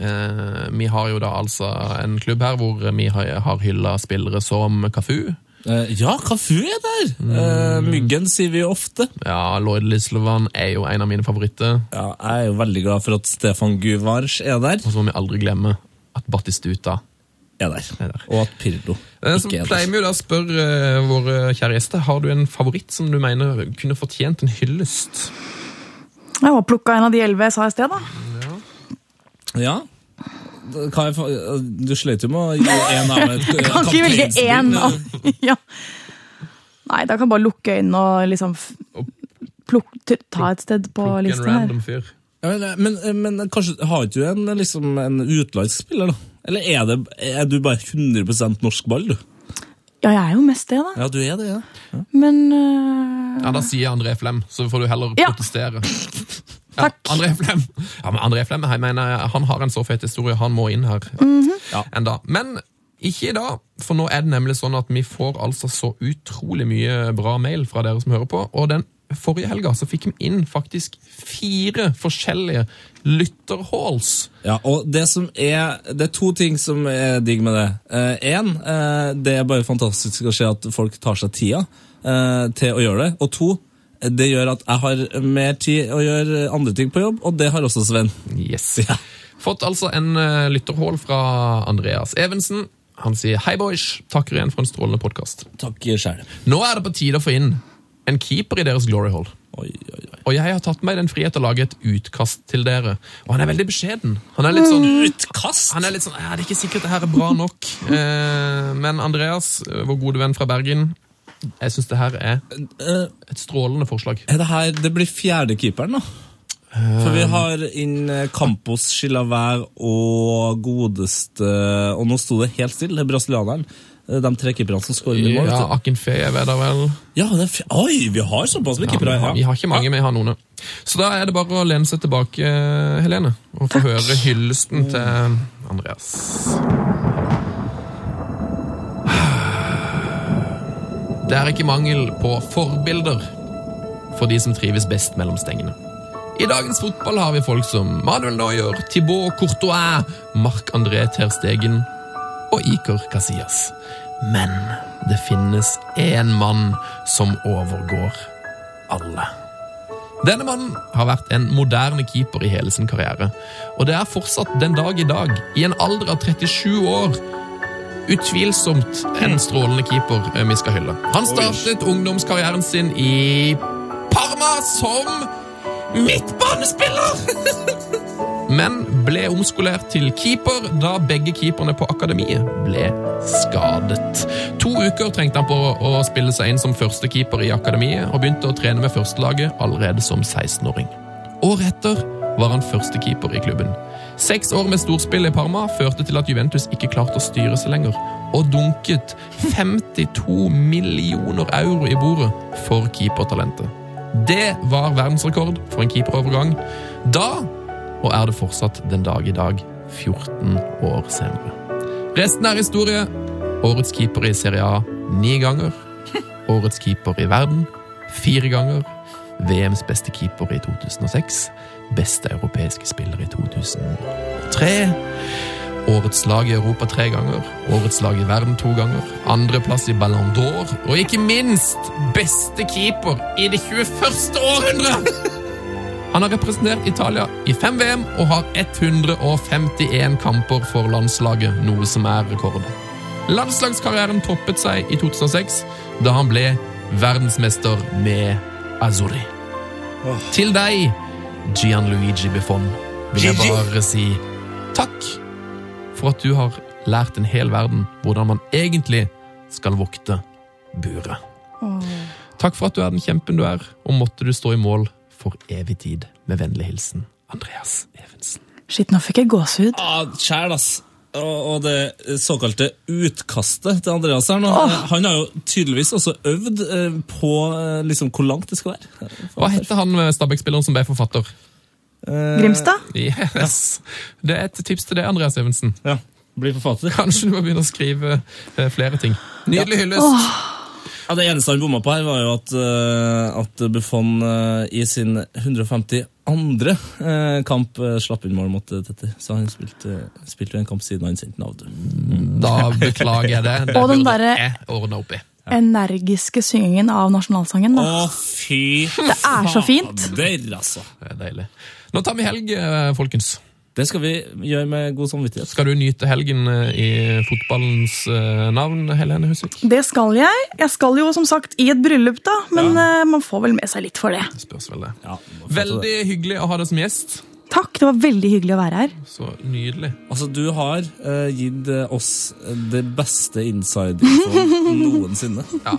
S3: eh, vi har jo da altså en klubb her hvor vi har, har hylla spillere som Kafu,
S4: Eh, ja, Kafu er der! Eh, myggen sier vi jo ofte.
S3: Ja, Lloyd Lislevan er jo en av mine favoritter.
S4: Ja, jeg er jo veldig glad for at Stefan Guvars er der.
S3: Og så må vi aldri glemme at Battistuta
S4: Er der.
S3: er der.
S4: Og at Pirlo
S3: Eh, Så
S4: ikke er
S3: pleier
S4: der.
S3: vi jo da å spørre eh, våre kjære gjester har du en favoritt som du mener kunne fortjent en hyllest.
S5: Jeg var plukka en av de elleve jeg sa i sted, da.
S4: Ja. Hva er, fa- eh, du slet jo med å gi én av et eh,
S5: Kan ikke velge
S4: kapteinsbind,
S5: én.
S4: ja.
S5: av- Ja. Nei, da kan jeg bare lukke øynene og liksom f- plukk, t- ta et sted på
S3: Plukk en
S5: listen her.
S3: random fyr.
S4: Ja, men, eh, men, men kanskje har ikke du en, liksom, en utenlandsk spiller, da? Eller er, det, er du bare 100 norsk ball, du?
S5: Ja, jeg er jo mest det, da.
S4: Ja, du er det, ja.
S5: Men øh,
S3: Ja, Da sier André Flem, så får du heller
S5: Ja.
S3: protestere. Ja, André Flem, ja, men André Flem jeg mener, han har en så fet historie, han må inn her enda. Men ikke i dag, for nå er det nemlig sånn at vi får altså så utrolig mye bra mail fra dere som hører på. Og den forrige helga så fikk vi inn faktisk fire forskjellige lytterhalls.
S4: Ja, og det som er Det er to ting som er digg med det. Én, det er bare fantastisk å se at folk tar seg tida eh, til å gjøre det. Og to, det gjør at jeg har mer tid å gjøre andre ting på jobb, og det har også Sven.
S3: Yes. Fått altså en eh, lytterhål fra Andreas Evensen. Han sier hei, boys. Takker igjen for en strålende podkast.
S4: Takk sjæl.
S3: Nå er det på tide å få inn en keeper i deres glory hall. Og jeg har tatt meg den frihet å lage et utkast til dere. Og han er veldig beskjeden. Han er litt sånn
S4: Mm. Utkast?
S3: Han er litt sånn, ja, Det er ikke sikkert det her er bra nok. Eh, men Andreas, eh, vår gode venn fra Bergen, jeg syns det her er et strålende forslag.
S4: Er det her Det blir fjerde keeperen, da. For vi har inn eh, Campos, Chilavær og godeste Og nå sto det helt stille, det er brasilianeren. Eh, De tre keeperne som skårer mye mål.
S3: Ja,
S4: vet du.
S3: Akinfeev er der vel.
S4: Ja, det er, fj- oi, vi har såpass med
S3: Ja,
S4: keepere!
S3: men Vi har ikke mange, vi har noen. Så da er det bare å lene seg tilbake, eh, Helene, og få høre hyllesten til Andreas. Det er ikke mangel på forbilder for de som trives best mellom stengene. I dagens fotball har vi folk som Manuel Neuer, Thibaut Courtois, Marc-André Ter Stegen og Iker Casillas. Men det finnes én mann som overgår alle. Denne mannen har vært en moderne keeper i hele sin karriere. Og det er fortsatt den dag i dag, i en alder av 37 år, utvilsomt en strålende keeper eh, vi skal hylle. Han startet ungdomskarrieren sin i Parma som midtbanespiller! men ble omskolert til keeper da begge keeperne på akademiet ble skadet. To uker trengte han på å spille seg inn som førstekeeper i akademiet, og begynte å trene med førstelaget allerede som 16-åring. Året etter var han førstekeeper i klubben. Seks år med storspill i Parma førte til at Juventus ikke klarte å styre seg lenger, og dunket 52 millioner euro i bordet for keepertalentet. Det var verdensrekord for en keeperovergang. Da og er det fortsatt den dag i dag, 14 år senere. Resten er historie. Årets keeper i Serie A ni ganger. Årets keeper i verden fire ganger. VMs beste keeper i 2006. Beste europeiske spiller i 2003. Årets lag i Europa tre ganger, årets lag i verden to ganger, andreplass i Ballon d'Or, og ikke minst beste keeper i det 21. århundre! Han har representert Italia i fem VM og har 151 kamper for landslaget, noe som er rekord. Landslagskarrieren toppet seg i 2006, da han ble verdensmester med Azuri. Til deg, Gianluigi Buffon, vil jeg
S12: Gigi.
S3: bare si takk for at du har lært en hel verden hvordan man egentlig skal vokte buret. Takk for at du er den kjempen du er, og måtte du stå i mål for evig tid. Med vennlig hilsen Andreas Evensen.
S5: Shit, nå fikk jeg gåsehud.
S4: Ja, kjæl, ass. Og, og det såkalte utkastet til Andreas her nå.
S5: Åh.
S4: eh, Han har jo tydeligvis også øvd eh, på eh, liksom, hvor langt det skal være.
S3: Hva heter han eh, Stabæk-spilleren som ble forfatter? Eh,
S5: Grimstad?
S3: Yes. Det er et tips til deg, Andreas Evensen.
S4: Ja, bli forfatter.
S3: Kanskje du må begynne å skrive eh, flere ting. Nydelig hyllest.
S4: Ja, Det eneste han bomma på her, var jo at, eh, at Buffon eh, i sin 152. eh, kamp eh, slapp inn mål mot eh, Tetter. Så han spilte, eh, spilte jo en kamp siden han sendte den av. du.
S3: Da beklager jeg det. Det
S5: Og den
S3: burde
S5: derre-
S3: jeg ordne opp i.
S5: Energiske syngingen av nasjonalsangen. Da.
S4: Å, fy
S5: Det er så fint!
S4: fader, altså.
S3: Det er deilig. Nå tar vi helg, eh, folkens.
S4: Det skal vi gjøre med god samvittighet.
S3: Skal du nyte helgen eh, i fotballens eh, navn, Helene Husvik?
S5: Det skal jeg. Jeg skal jo som sagt i et bryllup, da, men eh, man får vel med seg litt for det.
S3: Spørs vel det. Veldig hyggelig å ha deg som gjest.
S5: Takk, det var veldig hyggelig å være her.
S3: Så nydelig.
S4: Altså, du har eh, gitt eh, oss det beste inside-infoen noensinne.
S3: Ja.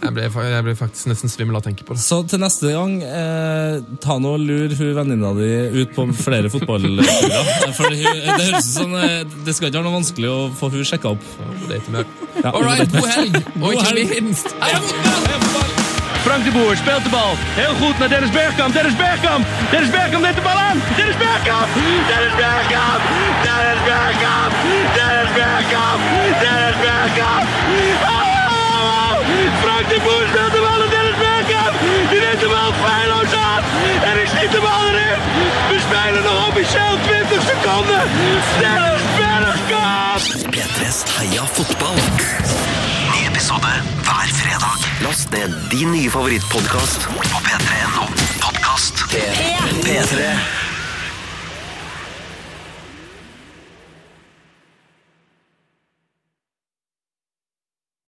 S3: Jeg ble, fa- jeg ble faktisk nesten svimmel av å tenke på det.
S4: Så til neste gang, eh, ta nå og lur hun venninna di ut på flere fotballturer. For hun, det høres ut som eh, det skal ikke være noe vanskelig å få hun sjekka opp. Ja,
S3: All right, god helg! Og
S4: God
S3: ikke
S4: helg.
S3: minst Heia fotball!
S1: Frank de Boer speelt de bal. Heel goed naar Dennis Bergkamp. Dennis Bergkamp. Dennis Bergkamp neemt de bal aan. Dennis Bergkamp. Dennis Bergkamp. Dennis Bergkamp. Dennis Bergkamp. Dennis Bergkamp. Oh! Frank de Boer speelt de bal aan Dennis Bergkamp. Die neemt de bal feilloos aan. En ik schiet de bal erin. We spelen nog officieel 20 seconden. Dennis Bergkamp.
S2: P3s Heia fotball. Ny episode hver fredag. Last ned din nye favorittpodkast på p3.no. Podkast P3.